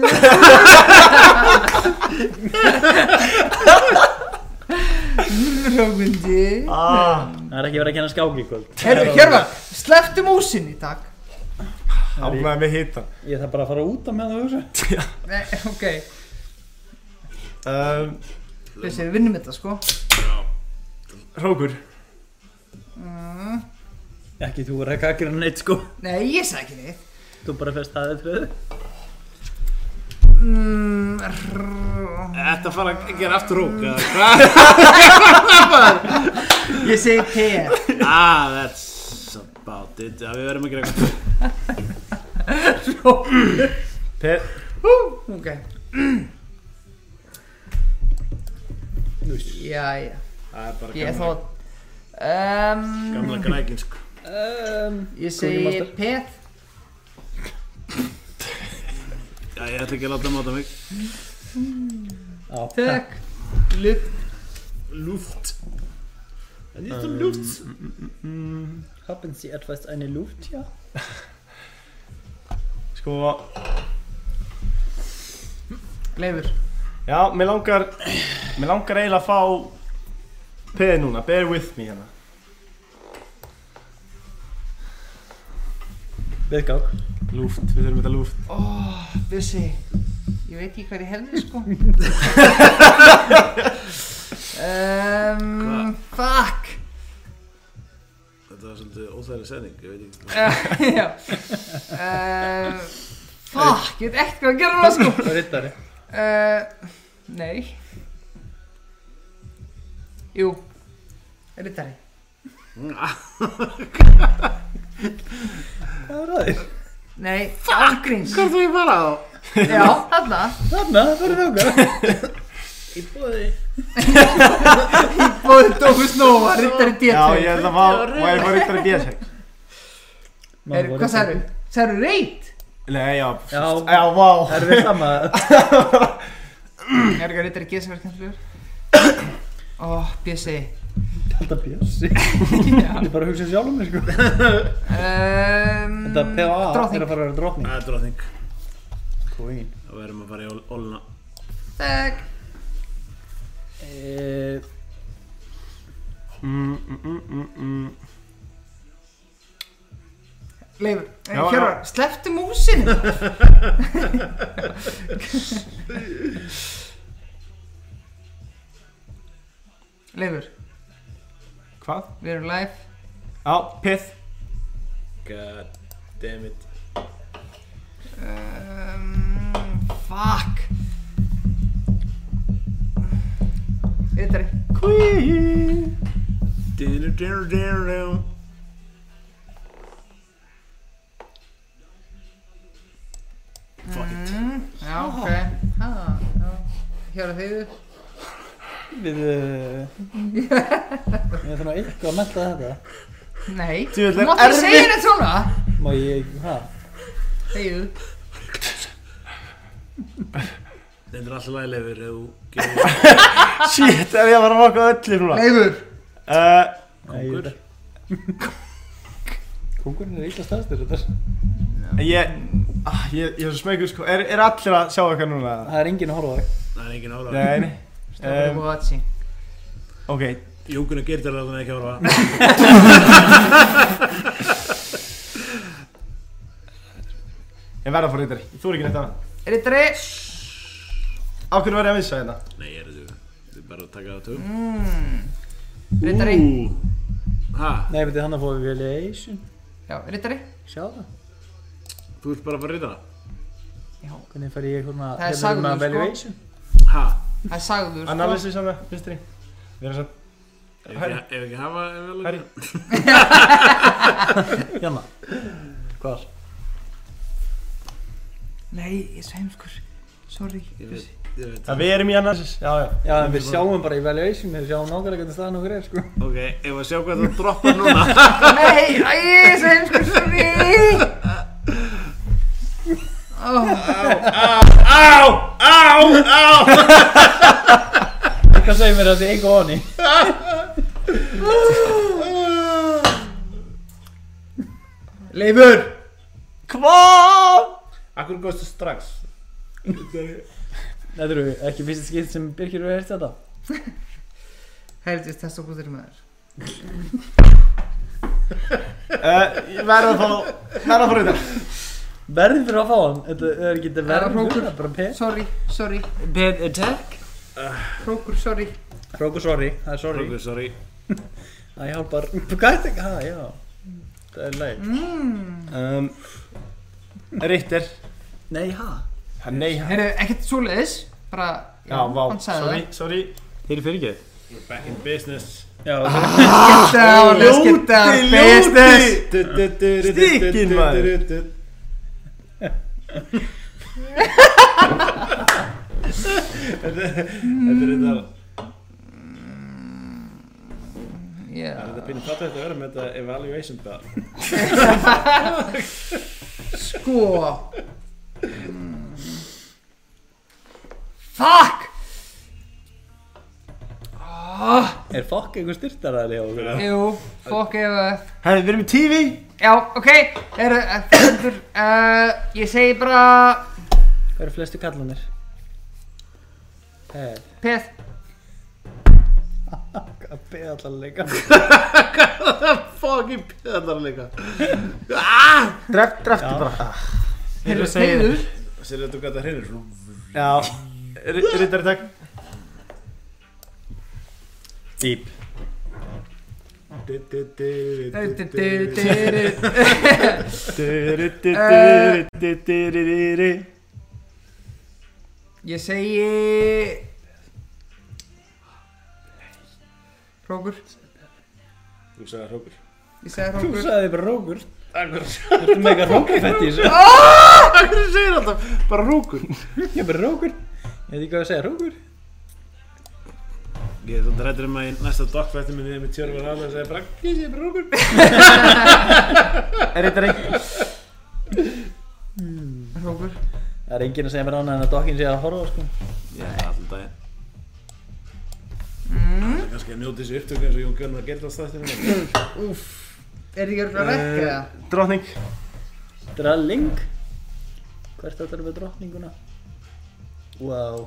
[SPEAKER 2] Hrókur Nén
[SPEAKER 3] Ah,
[SPEAKER 4] Það er ekki verið að kenna skáki í kvöld
[SPEAKER 2] Herru, Hjörvar, slepptu músinni, takk
[SPEAKER 3] Áfnaði með hita
[SPEAKER 4] Ég þarf bara að fara út af með það hugsa
[SPEAKER 2] Nei, ok,
[SPEAKER 3] um,
[SPEAKER 2] þessi, við vinnum þetta, sko
[SPEAKER 3] Hrókur
[SPEAKER 2] mm.
[SPEAKER 4] Ekki þú er ekki að gera neitt sko
[SPEAKER 2] Nei, ég sagði ekki neitt
[SPEAKER 4] Þú bara fyrst aðeins fyrir þau
[SPEAKER 2] mm. rrrr.
[SPEAKER 5] þetta fara að gera aftur hrók, eða hvað?
[SPEAKER 2] Ég segi T
[SPEAKER 5] Ah, that's about it. Já, við verðum að gera eitthvað.
[SPEAKER 3] Per
[SPEAKER 2] Ok Jæja,
[SPEAKER 5] Það er bara
[SPEAKER 2] ég
[SPEAKER 5] gamla,
[SPEAKER 2] þótt um,
[SPEAKER 5] gamla grækin, sko.
[SPEAKER 4] um,
[SPEAKER 2] Ég segi
[SPEAKER 4] Master.
[SPEAKER 2] Pet
[SPEAKER 5] Já, ég ætla ekki að láta máta mig.
[SPEAKER 4] á, takk.
[SPEAKER 2] Þökk Lutt
[SPEAKER 5] Luft. En ég ætla um luft.
[SPEAKER 1] um,
[SPEAKER 4] Haben Sie etwas eine Luft, ja?
[SPEAKER 3] Sko
[SPEAKER 2] Leifur
[SPEAKER 3] Já, mér langar Mér langar eiginlega að fá Peð núna, bear with me hérna
[SPEAKER 4] Viðgák
[SPEAKER 3] Lúft, við þurfum þetta lúft
[SPEAKER 2] Ó, Bussi Ég veit ekki hvað ég hefði sko um, Fuck
[SPEAKER 5] Þetta var svolítið óþægileg sending, ég veit ekki.
[SPEAKER 2] uh, já. um, Fuck, ég veit ekkert hvað að gera núna sko
[SPEAKER 4] Rittari
[SPEAKER 2] uh, Nei Jú Rittari
[SPEAKER 4] Það er aðeins
[SPEAKER 2] Nei, afgríns
[SPEAKER 5] Hvað er þú í fara á?
[SPEAKER 2] Já, þarna
[SPEAKER 4] Þarna, það fyrir þáka
[SPEAKER 2] Bóði Dófus Nova, Rittari
[SPEAKER 3] Já,
[SPEAKER 2] D2
[SPEAKER 3] ég ætla að fá Og ég fá ríktari björnsæk
[SPEAKER 2] Er, Hvað sagðu? Sagðu reit?
[SPEAKER 3] Nei, já
[SPEAKER 4] Já,
[SPEAKER 3] Já, vá
[SPEAKER 4] það er við sama
[SPEAKER 2] Er ekki Rittari G sem er skemmtilegur? Ó, Bjössi
[SPEAKER 4] Alltaf bjössi
[SPEAKER 2] Já.
[SPEAKER 4] Ég bara hugsa sjálf um mig sko
[SPEAKER 2] um,
[SPEAKER 4] Þetta PA er
[SPEAKER 2] Drottning
[SPEAKER 4] að fara að vera drottning
[SPEAKER 5] Það er dróðning.
[SPEAKER 4] Queen
[SPEAKER 5] Þá verðum að fara í ól- ólna.
[SPEAKER 2] Þeg
[SPEAKER 4] Eh,
[SPEAKER 3] Mm, mm, mm, mm, mm.
[SPEAKER 2] Leifur,
[SPEAKER 3] Já, já.
[SPEAKER 2] Hjörvar, slepptu músinu Leifur,
[SPEAKER 3] Hvað?
[SPEAKER 2] við erum live
[SPEAKER 3] Já, pith
[SPEAKER 5] God damn it.
[SPEAKER 2] um, Fuck Ytri
[SPEAKER 5] Dinner, dinner, dinner, dinner. Fuck it.
[SPEAKER 2] mm, Já, ok ha, já. Hjörvar, þið
[SPEAKER 4] Við eh, Ég þarf nú eitthvað að menta þetta
[SPEAKER 2] Nei,
[SPEAKER 3] Djöfull,
[SPEAKER 2] þú
[SPEAKER 3] er
[SPEAKER 2] mátt ekki segja
[SPEAKER 3] erfitt.
[SPEAKER 2] neitt svona
[SPEAKER 4] Má ég, ha?
[SPEAKER 2] Þegið
[SPEAKER 5] Þetta er alltaf lægilegur ef þú gefur
[SPEAKER 3] Shit, ef ég var að vaka öllu núna
[SPEAKER 2] Leifur
[SPEAKER 3] uh,
[SPEAKER 4] Nei, ég veit
[SPEAKER 5] kongur.
[SPEAKER 4] ekki. Kongurinn er illa staðstur þetta
[SPEAKER 1] Ég, ah, ég, ég er svo smeykur sko, er, er allir að sjá eitthvað núna?
[SPEAKER 4] Það er enginn að horfa á þig
[SPEAKER 5] Það er engin ára
[SPEAKER 1] Nei, nei,
[SPEAKER 2] Stop
[SPEAKER 1] Um,
[SPEAKER 2] watching
[SPEAKER 1] ok,
[SPEAKER 5] Jókunni gerði alveg ekki ára
[SPEAKER 1] ég verða að fór reyndar, þú er ekki neitt annað
[SPEAKER 2] Rittari
[SPEAKER 1] Á hverju var ég að missa hérna?
[SPEAKER 4] Sko.
[SPEAKER 5] Nei, ég er þetta Þetta er bara að taka það tökum
[SPEAKER 2] Hmm. Rittari
[SPEAKER 5] Hæ,
[SPEAKER 4] Nei, betur hann að fá evaluation
[SPEAKER 2] Já, Rittari
[SPEAKER 4] Sjá það
[SPEAKER 5] þú ert bara að fara að rita það?
[SPEAKER 2] Já,
[SPEAKER 4] Hvernig fær ég svona
[SPEAKER 2] Það er
[SPEAKER 4] hérna
[SPEAKER 2] sagður, sko.
[SPEAKER 4] evaluation
[SPEAKER 5] Hæ,
[SPEAKER 2] það er sagður sko
[SPEAKER 1] Analysis hann það, vinstri Við erum svo,
[SPEAKER 5] ef ekki- ef ekki hafa
[SPEAKER 1] Harry.
[SPEAKER 4] Janna Hvar?
[SPEAKER 2] Nei, ég er svo heimskur Sorry
[SPEAKER 5] Ég veit, ég veit
[SPEAKER 1] að við erum í analysis, já, já
[SPEAKER 4] Já, en við sjáum bara evaluation Við sjáum nákvæmlega hvernig staðan okkur er sko
[SPEAKER 5] Ok, ef að sjá hvað þú droppar núna
[SPEAKER 2] Nei, æ, ég er svo heimskur Sorry oh,
[SPEAKER 5] Á, á, á
[SPEAKER 4] Hvað segir mér að þið eitthvað honi?
[SPEAKER 16] Leifur!
[SPEAKER 5] Akkur góðstu strax
[SPEAKER 4] Þetta eru ekki fyrst skipt sem Birkir eru að hérta þetta
[SPEAKER 2] Helvist, þess að góður maður
[SPEAKER 1] uh, Ég verða að fá, verða að fá reyndar
[SPEAKER 4] Verðin fyrir að fá hann Þetta er ekki þetta
[SPEAKER 2] Það er
[SPEAKER 4] verðin
[SPEAKER 2] hrókur.
[SPEAKER 4] fyrir það, bara pen
[SPEAKER 2] Sorry, sorry
[SPEAKER 17] Bad attack?
[SPEAKER 2] Hrókur, sorry
[SPEAKER 4] Hrókur sorry, það er sorry
[SPEAKER 5] Ok, sorry
[SPEAKER 4] Það hjálpar Hvað er þetta? Ha, já Það er leið
[SPEAKER 1] um, Ritter
[SPEAKER 4] Nei, ha?
[SPEAKER 1] Ha, Nei, hann
[SPEAKER 2] Heyrðu, ekkert svoleiðis Bara, já,
[SPEAKER 1] Já, vá,
[SPEAKER 2] hann sagði
[SPEAKER 1] sorry, sorry
[SPEAKER 17] Þeir eru fyrirgeð
[SPEAKER 5] We're back in business
[SPEAKER 4] Já,
[SPEAKER 2] það Getta á, let's getta Business
[SPEAKER 1] Stíkin maður
[SPEAKER 5] Þetta er þetta
[SPEAKER 2] Já,
[SPEAKER 5] Þetta býnir fattu þetta að vera með þetta evaluation bar
[SPEAKER 2] sko Mm. Fuck Ah.
[SPEAKER 4] er fokk einhver styrtaræðli á okkur?
[SPEAKER 2] Jú, fokk ef að
[SPEAKER 1] Herri, við erum í TV
[SPEAKER 2] Já, ok, eru, fendur, uh, ég segi bara
[SPEAKER 4] Hvað eru flestu kallanir? Hey,
[SPEAKER 2] peð,
[SPEAKER 4] að beða allan leika
[SPEAKER 5] Fucking pjöðar líka
[SPEAKER 1] Dreft, drefti bara
[SPEAKER 2] heyrðu, heyrðu,
[SPEAKER 5] Sér þetta þú gæta hreinir
[SPEAKER 1] Já, Ritter, takk
[SPEAKER 4] Deep
[SPEAKER 2] heyrðu,
[SPEAKER 1] Herri,
[SPEAKER 2] ég segi, hrókur,
[SPEAKER 5] Þú sagði hrókur
[SPEAKER 2] ég segi
[SPEAKER 4] Þú
[SPEAKER 2] hrókur,
[SPEAKER 4] sagði bara rókur Þú ert með eitthvað rókurfett í þessu
[SPEAKER 5] Akkur segir alltaf, bara hrókur
[SPEAKER 4] Ég er bara rókur Ég veit ekki hvað að segja rókur
[SPEAKER 5] Ég er þetta rættur um að í næsta dokkfætti minni með tjörfur hann og segja bara Ég sé bara hrókur
[SPEAKER 2] hrókur,
[SPEAKER 4] Það er enginn að segja mér annað en að dokkinn sé að horfa á, sko
[SPEAKER 5] Ég er það alltaf daginn Það er kannski að njóti þessu upptöku eins og Jón Gjörn að gerða stættinu
[SPEAKER 2] er þið ekki örugglega að rekka það?
[SPEAKER 1] drottning
[SPEAKER 4] Dralling Hvert þetta er með drottninguna? Wow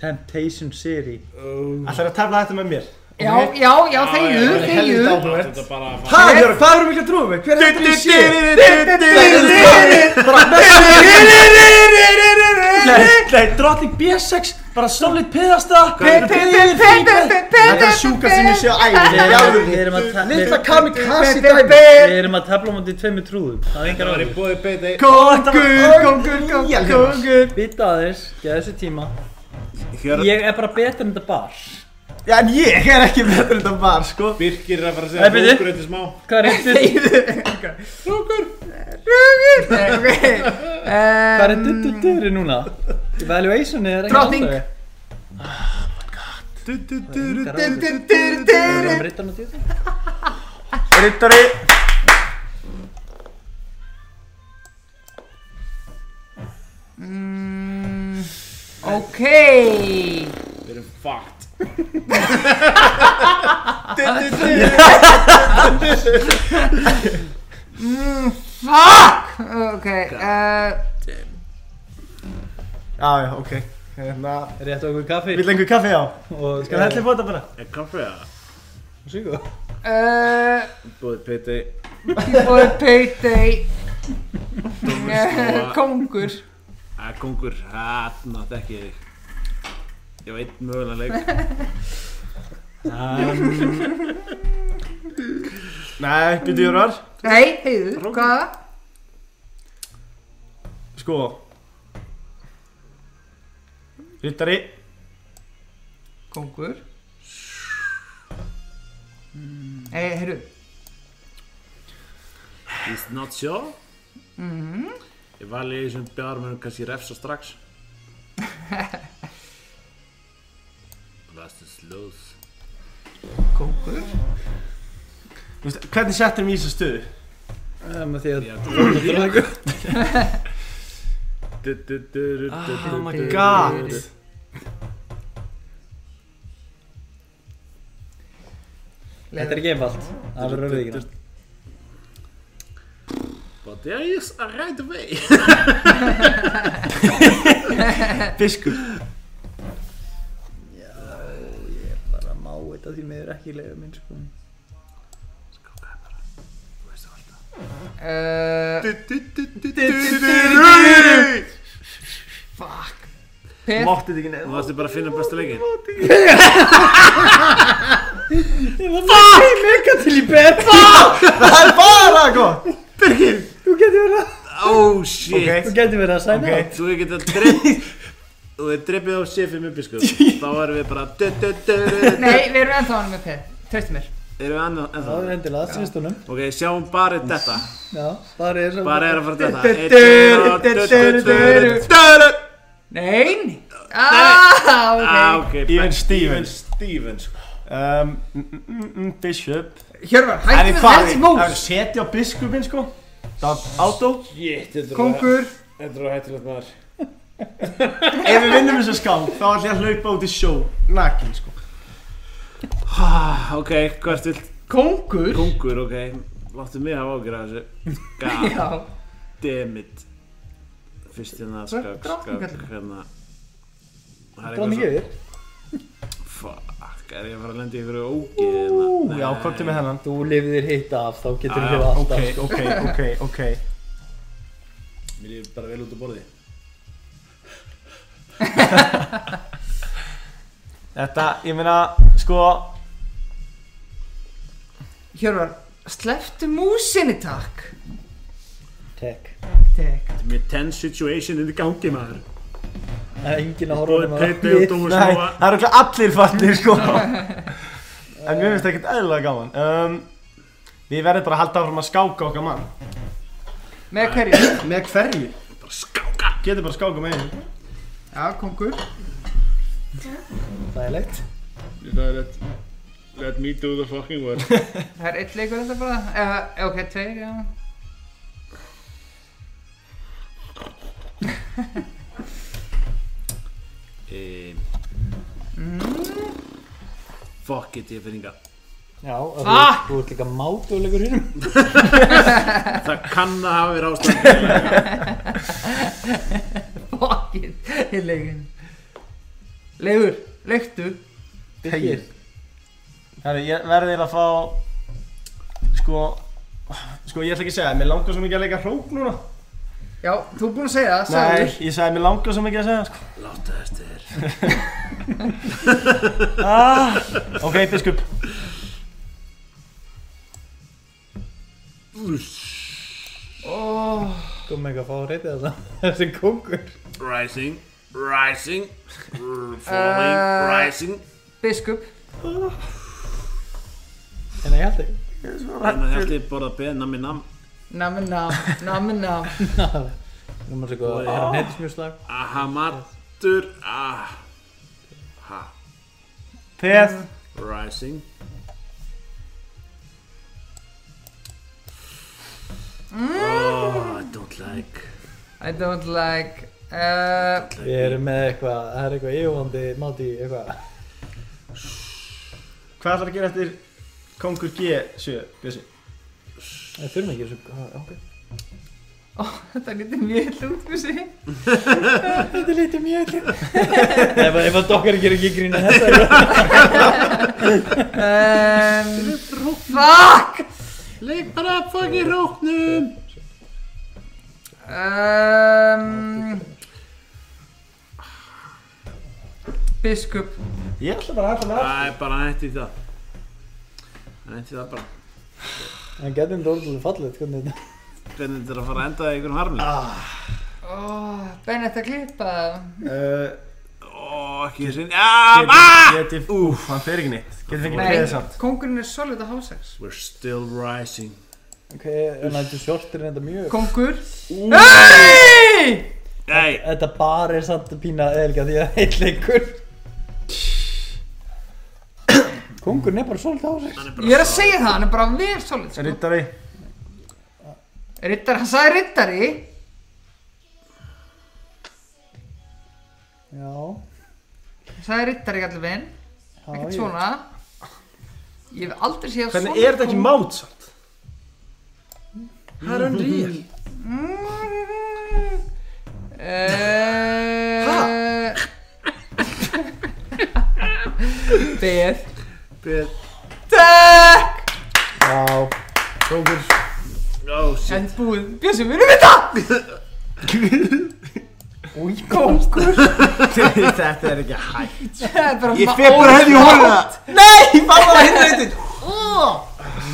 [SPEAKER 4] Temptation City
[SPEAKER 1] Alltaf er að tefla þetta með mér
[SPEAKER 2] Já, já, já, þegiðu, þegiðu,
[SPEAKER 5] Þetta er bara að
[SPEAKER 1] Hvað, Jörg, hvað erum við ekki að trúa við? Hver er þetta í sé? Bara messi Nei, drottning B6 Bara solid piðasta Þetta er sjúka sem ég sé á æfni
[SPEAKER 4] Við erum að tefla
[SPEAKER 1] Lilla kamikaze dæmi
[SPEAKER 4] Við erum að tefla á móti tveimur trúðum Það er engar
[SPEAKER 5] Það var
[SPEAKER 4] ári
[SPEAKER 5] í bóði beiti
[SPEAKER 1] Kongur, kongur, kongur
[SPEAKER 4] Býta aðeins, geða þessu tíma
[SPEAKER 5] Hjörn
[SPEAKER 4] Ég er bara betur en þetta bar
[SPEAKER 1] Já, en ég er ekki betur en það var, sko
[SPEAKER 5] Birkir er að fara að
[SPEAKER 4] Nei,
[SPEAKER 5] segja
[SPEAKER 4] bíddu.
[SPEAKER 5] hrókur eitthvað smá
[SPEAKER 4] Hvað er réttur?
[SPEAKER 2] Nei, ok,
[SPEAKER 4] Hvað er
[SPEAKER 2] um,
[SPEAKER 4] duttuturri núna? Evaluation er ekki
[SPEAKER 2] Drottning. Ah,
[SPEAKER 4] Drottning Rittarna djöðu
[SPEAKER 1] Rittari
[SPEAKER 2] mm, ok, Oh,
[SPEAKER 5] Við erum fucked
[SPEAKER 2] Fuck! Ok, uh,
[SPEAKER 3] Já, já, ok. Hérna,
[SPEAKER 1] Rétt okkur kaffi
[SPEAKER 3] vil einhver kaffi á?
[SPEAKER 1] og
[SPEAKER 3] Skal það helli fóta bara?
[SPEAKER 5] Er kaffe eða?
[SPEAKER 1] Sýko
[SPEAKER 2] uh,
[SPEAKER 5] Búið piti
[SPEAKER 2] Bíbói Payday Eh, Kóngur
[SPEAKER 5] Æ, kongur, hérna, þekki ég þig Ég var einn mögulega leik
[SPEAKER 3] Nei, byrju Jörvar.
[SPEAKER 2] Nei, heiður, hvaða?
[SPEAKER 3] Sko. Rittari.
[SPEAKER 2] Kóngur Nei, Eh, heyrðu
[SPEAKER 5] He's not sure Ég vali í þessum bjármönum kannski refsa strax Blast is dus loose
[SPEAKER 2] Kóngur
[SPEAKER 3] Þú veist, Hvernig settum við í þessu stöðu?
[SPEAKER 1] Með því að
[SPEAKER 5] Já,
[SPEAKER 18] Oh my
[SPEAKER 3] God.
[SPEAKER 1] Þetta er ekki einfalt Það verður að viðkynna
[SPEAKER 5] But there is a right way
[SPEAKER 3] Fiskur.
[SPEAKER 1] Bara má þetta því miður ekki leiða minn sko
[SPEAKER 2] uh, Fuck Pet
[SPEAKER 3] Mátti þetta ekki
[SPEAKER 5] Nú
[SPEAKER 3] nefn.
[SPEAKER 5] varstu bara að finna bestu leikinn
[SPEAKER 1] Mega til í bett
[SPEAKER 3] Það er bara gott!
[SPEAKER 1] Þú getur verið að
[SPEAKER 5] Oh shit
[SPEAKER 3] Ok.
[SPEAKER 1] Þú getur verið að sæna
[SPEAKER 3] Ok.
[SPEAKER 5] Þú hefur getað drepp Þú hefur dreppið á séfið með biskup Þá erum við bara du, du, du, du, du.
[SPEAKER 2] Nei, við erum ennþá hann með Pet Tröstu mér
[SPEAKER 5] Erum við annað en
[SPEAKER 1] Það er
[SPEAKER 5] það
[SPEAKER 1] endilega, sínst honum
[SPEAKER 5] Ok, sjáum bara þetta
[SPEAKER 1] Já, það er svo
[SPEAKER 5] Bara er að fara
[SPEAKER 1] Du, du,
[SPEAKER 5] þetta
[SPEAKER 1] du, du, du, du, du, du.
[SPEAKER 2] Nein Ah,
[SPEAKER 5] Ah,
[SPEAKER 2] ok
[SPEAKER 5] ok
[SPEAKER 3] Even Stevens.
[SPEAKER 5] Stevens
[SPEAKER 3] Um, mm, mm, mm, bishop.
[SPEAKER 2] Hjörvar, hættu með
[SPEAKER 3] farið.
[SPEAKER 2] þessi
[SPEAKER 3] Það er
[SPEAKER 2] mús
[SPEAKER 3] setja á biskupin sko. Það er átó.
[SPEAKER 5] Shit, þetta er
[SPEAKER 2] Kóngur
[SPEAKER 5] Þetta er hættilegt maður
[SPEAKER 3] Ef við vinnum þessu skák, þá ætlum ég að hlaupa út í sjó. Nakin sko.
[SPEAKER 5] Ah, Ok, hvert vill
[SPEAKER 2] Kóngur
[SPEAKER 5] Kongur, ok Láttu mig hafa ágjur af þessu God
[SPEAKER 2] Já
[SPEAKER 5] damn it Fyrst hérna
[SPEAKER 2] Hvað er
[SPEAKER 5] skak, skak
[SPEAKER 2] drottningallan?
[SPEAKER 5] Hérna Það er
[SPEAKER 1] Dráðum
[SPEAKER 5] eitthvað
[SPEAKER 1] ekki
[SPEAKER 5] svo
[SPEAKER 1] yfir
[SPEAKER 5] Fuck, er ég að fara að lenda í einhverju ógið hérna?
[SPEAKER 3] Ú, já, hvað til með hennan?
[SPEAKER 1] Þú lifðir hitta af, þá getur þú
[SPEAKER 5] Já,
[SPEAKER 1] lifað
[SPEAKER 3] Ok,
[SPEAKER 5] Ah,
[SPEAKER 1] alltaf
[SPEAKER 3] ok, ok, ok.
[SPEAKER 5] Mér líður bara vel út á borði.
[SPEAKER 3] Þetta, ég meina, sko,
[SPEAKER 2] Hjörvar, slepptu músinni takk
[SPEAKER 1] Tek
[SPEAKER 2] Tek
[SPEAKER 5] Þetta er mjög tense situation inn í gangi maður.
[SPEAKER 1] Það er enginn að horfa
[SPEAKER 5] Bóði
[SPEAKER 1] honum
[SPEAKER 5] Pepe og
[SPEAKER 1] að
[SPEAKER 5] Dóma
[SPEAKER 3] nei,
[SPEAKER 5] Snóa.
[SPEAKER 3] það eru örugglega allir fattir sko. en mér finnst það ekkert eðlilega gaman. Um, við verðum bara að halda áfram að skáka okkar mann.
[SPEAKER 2] Með hverju?
[SPEAKER 3] Með hverju?
[SPEAKER 5] Bara skáka.
[SPEAKER 3] Getur bara að skáka með einu.
[SPEAKER 2] Já, kóngur
[SPEAKER 1] Það er leitt
[SPEAKER 5] Þetta er rétt. Let me do the fucking work.
[SPEAKER 2] Það er eitt leikur þetta bara Eða, ok, tveir, já
[SPEAKER 5] um, fuck it, ég finn inga.
[SPEAKER 1] Já, og þú,
[SPEAKER 2] Ah!
[SPEAKER 1] þú ert líka mátulegur hinnum
[SPEAKER 5] Það kann að hafa verið ástæðan.
[SPEAKER 2] Fuck it, í leikin Leigur, leiktu
[SPEAKER 3] Tegir. Herri, ég verði eiginlega að fá, sko, sko ég ætla ekki að segja, mér langar svo mikið að leika hrók núna.
[SPEAKER 2] Já, þú er búinn að segja það,
[SPEAKER 3] Nei,
[SPEAKER 2] sagður
[SPEAKER 3] ég sagði mér langar svo mikið að segja, sko.
[SPEAKER 5] Láta eftir.
[SPEAKER 3] Ok, biskup.
[SPEAKER 1] Kom ekki að fá að reyta þetta Þessi kongur
[SPEAKER 5] Rising. Rising. r- Falling. Rising.
[SPEAKER 2] Biskup
[SPEAKER 1] En ég held ekki
[SPEAKER 5] Þannig að hætti borða beð, nammi nam.
[SPEAKER 2] Nami nam, nami nam
[SPEAKER 1] Nú maður sér góð að herra netismjúslag
[SPEAKER 5] Ah. Aha, matur. Ah. Ha.
[SPEAKER 3] Peð.
[SPEAKER 5] Rising.
[SPEAKER 19] Mm.
[SPEAKER 5] Oh, I don't like.
[SPEAKER 2] I don't like uh,
[SPEAKER 1] Við erum með eitthvað, það er eitthvað yfirvandi máti eitthvað
[SPEAKER 3] Hvað ætlar að gera eftir Kongur G7, Bjössi?
[SPEAKER 1] Það þurfum ekki þessu, ha, ok.
[SPEAKER 2] Ó, þetta lítið mjög illa út, Bjössi.
[SPEAKER 1] Þetta lítið mjög ekki. ef, ef að dokkar gerir ekki grína þetta.
[SPEAKER 2] Um, fuck!
[SPEAKER 5] Leif bara fuck í róknum
[SPEAKER 2] Um, biskup.
[SPEAKER 3] Ég ætla bara að hætta með allt.
[SPEAKER 5] Það er bara nætti það Það nætti það bara
[SPEAKER 19] Það getur þetta orðið fallið, hvernig þetta Ah.
[SPEAKER 5] Hvernig þetta er að fara að enda í einhvern harmli
[SPEAKER 2] Oh, Bennett að klippa.
[SPEAKER 3] Uh,
[SPEAKER 5] Ó, ekki þessi Ah, Aaaaah
[SPEAKER 3] geti, úf, hann fer ekki neitt. Geti fengið
[SPEAKER 2] Nei,
[SPEAKER 3] treðið samt.
[SPEAKER 2] kongurinn er solid að hálfsex.
[SPEAKER 5] We're still rising
[SPEAKER 19] Ok, en þetta sjortir er þetta mjög
[SPEAKER 2] Kongur. Nei!
[SPEAKER 5] Nei,
[SPEAKER 19] Þetta bara er samt pína eðelga því að heill leikur Kongurinn er bara svolítið á sig
[SPEAKER 5] hann er
[SPEAKER 2] Ég
[SPEAKER 5] bara
[SPEAKER 2] er að segja það, hann er bara vel solid, sko.
[SPEAKER 3] Rittari.
[SPEAKER 2] Rittari, hann sagði rittari.
[SPEAKER 19] Já,
[SPEAKER 2] Hann sagði rittari allaveginn.
[SPEAKER 19] já
[SPEAKER 2] Ekkert
[SPEAKER 19] ég-
[SPEAKER 2] svona. Ég hef aldrei séð svona.
[SPEAKER 3] Hvernig er þetta ekki
[SPEAKER 2] kóng-
[SPEAKER 3] mát samt? Það er undir í þér.
[SPEAKER 2] Mm. Beð Beð
[SPEAKER 5] Beð.
[SPEAKER 2] Takk
[SPEAKER 19] Já,
[SPEAKER 5] Ó, shit
[SPEAKER 2] En búið Bjössi, við erum þetta
[SPEAKER 19] új, kongur
[SPEAKER 3] þetta er ekki hægt.
[SPEAKER 2] Ég fer bara hefði í hóla Nei, bara það hinn reyndin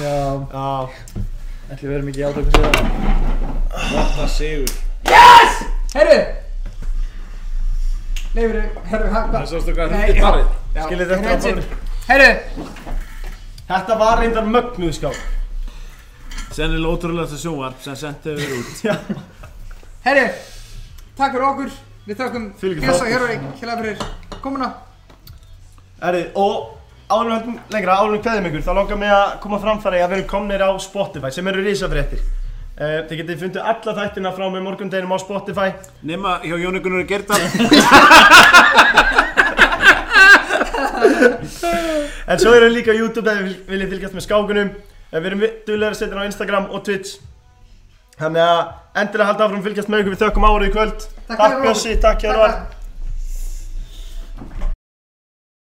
[SPEAKER 19] Já, já Ætli við erum ekki átöku sér
[SPEAKER 5] Þetta sigur
[SPEAKER 2] Herru Leifur, herru, hann
[SPEAKER 5] Það sástu hvað
[SPEAKER 2] Nei,
[SPEAKER 5] hrundi
[SPEAKER 2] já.
[SPEAKER 5] barið
[SPEAKER 2] Já,
[SPEAKER 3] Skilið þetta
[SPEAKER 2] hérna
[SPEAKER 3] á
[SPEAKER 2] er- Herru,
[SPEAKER 3] Þetta var reyndar mögnuð skák.
[SPEAKER 5] Sennilega ótrúlega sjónvarp sem sent hefur út
[SPEAKER 2] herru Takk fyrir okkur Við þökkum
[SPEAKER 3] Fylgjum
[SPEAKER 2] Bjössa
[SPEAKER 3] þáttur.
[SPEAKER 2] Hjörvari Hjörvari fyrir komuna
[SPEAKER 3] Erði, og áður en við höldum lengra, áður en við kveðum ykkur, þá langar mig að koma á framfæri að við erum komnir á Spotify, sem eru risafréttir. Uh, þið getið fundið alla þættina frá með morgundeginum á Spotify.
[SPEAKER 5] Nefna hjá Jóni Gunnar Gerdal
[SPEAKER 3] En svo erum við líka á YouTube ef við viljið fylgjast með skákunum Eh, Við erum duðlega að setja hann á Instagram og Twitch Þannig að endilega halda áfram að fylgjast með ykkur við þökkum árið í kvöld
[SPEAKER 2] Takk
[SPEAKER 3] Takk
[SPEAKER 2] fyrir.
[SPEAKER 3] Bjössi, takk Hjörvar
[SPEAKER 2] Takk.